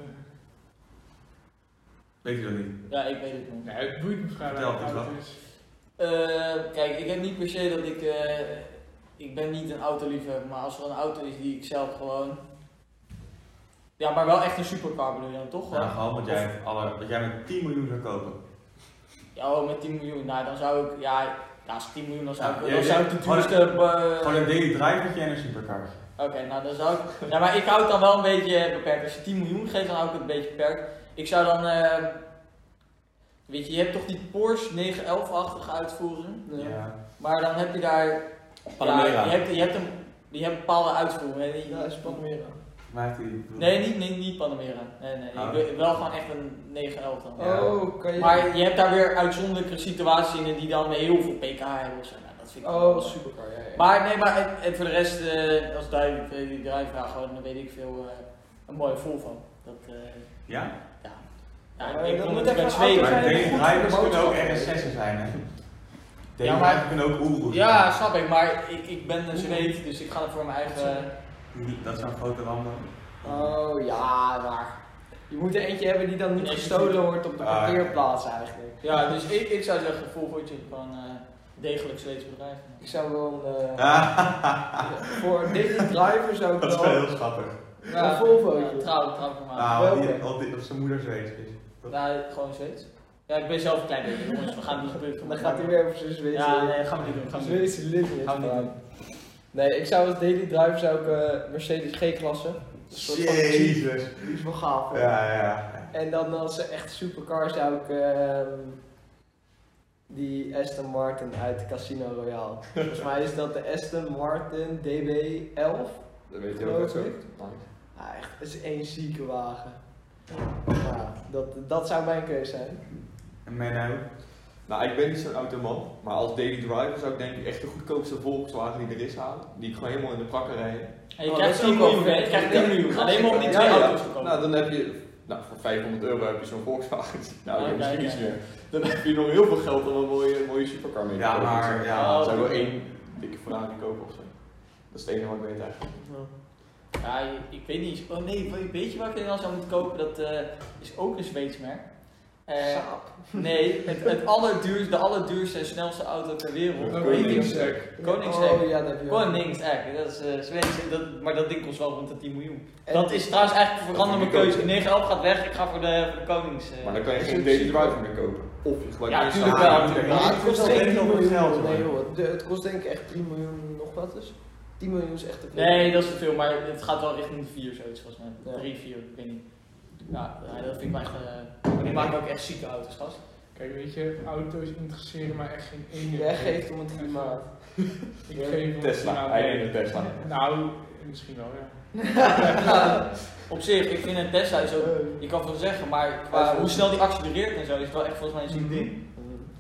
S2: Weet je dat niet?
S1: Ja, ik weet het nog.
S3: Nee, het boeit me vrij
S2: Vertel, het
S3: weinig
S2: is
S3: uit,
S2: wel.
S3: dus-
S1: Eh, kijk, ik heb niet per se dat ik. eh, ik ben niet een autoliefhebber, maar als er een auto is die ik zelf gewoon. Ja, maar wel echt een supercar bedoel je dan toch?
S2: Nou,
S1: Ja.
S2: gewoon wat jij, alle, wat jij met 10 miljoen zou kopen.
S1: ja, oh, met 10 miljoen. Nou, dan zou ik. Ja, ja als 10 miljoen, dan zou ik.
S2: Ja,
S1: dan
S2: ja,
S1: zou ik de
S2: gewoon een-
S1: duurste. eh,
S2: Gewoon een daily drivertje en een supercar.
S1: Oké, nou dan zou ik. Ja, maar ik hou het dan wel een beetje eh, beperkt. Als je 10 miljoen geeft, dan hou ik het een beetje beperkt. Ik zou dan. eh, weet je, je hebt toch die Porsche 911-achtige uitvoering?
S2: Ja.
S1: Maar dan heb je daar.
S2: Panamera.
S1: Ja, je, hebt, je, hebt een, je hebt een bepaalde uitvoering. hè, die-
S4: Ja, is Panamera.
S2: Waar heeft die?
S1: Nee, niet, niet, niet Panamera. Nee, nee.
S2: Oh.
S1: Ik wil wel gewoon echt een 911 dan.
S2: Ja.
S4: Oh, kan je...
S1: Maar je hebt daar weer uitzonderlijke situaties in die dan heel veel pk hebben of zo. Nou, dat vind ik
S4: Oh, supercar, ja, ja.
S1: Maar nee, maar en, en voor de rest, eh, als duidelijk eh, die drijfvraag gewoon, dan weet ik veel, eh, een mooie Volvo. Dat, eh,
S2: Ja?
S1: ja. Ja,
S4: Ja,
S1: ik
S4: dat
S1: kom
S4: moet
S1: het
S4: echt
S1: bij
S4: een
S1: Zweden.
S4: auto
S2: Maar
S4: zijn goed
S2: daily
S4: voor de
S2: drivers kunnen ook
S4: boodschap.
S2: RS6'en zijn hè? Daily
S1: Ja, maar-
S2: drivers kunnen ook Oeroes
S1: Ja, snap ik, maar ik, ik ben een Zweed, dus ik ga er voor mijn eigen...
S2: zijn. Dat is zo'n grote Lambo.
S4: Oh, ja, maar... Je moet er eentje hebben die dan niet
S1: Nee,
S4: gestolen wordt op de
S2: Ah, ja.
S4: parkeerplaats, eigenlijk.
S1: Ja, dus ik, ik zou zeggen, Volvootje van eh degelijk Zweeds bedrijf.
S4: Ik zou wel een... eh,
S2: Ah,
S4: Voor Daily Driver zou ik
S2: dat is
S4: wel...
S2: wel heel schattig.
S4: Een Ah. Volvootje.
S1: Ja, eh, trouw, trouw voor mij.
S2: Nou, want die,
S4: Welke?
S2: want die- of zijn moeder Zweeds is.
S1: Nou, gewoon Zweeds. Ja, ik ben zelf een klein beetje, jongens. We gaan het niet gebeuren.
S4: Dan gaat hij weer eh. over zijn Zweedse...
S1: Ja, nee, gaan we niet doen. Gaan we niet doen.
S4: Zweedse limit.
S1: Gaan we niet
S4: man.
S1: doen.
S4: Nee, ik zou als daily driver zou ik eh, Mercedes G-klasse. Een soort van Jeep,
S2: Jezus.
S4: die is wel gaaf. hoor.
S2: Ja, ja.
S4: En dan als eh, echt supercar zou ik ehm, die Aston Martin uit Casino Royale. Volgens mij is dat de Aston Martin DB11.
S5: Dat weet je ook
S4: geloof
S5: echt zo.
S4: ik. Ah, echt, dat is één zieke wagen. Ja, dat, dat zou mijn keuze zijn.
S2: En Menno?
S5: Nou, ik ben niet zo'n automan, maar als daily driver zou ik denk ik echt de goedkoopste Volkswagen die er is halen. Die ik gewoon helemaal in de prakken rijden.
S1: En je
S4: Oh,
S1: krijgt
S4: dat is
S1: 10
S4: ook
S1: miljoen,
S4: wel-
S1: hè? Je krijgt 10
S4: Ja.
S1: miljoen. Ga alleen maar om die
S5: Ja,
S1: twee
S5: ja.
S1: auto's te kopen.
S5: Nou, dan heb je, nou, voor 500 euro heb je zo'n Volkswagen. Nou,
S1: Ja,
S5: dat is
S1: kijk,
S5: niets
S1: ja.
S5: meer. Dan heb je nog heel veel geld om een mooie, mooie supercar mee te
S2: Ja,
S5: kopen.
S2: maar ja,
S1: Oh.
S5: Dan zou ik wel één dikke Ferrari kopen of zo. Dat is het enige wat ik weet eigenlijk.
S1: Ja, ik- ik weet niet. eens- Oh nee, we- weet je welke ik dan zou moeten kopen? Dat eh, is ook een Zweeds merk. Eh, nee, het, het allerduurste, de allerduurste en snelste auto ter wereld.
S5: Een
S3: Koningsdek.
S1: Koningsdek.
S4: Oh, ja, dat heb je wel.
S1: Koningsdijk, dat is eh Zweeds. en Dat, maar dat ding kost wel rond de 10 miljoen. Dat is trouwens eigenlijk een veranderde keuze. 9 11 gaat weg, ik ga voor de, voor de Konings. eh.
S5: Maar dan kan je
S4: Is
S5: geen
S4: het
S5: daily
S4: cheaper?
S5: driver meer kopen. Of je gebruikt
S1: Ja,
S5: mensen
S1: tuurlijk
S5: aan-
S1: wel.
S4: Ja,
S2: Maar het kost wel echt heel veel geld,
S4: Nee,
S2: hoor.
S4: joh, de- het kost denk ik echt 10 miljoen nog wat dus. 10 miljoen is echt te veel.
S1: Nee, dat is te veel, maar het gaat wel richting de 4 zoiets volgens mij.
S4: Ja.
S1: 3, 4, ik weet niet. Ja, ja, dat vind ik wel echt. eh, maar die maken ook echt zieke auto's, gast.
S3: Kijk, weet je, auto's interesseren mij echt geen ene.
S4: Jij geeft om het klimaat.
S3: Ik geef om
S5: Tesla,
S3: het
S5: hij
S3: klimaat.
S5: neemt een Tesla.
S3: Nou, misschien wel, ja.
S1: Op zich, ik vind een Tesla is ook. Je kan veel zeggen, maar qua hoe snel die accelereert en zo, is het wel echt volgens mij een ziek ding.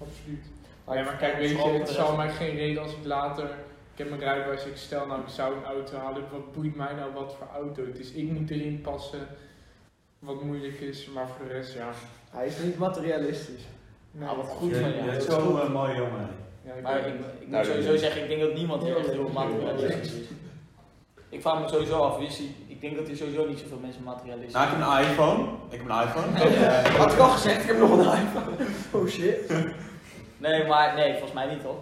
S3: Absoluut. Ja, maar kijk, weet je,
S1: Vooral
S3: het
S1: de
S3: zou
S1: rest.
S3: mij geen reden als ik later. Ik heb mijn rijbewijs, ik stel nou, ik zou een auto halen. Wat boeit mij nou wat voor auto? Het is ik moet erin passen. Wat moeilijk is, maar voor de rest, ja.
S4: Hij is niet materialistisch.
S3: Nee.
S1: Ah, wat Ah, goed van
S2: Je
S1: jou.
S2: bent zo'n eh, mooie jongen.
S3: Ja, ik
S1: Maar
S3: weet
S1: ik,
S3: het.
S1: ik moet
S5: Nou,
S1: sowieso
S5: dat-
S1: zeggen, ik denk dat niemand hier echt heel materialistisch is. Ik vraag me sowieso af, wie is hij? Ik denk dat er sowieso niet zoveel mensen materialistisch
S2: Nou, ik
S1: zijn.
S2: heb een iPhone. Ik heb een iPhone. Eh,
S4: Had ik al gezegd, ik heb nog een iPhone. Oh shit.
S1: Nee, maar nee, volgens mij niet toch?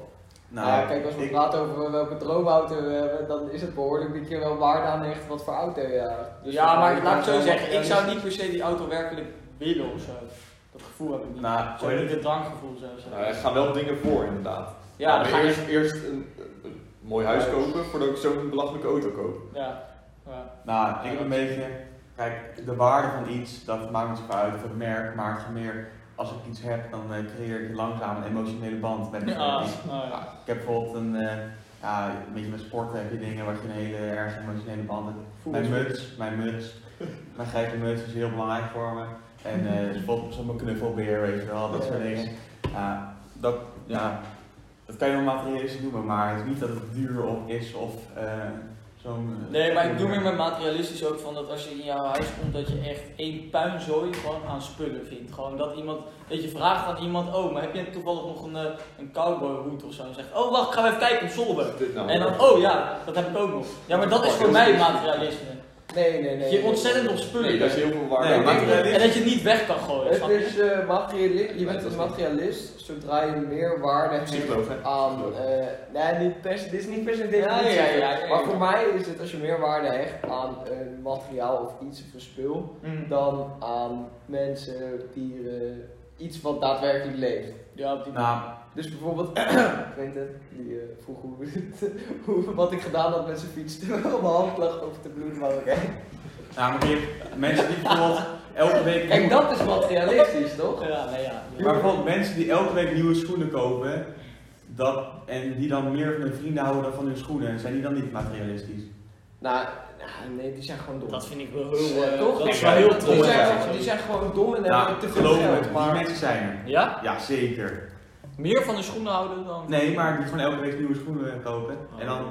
S4: Nou, ja, kijk, als we
S2: ik-
S4: praten over welke droomauto we hebben, dan is het behoorlijk dat je wel waarde aan hecht wat voor auto je hebt. Dus
S1: ja, maar
S4: je
S1: laat ik
S4: kan
S1: zo
S4: wel
S1: zeggen, ik zou
S4: materialistisch-
S1: niet per se die auto werkelijk willen of zo. Dat gevoel heb ik niet.
S2: Nou,
S1: zo
S2: hoe heet
S1: niet
S2: het?
S1: het drankgevoel zo. zo.
S5: Nou, er gaan wel dingen voor inderdaad.
S1: ja,
S5: maar
S1: dan ga
S5: eerst,
S1: je.
S5: eerst een, een mooi huis kopen voordat ik zo'n belachelijke auto koop.
S1: Ja. Ja.
S2: Nou, ik heb een beetje. Kijk, de waarde van iets, dat maakt niet zoveel uit. Of het merk, maar het gaat meer. Als ik iets heb, dan eh, creëer ik langzaam een emotionele band met het
S1: Ah,
S2: merk.
S1: ah, ja.
S2: Ik heb bijvoorbeeld een. eh, ja, een beetje met sporten heb je dingen waar je een hele erg emotionele band hebt. Mijn muts, mijn muts. Mijn grijze muts is heel belangrijk voor me. En eh, dus bijvoorbeeld zo'n knuffelbeer, weet je wel, dat soort dingen. Ja, dat, ja, dat kan je wel materialistisch noemen, maar het is niet dat het duur op is of eh, zo'n...
S1: Nee, maar ik doe meer met materialistisch ook van dat als je in jouw huis komt, dat je echt één puinzooi gewoon aan spullen vindt. Gewoon dat iemand, dat je vraagt aan iemand, oh, maar heb je toevallig nog een, eh, een cowboyhoed of zo? En zegt, oh wacht, ik ga even kijken op Solberg.
S5: Dit nou.
S1: En dan, oh ja, dat heb ik ook nog. Ja, maar dat is voor mij materialisme.
S4: Nee, nee, nee.
S1: Je hebt ontzettend nog spullen.
S5: Nee, dat is heel veel waarde.
S2: Nee,
S5: aan
S2: maar-
S5: hecht.
S1: En dat je het niet weg kan gooien.
S4: Het
S1: snap je?
S4: is eh, materiali- je bent een materialist zodra je meer waarde hecht
S5: Psycholoog, hè?
S4: aan. eh, nee, niet per se, dit is niet per se een definitie.
S1: Ja, ja, ja, ja, ja.
S4: Maar voor mij is het als je meer waarde hecht aan een materiaal of iets of een spul
S1: Mm.
S4: dan aan mensen, dieren, iets wat daadwerkelijk leeft.
S1: Ja, op die
S2: Nou,
S4: Dus bijvoorbeeld, Quentin, die eh, vroeg hoe, hoe, wat ik gedaan had met zijn fiets terwijl mijn hand lag over te bloeden. Maar oké.
S2: nou, maar je hebt mensen die bijvoorbeeld elke week...
S4: Kijk, dat is materialistisch, toch?
S1: Ja, nee, ja.
S2: Maar bijvoorbeeld mensen die elke week nieuwe schoenen kopen, dat, en die dan meer van hun vrienden houden dan van hun schoenen, zijn die dan niet materialistisch?
S4: Nou, nou, nee, die zijn gewoon dom.
S1: Dat vind ik wel
S4: Dus,
S1: heel...
S4: eh,
S1: eh,
S4: toch?
S1: Dat is
S5: Ja,
S1: wel heel
S5: dat
S1: dom.
S4: Die
S5: is
S4: zijn,
S5: wel
S1: Ja.
S4: gewoon, die zijn gewoon dom en hebben
S2: nou,
S4: te veel
S2: geloof me,
S4: geld.
S2: die
S4: Maar
S2: mensen zijn er.
S1: Ja?
S2: Ja, zeker.
S1: Meer van de schoenen houden dan...
S2: Nee, maar die gewoon elke week nieuwe schoenen kopen en dan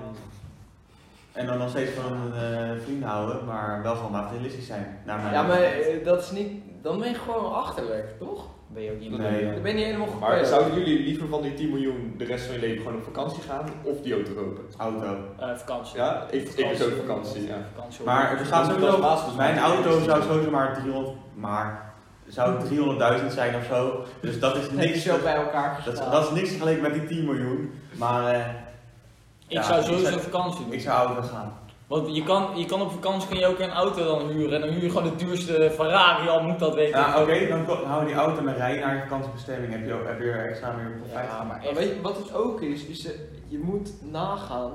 S2: En dan nog steeds van een eh, vriend houden, maar wel gewoon materialistisch zijn. Naar mijn
S4: ja, maar eh, dat is niet. Dan ben je gewoon achterlijk, toch? Ben je ook niet.
S2: Nee,
S4: Dan ben je helemaal
S5: Maar
S4: gepest.
S5: zouden jullie liever van die 10 miljoen de rest van je leven gewoon op vakantie gaan of die auto kopen?
S2: auto.
S1: Eh, vakantie.
S5: Ja, ik, ik is ook vakantie, ja.
S1: Vakantie, hoor.
S2: Maar het gaat
S5: Dat is dat
S2: sowieso,
S5: laatste, dus
S2: mijn
S5: materialistisch.
S2: auto zou sowieso maar 300, maar zou 300.000 zijn of zo. Dus dat is
S4: Heb je
S2: niks,
S4: zo
S2: dat,
S4: bij elkaar gestaan.
S2: is- dat is niks vergeleken met die 10 miljoen. Maar eh,
S1: Ik
S2: Ja,
S1: zou
S2: ik
S1: sowieso
S2: zou-
S1: vakantie doen.
S2: ik zou auto gaan.
S1: Want je kan, je kan op vakantie kun je ook een auto dan huren. En dan huur je gewoon de duurste Ferrari, al moet dat weten.
S2: Nou oké, dan ko- hou die auto en rij je naar je vakantiebestemming. Heb je, ook- heb je er extra meer profijt
S1: Ja,
S2: van.
S1: maar
S4: Maar
S1: echt.
S4: weet je, wat het ook is, is eh, je moet nagaan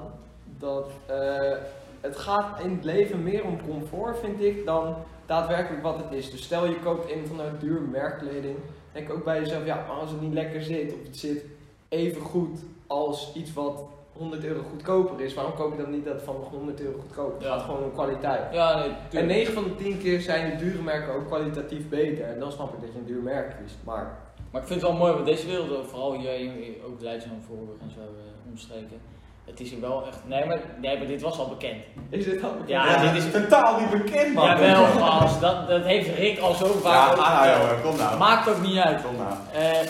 S4: dat eh, het gaat in het leven meer om comfort, vind ik, dan daadwerkelijk wat het is. Dus stel je koopt een van de duur merkkleding, denk ook bij jezelf, ja, maar als het niet lekker zit, of het zit even goed als iets wat 100 euro goedkoper is, waarom koop je dan niet dat van 100 euro goedkoper? Het
S1: Ja.
S4: gaat gewoon om kwaliteit.
S1: Ja, nee,
S4: En
S1: tuurlijk.
S4: 9 van de 10 keer zijn de dure merken ook kwalitatief beter. En dan snap ik dat je een duur merk kiest. Maar
S1: Maar ik vind het wel mooi, want deze wereld, eh, vooral jij, eh, ook Leidzaam, Voorburg en zo eh, omstreken. Het is hier wel echt. Nee maar, nee, maar dit was al bekend.
S4: Is dit al bekend?
S1: Ja,
S2: dat
S1: dit is-
S2: totaal niet bekend, man.
S1: Jawel, gast. Dat, dat heeft Rick al zo
S2: Ja,
S1: vaak.
S2: ah, nou, jongen, kom nou.
S1: Maakt ook niet uit.
S2: Kom nou.
S1: Eh,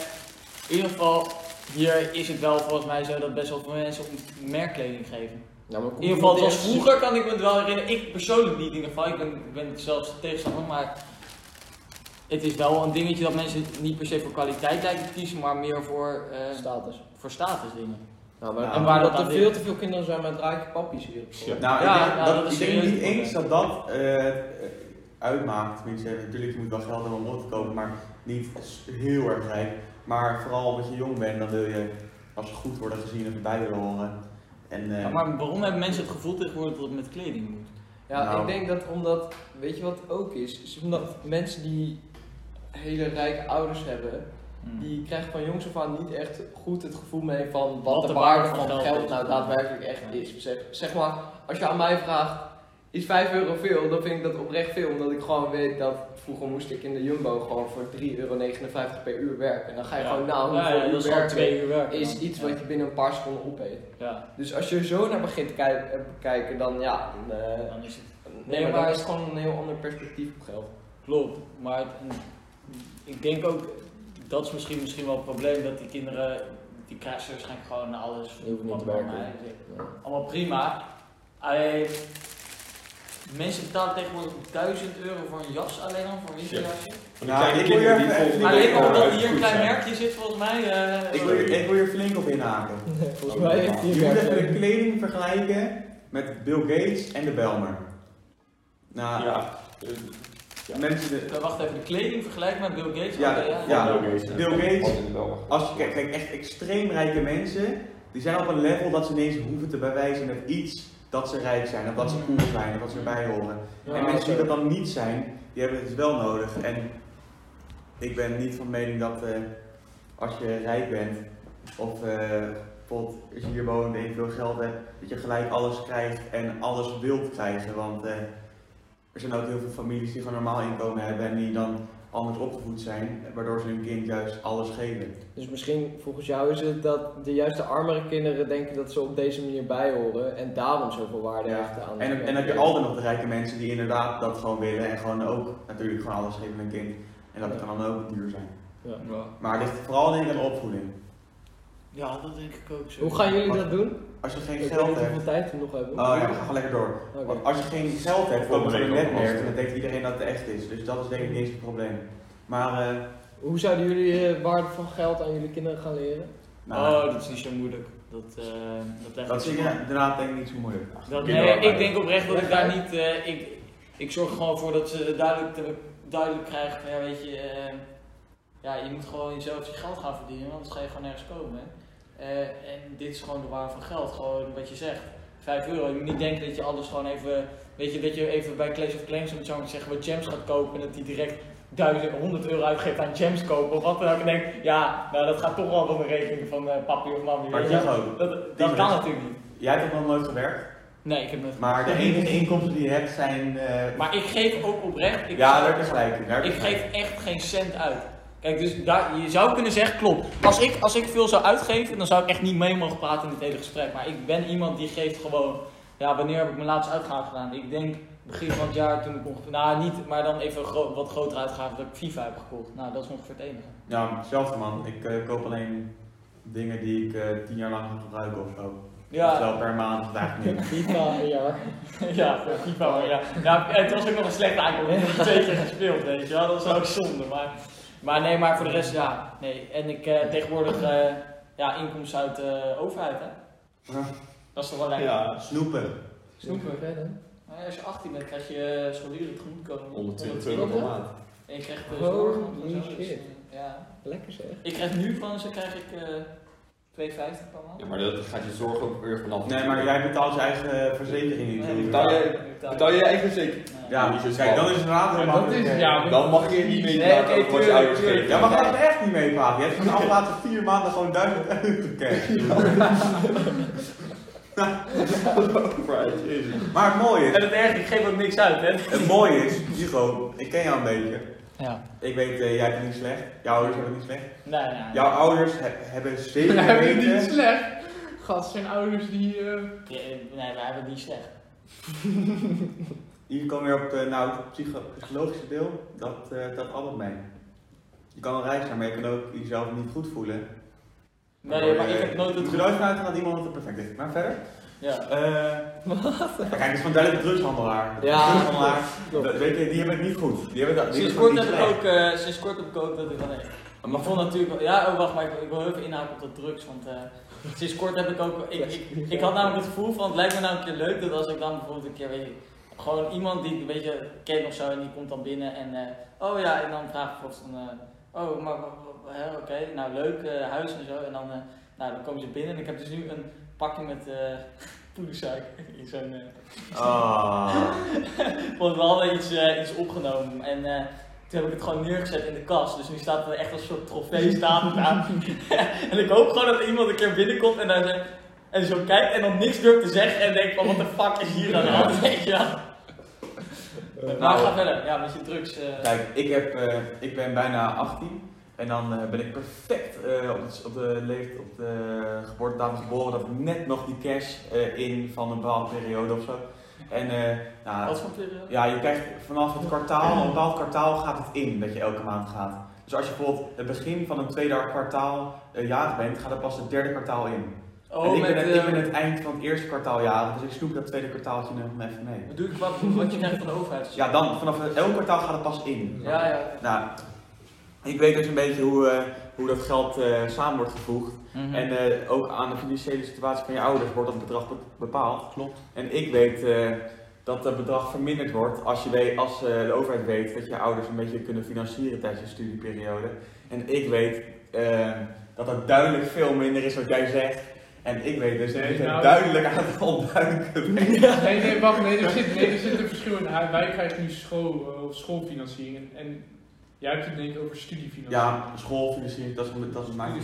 S1: in ieder geval, hier is het wel volgens mij zo dat best wel veel mensen op merkkleding geven.
S4: Ja, maar
S1: In ieder geval, het was vroeger kan ik me het wel herinneren. Ik persoonlijk niet in ieder geval. Ik ben, ik ben zelfs tegenstander, maar het is wel een dingetje dat mensen niet per se voor kwaliteit lijken te kiezen, maar meer voor, eh,
S4: Status.
S1: voor statusdingen.
S4: Nou, maar
S2: Ja,
S4: en
S1: maar
S4: waar
S1: dat
S4: dat er
S1: aan
S4: veel
S1: ligt.
S4: te veel kinderen zijn met rijke pappies hier op school.
S2: Nou,
S1: Ja,
S2: ik denk,
S1: ja,
S2: dat,
S1: dat is
S2: ik denk
S1: serieus
S2: niet
S1: probleem.
S2: eens dat dat eh, uitmaakt. Tenminste, natuurlijk, je moet wel geld hebben om op te kopen, maar niet s- heel erg rijk. Maar vooral omdat je jong bent, dan wil je als je goed worden gezien en erbij willen horen. En, eh,
S1: Ja, maar waarom hebben mensen het gevoel tegenwoordig dat het met kleding moet?
S4: Ja,
S2: Nou.
S4: ik denk dat omdat, weet je wat ook is? Is omdat mensen die hele rijke ouders hebben,
S1: Hmm. Hm.
S4: die krijgen van jongs af aan niet echt goed het gevoel mee van wat, de, waarde van geld,
S1: is.
S4: nou daadwerkelijk echt
S1: Ja.
S4: is. Zeg, zeg maar, als je aan mij vraagt, is 5 euro veel? Dan vind ik dat oprecht veel, omdat ik gewoon weet dat vroeger moest ik in de Jumbo gewoon voor 3,59 euro per uur werken. En dan ga je
S1: Ja.
S4: gewoon, nou,
S1: Ja,
S4: hoeveel
S1: ja, dat
S4: uur
S1: is al
S4: werken
S1: twee uur werken.
S4: is iets wat je binnen een paar seconden opeet.
S1: Ja,
S4: Dus als je er zo naar begint te kijk- eh, kijken, dan ja, dan, eh,
S1: dan is het
S4: Nee,
S1: maar
S4: maar daar
S1: dat-
S4: is gewoon een heel ander perspectief op geld.
S1: Klopt, maar het- ik denk ook, dat is misschien, misschien wel het probleem, dat die kinderen, die krijgen ze waarschijnlijk gewoon naar alles.
S4: Je hoeft niet
S1: wat
S4: te
S1: bij
S4: werken.
S1: mij zit. Allemaal prima. Alleen, mensen betalen tegenwoordig 1000 euro voor een jas alleen al, voor een
S5: Shit.
S1: winterjasje.
S5: Van die
S2: Nou,
S5: kleine
S2: ik wil
S5: kinderen
S2: hier
S5: die
S2: even-
S5: volgens
S2: ik
S1: Alleen
S2: denk
S1: al
S5: wel
S1: omdat
S5: uit
S1: hier een
S5: goed
S1: klein
S5: zijn.
S1: merkje zit volgens mij. eh,
S2: ik, wil, hier- ik wil hier flink op inhaken.
S4: Volgens mij heeft hij
S2: Je
S4: een
S2: moet
S4: werk-
S2: even de kleding vergelijken met Bill Gates en de Belmer. Nou,
S5: Ja. Eh,
S2: mensen, de-
S1: eh, wacht even, de kleding vergelijkt met Bill Gates. Oh,
S2: Ja,
S1: Oké,
S2: ja.
S5: Bill Gates.
S2: Bill Gates.
S5: Wat in de Belmer.
S2: Als je kijkt, kijk, echt extreem rijke mensen, die zijn op een level dat ze ineens hoeven te bewijzen met iets dat ze rijk zijn, of dat ze cool zijn, of dat ze erbij horen. en mensen die dat dan niet zijn, die hebben het dus wel nodig. En ik ben niet van mening dat eh, als je rijk bent, of eh bijvoorbeeld als je hier woont en je veel geld hebt, dat je gelijk alles krijgt en alles wilt krijgen. Want eh, er zijn ook heel veel families die gewoon normaal inkomen hebben en die dan anders opgevoed zijn, waardoor ze hun kind juist alles geven.
S4: Dus misschien volgens jou is het dat de juiste armere kinderen denken dat ze op deze manier bijhoren en daarom zoveel waarde
S2: Ja.
S4: hechten aan.
S2: En, en
S4: dat
S2: heb je altijd nog de rijke mensen die inderdaad dat gewoon willen en gewoon ook natuurlijk gewoon alles geven aan een kind. En dat kan dan ook duur zijn. Maar het ligt vooral denk ik aan de opvoeding.
S1: Ja, dat denk ik ook zo.
S4: Hoe gaan jullie dat doen?
S2: Als je geen
S4: Ik weet
S2: geld
S4: niet
S2: hebt.
S4: hoeveel tijd we nog hebben.
S2: Oh ja, we gaan gewoon lekker door.
S4: Oké.
S2: Want als je geen geld hebt,
S5: Dat
S2: komt er een
S5: betekent ook
S2: netwerk
S5: lastig.
S2: en dan denkt iedereen dat het echt is. Dus dat is denk ik niet eens het probleem. Maar, eh
S4: Hoe zouden jullie eh waarde van geld aan jullie kinderen gaan leren?
S2: nou,
S1: Oh, dat is niet zo moeilijk. Dat, eh dat leg ik
S2: dat is
S1: zo maar.
S2: inderdaad denk ik niet zo moeilijk.
S1: Dat, nee,
S5: Kinderarbeid.
S1: ik denk oprecht dat ik daar niet. eh, ik, ik zorg er gewoon voor dat ze duidelijk, te- duidelijk krijgen van ja, weet je, eh, ja, je moet gewoon zelf je geld gaan verdienen, want anders ga je gewoon nergens komen. Eh, en dit is gewoon de waarde van geld, gewoon wat je zegt. 5 euro. Je moet niet denken dat je alles gewoon even. Weet je, dat je even bij Clash of Clans om het zo maar te zeggen wat gems gaat kopen en dat die direct 1000, 100 euro uitgeeft aan gems kopen of wat dan ook. En denk, ja, nou dat gaat toch wel op de rekening van eh papi of mami.
S2: Maar
S1: weet
S2: ik
S1: je.
S2: zeg ook,
S1: Dat, dat kan natuurlijk niet.
S2: jij hebt ook nog nooit gewerkt,
S1: Nee, ik heb het
S2: maar de enige inkomsten die je hebt zijn... eh
S1: Maar ik geef ook oprecht, ik,
S2: ja, daar heb je gelijk. in, daar heb je
S1: ik
S2: gelijk in.
S1: geef echt geen cent uit. Kijk, dus daar, je zou kunnen zeggen, klopt. Als ik, als ik veel zou uitgeven, dan zou ik echt niet mee mogen praten in het hele gesprek. Maar ik ben iemand die geeft gewoon, ja, wanneer heb ik mijn laatste uitgave gedaan? Ik denk begin van het jaar toen ik ongeveer, nou niet, maar dan even een gro- wat grotere uitgaven dat ik FIFA heb gekocht. Nou, dat is ongeveer het enige.
S2: Ja, hetzelfde man. Ik eh, koop alleen dingen die ik eh, tien jaar lang ga gebruiken of zo.
S1: Ja,
S2: Ofwel per maand of eigenlijk niet.
S4: Niet na een jaar.
S1: ja, voor FIFA, maar ja. ja. Het was ook nog een slechte aankoop, ik heb twee keer gespeeld, weet je wel. Dat is ook zonde, maar... Maar nee, maar voor de rest, ja, nee. En ik eh, tegenwoordig, eh, ja, inkomsten uit de overheid, hè.
S2: Ja.
S1: Dat is toch wel lekker.
S5: Ja.
S2: Snoepen.
S4: Snoepen. verder.
S1: Maar als je 18 bent, krijg je eh, scholieren tegemoetkomen.
S5: 120 euro per maand.
S1: En je krijgt eh, de
S4: Holy
S1: zorg en zo. dus,
S4: shit.
S1: eh, ja.
S4: Lekker zeg.
S1: Ik krijg nu van ze, krijg ik eh 2,50 per maand.
S5: Ja, maar dat gaat je zorg ook weer vanaf.
S2: Nee, maar jij betaalt je eigen eh, verzekering niet.
S1: Nee,
S5: Betaal jij-
S1: ik betaal-
S5: Betaal je eigen zeker?
S1: Nee.
S2: Ja, kijk, dan is het inderdaad
S3: Maar
S2: heel
S3: dat
S2: makkelijk.
S3: is, ja,
S5: Dan mag je niet mee praten
S4: Nee,
S5: over
S4: oké,
S5: wat je
S4: tuurlijk,
S5: ouders
S4: tuurlijk.
S5: geven.
S2: Ja, maar ga er echt niet mee praten. Je hebt van de afgelopen vier maanden gewoon duizend euro cash.
S5: Right, jezus.
S2: Maar het mooie
S1: En
S2: is,
S1: het erg, ik geef ook niks uit, hè.
S2: het mooie is, Hugo, ik ken jou een beetje.
S1: Ja.
S2: Ik weet, eh, jij hebt het niet slecht. Jouw ouders hebben het niet slecht.
S1: Nee, nee.
S2: Jouw ouders he- hebben zeker
S3: Dan heb je het niet
S2: weten-
S3: slecht. Gast, zijn ouders die... eh,
S1: Ja, Nee, wij hebben het niet slecht.
S2: Je kan weer op de, nou, het psycho- psychologische deel, dat eh dat altijd mee. Je kan een reis gaan, maar je kan ook jezelf niet goed voelen.
S1: Nee, nee, maar ik heb nooit
S2: Je
S1: het
S2: moet er nooit vanuit gaan dat iemand het perfect heeft. Maar verder?
S1: Ja.
S2: Eh Wat? Kijk, het is van duidelijk een drugshandelaar.
S4: Ja.
S2: Drugshandelaar, dat- weet je, die hebben het niet goed. Die hebben dat, die
S1: Sinds
S2: hebben
S1: kort,
S2: het
S1: heb ik
S2: niet
S1: ook, eh, sinds kort heb ik ook dat ik van nee. Maar ik vond natuurlijk wel- ja, oh, wacht, maar ik, ik wil heel even inhaken op dat drugs, want eh, sinds kort heb ik ook, ik, ik, ik had namelijk het gevoel van, het lijkt me nou een keer leuk dat als ik dan bijvoorbeeld een keer, weet je, gewoon iemand die ik een beetje ken of zo, en die komt dan binnen en, eh, oh ja, en dan vraag ik bijvoorbeeld van, eh, oh, maar, wa- wa- hè, oké, nou leuk, eh, huis en zo, en dan, eh, nou, dan komen ze binnen en ik heb dus nu een pakje met eh poedersuiker in zo'n... eh,
S2: slecht. Ah.
S1: want we hadden iets, eh, iets opgenomen en eh, toen heb ik het gewoon neergezet in de kast. Dus nu staat het echt als een soort trofee staat het daar. en ik hoop gewoon dat iemand een keer binnenkomt en daar zo, en zo kijkt en dan niks durft te zeggen en denkt van wat de fuck is hier aan de hand, weet je wel. Maar
S2: nou.
S1: ga verder, ja, met je drugs. eh,
S2: Kijk, ik, heb, eh, ik ben bijna 18 en dan eh, ben ik perfect eh, op, het- op de leeftijd, op de geboortedatum geboren dat ik net nog die cash eh, in van een bepaalde periode of zo. En eh, nou,
S1: wat voor kleuren?
S2: ja, je krijgt vanaf het kwartaal, een bepaald kwartaal gaat het in dat je elke maand gaat. Dus als je bijvoorbeeld het begin van een tweede kwartaal eh, jarig bent, gaat er pas het derde kwartaal in. en
S1: Oh,
S2: ik,
S1: met,
S2: ben het,
S1: eh,
S2: ik ben het eind van het eerste kwartaal jarig, dus ik snoep dat tweede kwartaaltje nog even mee.
S1: bedoel ik wat, wat je krijgt van de overheid?
S2: Ja, dan, vanaf elk kwartaal gaat het pas in.
S1: ja. ja.
S2: Nou, ik weet dus een beetje hoe, eh, hoe dat geld eh, samen wordt gevoegd.
S1: Mhm.
S2: En eh, ook aan de financiële situatie van je ouders wordt dat bedrag be- bepaald.
S5: Klopt.
S2: En ik weet eh, dat dat bedrag verminderd wordt als, je weet, als eh, de overheid weet dat je ouders een beetje kunnen financieren tijdens je studieperiode. En ik weet eh, dat dat duidelijk veel minder is wat jij zegt. En ik weet dus dat
S3: Nee,
S2: ik
S3: nou-
S2: duidelijk aan het ontduiken ben.
S3: Nee, nee, wacht, nee, er zit, nee, er zit een verschil in. Hij- Wij krijgen nu school, eh, of schoolfinanciering en, en jij hebt het denk ik over studiefinanciering.
S2: Ja, schoolfinanciering, dat is, dat is mijn
S1: eh.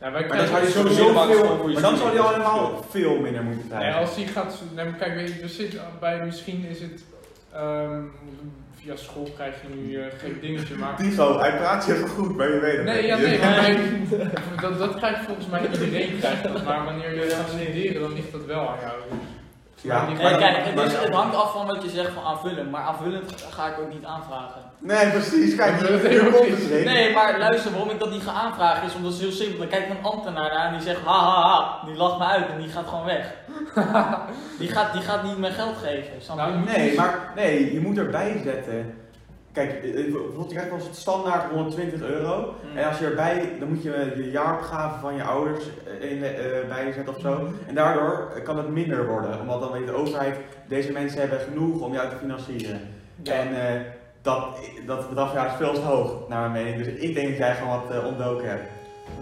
S3: Nou, wij
S2: Maar dan
S3: krijgen
S2: zou je
S5: Sowieso
S2: sowieso
S5: max
S2: veel,
S5: voor je
S2: maar dan zou je al
S5: studie.
S2: helemaal veel minder moeten
S3: Nee,
S2: krijgen.
S3: als die gaat, nee, maar kijk, weet je, er zit bij, misschien is het, ehm, via school krijg je nu eh, geen dingetje, maar...
S2: Tigo, hij praat je even goed, maar je weet het
S3: Nee,
S2: niet.
S3: ja, nee, maar wij- dat, dat krijgt volgens mij iedereen krijgt dat, maar wanneer je gaat studeren, dan ligt dat wel aan jou.
S2: Ja,
S3: Maar die-
S1: Nee,
S2: dan-
S1: kijk, het, is-
S2: maar-
S1: het hangt af van wat je zegt van aanvullend, maar aanvullend ga ik ook niet aanvragen.
S2: Nee, precies, kijk,
S3: Dat
S2: hier- hier
S3: is heel
S2: komt
S3: goed.
S2: het erin.
S1: Nee, maar luister, waarom ik dat niet ga aanvragen is omdat het heel simpel. Dan kijkt een ambtenaar naar en die zegt ha ha ha, die lacht me uit en die gaat gewoon weg. die, gaat, die gaat niet mijn geld geven, snap je?
S3: Nou,
S2: Nee, maar nee, je moet erbij zetten. Kijk, eh, eh, bijvoorbeeld, je krijgt wel eens het standaard 120 euro.
S1: Mm.
S2: En als je erbij, dan moet je je jaaropgave van je ouders eh, in, eh, bijzetten of
S1: Mm.
S2: zo. En daardoor eh, kan het minder worden. Omdat dan weet de overheid, deze mensen hebben genoeg om jou te financieren.
S1: Ja.
S2: En eh, dat, dat bedrag ja, is veel te hoog, naar mijn mening. Dus ik denk dat jij gewoon wat eh, ontdoken hebt.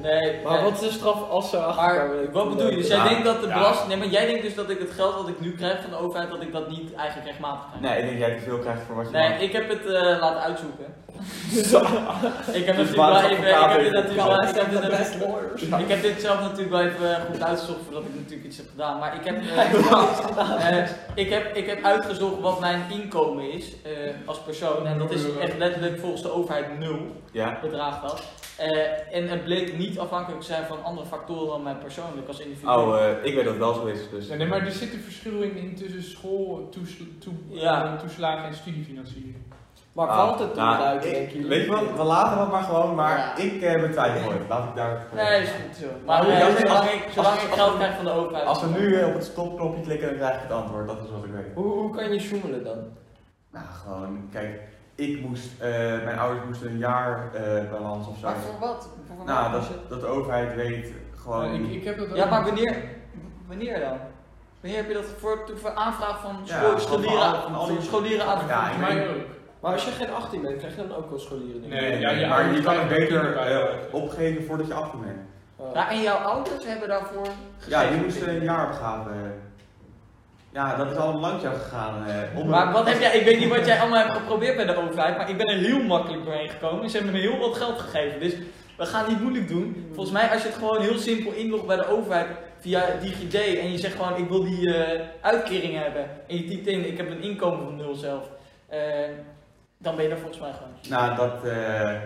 S1: Nee,
S4: Maar
S1: nee.
S4: wat is de straf als ze
S1: Maar
S4: achterkomen?
S1: wat bedoel je? Dus jij
S2: Ja,
S1: denkt dat de
S3: ja.
S1: belasting. Nee, maar jij denkt dus dat ik het geld wat ik nu krijg van de overheid, dat ik dat niet eigenlijk rechtmatig krijg.
S2: Nee, ik denk dat jij te veel krijgt voor wat je
S1: Oh. Nee,
S2: mag.
S1: ik heb het eh, laten uitzoeken. ik heb
S2: Dus
S1: natuurlijk wel
S2: waar is
S1: even. Ik
S2: advocaat
S1: heb dit
S2: even
S1: natuurlijk wel.
S2: opgehaald?
S1: Ik heb dit natuurlijk-
S4: lawyers.
S2: Nou.
S1: Ik heb dit zelf natuurlijk wel even eh, goed uitgezocht voordat ik natuurlijk iets heb gedaan. Maar ik heb, eh, eh, ik heb, ik heb uitgezocht wat mijn inkomen is eh, als persoon. En dat is echt letterlijk volgens de overheid nul
S2: Ja.
S1: bedraagt dat. Eh, en het bleek niet afhankelijk te zijn van andere factoren dan mij persoonlijk als individu.
S2: Oh, eh, ik weet dat het wel zo is. Dus.
S3: Nee, nee, maar er zit een verschil in, in tussen school, toesla, toe,
S1: Ja.
S3: eh, toeslagen en studiefinanciering.
S4: Maar
S2: Ah,
S4: valt het toen
S2: nou,
S4: uit,
S2: ik-
S4: denk je?
S2: Weet je wat, we laten dat maar gewoon, maar
S1: Ja.
S2: ik eh betwijfel het. Laat ik daar.
S1: Nee, is goed zo. Maar
S2: Maar hoe
S1: eh,
S2: kan dit-
S1: zolang, ik, zolang
S2: Oh, als-
S1: ik geld krijg van de overheid.
S2: Als we nu eh, op het stopknopje klikken, dan krijg ik het antwoord. Dat is wat ik weet.
S4: Hoe, hoe kan je zoemelen dan?
S2: Nou, gewoon, kijk, ik moest, eh, mijn ouders moesten een jaar eh, balans of zo.
S4: Maar voor wat? Voor wat
S2: Nou,
S4: is
S2: dat,
S4: het?
S2: dat de overheid weet gewoon.
S3: Eh, ik, ik heb dat ook
S1: Ja, maar
S3: niet.
S1: wanneer, wanneer dan? Wanneer heb je dat voor, voor aanvraag van
S2: Ja,
S1: school-
S2: van alle-
S1: scholieren,
S2: van alle-
S1: van scholieren aan
S2: Ja,
S3: Voor
S2: ik
S3: mij
S2: weet-
S3: ook.
S4: Maar als je geen 18 bent, krijg je dan ook wel scholieren?
S3: Nee, ja,
S2: nee,
S3: ja,
S2: maar je
S3: ouders
S2: kan het
S3: krijgen
S2: beter
S3: kinderen.
S2: eh, opgeven voordat je 18 bent.
S4: Oh.
S1: Ja, en jouw ouders hebben daarvoor.
S2: Ja, die
S1: gegeven.
S2: moesten een jaar opgaven. Ja, dat is al een landje gegaan. eh, om-
S1: Maar wat heb jij, ik weet niet wat jij allemaal hebt geprobeerd bij de overheid, maar ik ben er heel makkelijk doorheen gekomen. en Ze hebben me heel wat geld gegeven, dus we gaan niet moeilijk doen. Volgens mij, als je het gewoon heel simpel inlogt bij de overheid via DigiD en je zegt gewoon: Ik wil die eh uitkering hebben. En je typt in: Ik heb een inkomen van nul zelf. eh, Dan ben je er volgens mij gewoon.
S2: Nou, dat eh,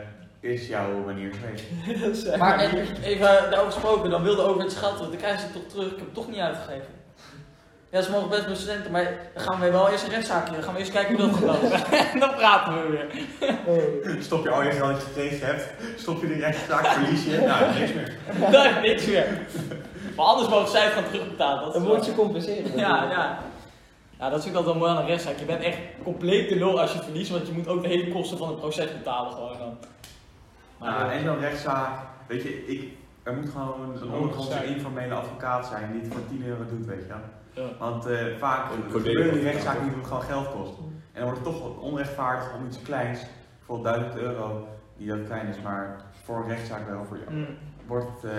S2: is jouw manier geweest.
S4: Dat is echt
S1: Maar
S4: niet.
S1: en- even daarover gesproken, dan wilde over het schat, want dan krijgen ze het toch terug. Ik heb het toch niet uitgegeven. Ja, ze mogen best mijn studenten, maar dan gaan we wel eerst een rechtszaakje. Dan gaan we eerst kijken hoe dat gaat. en dan praten we weer.
S2: Stop je al je geld dat je gekregen hebt, stop je de rechtszaak, verlies je. Nou, niks meer.
S1: Dan heb ik niks meer. Maar anders mogen zij het gaan terugbetalen. Dat is
S4: Een
S1: wel-
S4: woordje compenseren.
S1: Ja, ja. Ja, dat is ook altijd wel mooi aan een rechtszaak. Je bent echt compleet de lul als je verliest, want je moet ook de hele kosten van het proces betalen gewoon dan. Maar,
S2: Nou, en zo'n rechtszaak, weet je, ik, er moet gewoon een ondergrondse
S3: rechtszaak.
S2: informele advocaat zijn die het voor 10 euro doet, weet je wel.
S1: Ja.
S2: Want eh, vaak
S5: Een
S2: gebeuren die
S5: codeel.
S2: rechtszaken die het gewoon geld kost. En dan wordt het toch onrechtvaardig om iets kleins, bijvoorbeeld 1000 euro, die dat klein is, maar voor een rechtszaak wel voor jou.
S1: mm,
S2: Wordt, eh,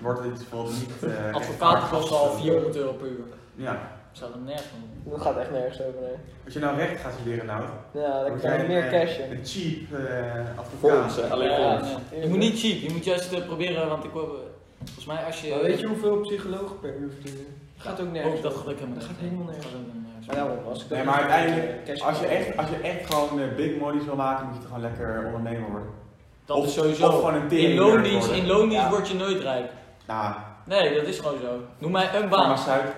S2: wordt het bijvoorbeeld niet. eh,
S1: advocaten kosten al
S2: rechtvaardig.
S1: 400 euro per uur.
S2: Ja.
S1: Zou hem nergens van doen.
S4: Dat gaat echt nergens over, nee.
S2: Als je nou recht gaat studeren, nou,
S4: Ja, dan
S2: moet
S4: krijg
S2: jij
S4: je
S2: een,
S4: meer
S2: eh,
S4: cash in.
S2: Een cheap eh,
S5: Voor
S2: advocaat.
S5: ons, hè, alleen voor
S1: Ja,
S5: ons.
S1: ja. Je moet niet cheap, je moet juist eh, proberen, want ik hoor, volgens mij als je... eh,
S4: Maar weet je hoeveel psychologen per uur verdienen? Gaat ook nergens.
S1: Ook dat geluk helemaal
S4: Dat gaat
S1: niet.
S4: helemaal
S1: Dat
S4: nergens.
S1: gaat ook helemaal nergens.
S4: Maar daarom, als ik
S2: Nee,
S4: dat-
S2: maar uiteindelijk,
S4: cash in-
S2: Als je, echt, als je echt gewoon eh, big money's wil maken, moet je toch gewoon lekker ondernemer worden.
S1: Dat
S2: Of-
S1: is sowieso.
S2: of gewoon een
S1: in
S2: teringwerk
S1: loondienst,
S2: worden.
S1: in loondienst
S4: Ja.
S1: word je nooit rijk.
S2: Nou,
S1: Nee, dat is gewoon zo. Noem mij een baan.
S2: farmaceut.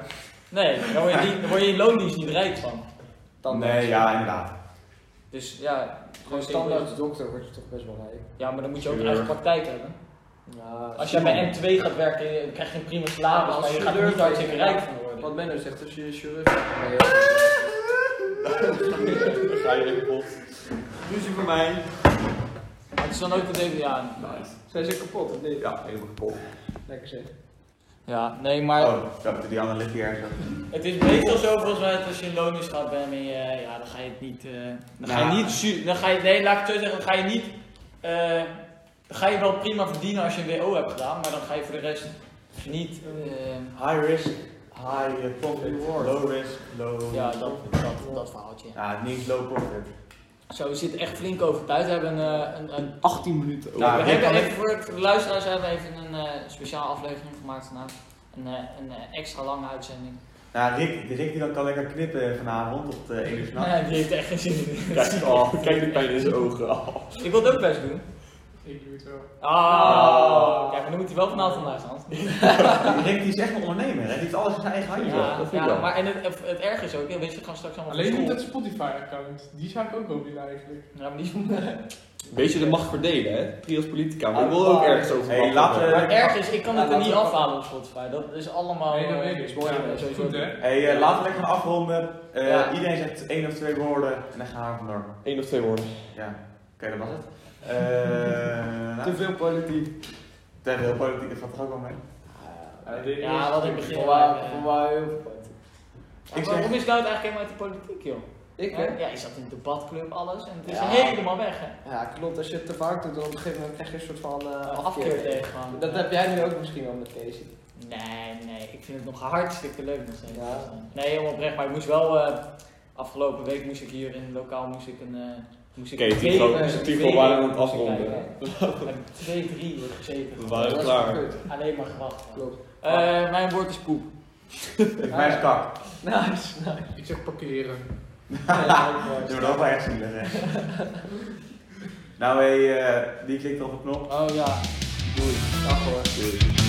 S1: Nee, daar word je, niet- daar word je in loondienst niet rijk van.
S2: Nee, ja, inderdaad.
S1: Dus ja,
S4: Gewoon
S1: gewoon
S4: standaard
S1: standaard.
S4: dokter word je toch best wel rijk.
S1: Ja, maar dan moet je ook
S2: Chirurg.
S1: eigen praktijk hebben.
S4: Ja,
S1: Als jij bij M2 gaat werken, je- dan krijg je een prima
S4: Ja,
S1: salaris,
S4: als
S1: maar je gaat er
S4: chirurg
S1: niet
S4: ben je
S1: hartstikke
S4: rijk.
S1: rijk van worden.
S4: Wat Benno zegt, als je chirurg bent.
S5: Dan ga je in de pot. Ruzie voor mij.
S1: Maar Het is dan ook de DVD aan.
S5: Nice.
S4: Zijn ze kapot of niet?
S5: Ja, helemaal kapot.
S4: Lekker zeg.
S1: Ja, nee, maar
S2: Oh, dat, die andere ligt hier ergens.
S1: het is meestal zo volgens mij dat als je in loondienst gaat, ben je, eh, ja, dan ga je het niet, eh, dan ga
S2: Nou.
S1: je niet, su- dan ga je, nee, laat ik het zo zeggen, dan ga je niet, eh, dan ga je wel prima verdienen als je een WO hebt gedaan, maar dan ga je voor de rest niet, eh,
S2: High risk, high eh, profit, low risk, low...
S1: ja, dat, dat, dat verhaaltje.
S2: Ja, niks low profit.
S1: Zo, we zitten echt flink over tijd. We hebben een, eh, een, een
S4: 18 minuten.
S2: Nou,
S1: we
S2: dit
S1: hebben
S2: kan
S1: even voor, voor de luisteraars hebben we even een eh speciaal aflevering gemaakt vandaag. Een, eh, een eh, extra lange uitzending.
S2: Nou, Rick, die Rick die dan kan lekker knippen vanavond tot eh 1 uur s'nachts.
S1: Nee, die heeft er echt geen zin in.
S5: Kijk, oh, kijk de pijn in zijn ogen. Oh.
S1: Ik wil het ook best doen.
S3: Ik doe het wel.
S1: Oh, kijk, maar dan moet hij wel vanavond luisteren.
S2: Rick die is echt een ondernemer, hè? die heeft alles in zijn eigen handje.
S1: Ja,
S5: vind ik
S1: ja,
S5: wel.
S1: maar en het, het erg is ook, hè, weet je, het gaan straks allemaal
S3: Alleen
S1: op
S3: niet
S1: school.
S3: dat Spotify-account. Die zou ik ook wel willen eigenlijk.
S1: Ja, maar die maar
S5: Weet je, de macht verdelen, hè? Trios Politica. Maar ik wil ook ergens over
S2: Hey,
S5: macht
S2: laten
S5: hebben.
S2: we-
S1: het erg is, ik kan
S4: Ja,
S1: het er
S4: dat
S1: niet
S4: is ook-
S1: afhalen op Spotify. Dat is allemaal...
S3: nee, dat
S1: eh,
S3: weet ik.
S1: is mooi,
S3: Ja,
S1: eh,
S3: dat is
S1: sowieso.
S3: goed hè.
S2: Hey, eh, laten we lekker gaan afronden. Eh,
S1: Ja.
S2: Iedereen zegt één of twee woorden en dan gaan we vandoor.
S5: Eén of twee woorden.
S2: Ja, oké, dat was het. Eh nou,
S4: Te veel politiek.
S2: te veel politiek, dat gaat er ook wel mee.
S1: Ja, wat ik begin. eh,
S4: Voor mij voor mij heel veel politiek.
S1: Maar
S2: Ik zeg-
S1: Waarom is nou het eigenlijk helemaal uit de politiek, joh?
S4: Ik
S1: ja,
S4: hè?
S1: ja, je zat in de debatclub, alles. En het is
S4: Ja.
S1: helemaal weg, hè?
S4: Ja, klopt. Als je het te vaak doet, dan op een gegeven moment krijg je een soort van eh
S1: Afkeer
S4: afkeer.
S1: tegen. gewoon.
S4: Dat heb jij nu ook misschien wel met Casey.
S1: Nee, nee. Ik vind het nog hartstikke leuk nog steeds.
S4: Ja.
S1: Nee, helemaal oprecht. Maar ik moest wel... eh, afgelopen week moest ik hier in het lokaal moest ik een... eh moest ik
S5: Oké,
S1: twee-
S5: Tigo-
S1: moest ik
S5: Tigo
S1: twee
S5: waren
S1: weken
S5: aan het afronden.
S1: kijken. Ik heb Twee, drie wordt gezeten.
S5: We waren
S4: Dat is
S5: klaar.
S4: wel kut.
S1: Alleen maar grachten.
S4: Klopt.
S1: Eh, mijn woord is poep. Ah,
S2: Mijn is kak.
S4: Nice, nice.
S3: Ik zeg parkeren.
S2: Dat wordt ook wel echt zielig, hè? nou, hey, eh, die klikt op de knop.
S1: Oh ja.
S4: Dag hoor.
S5: Doei.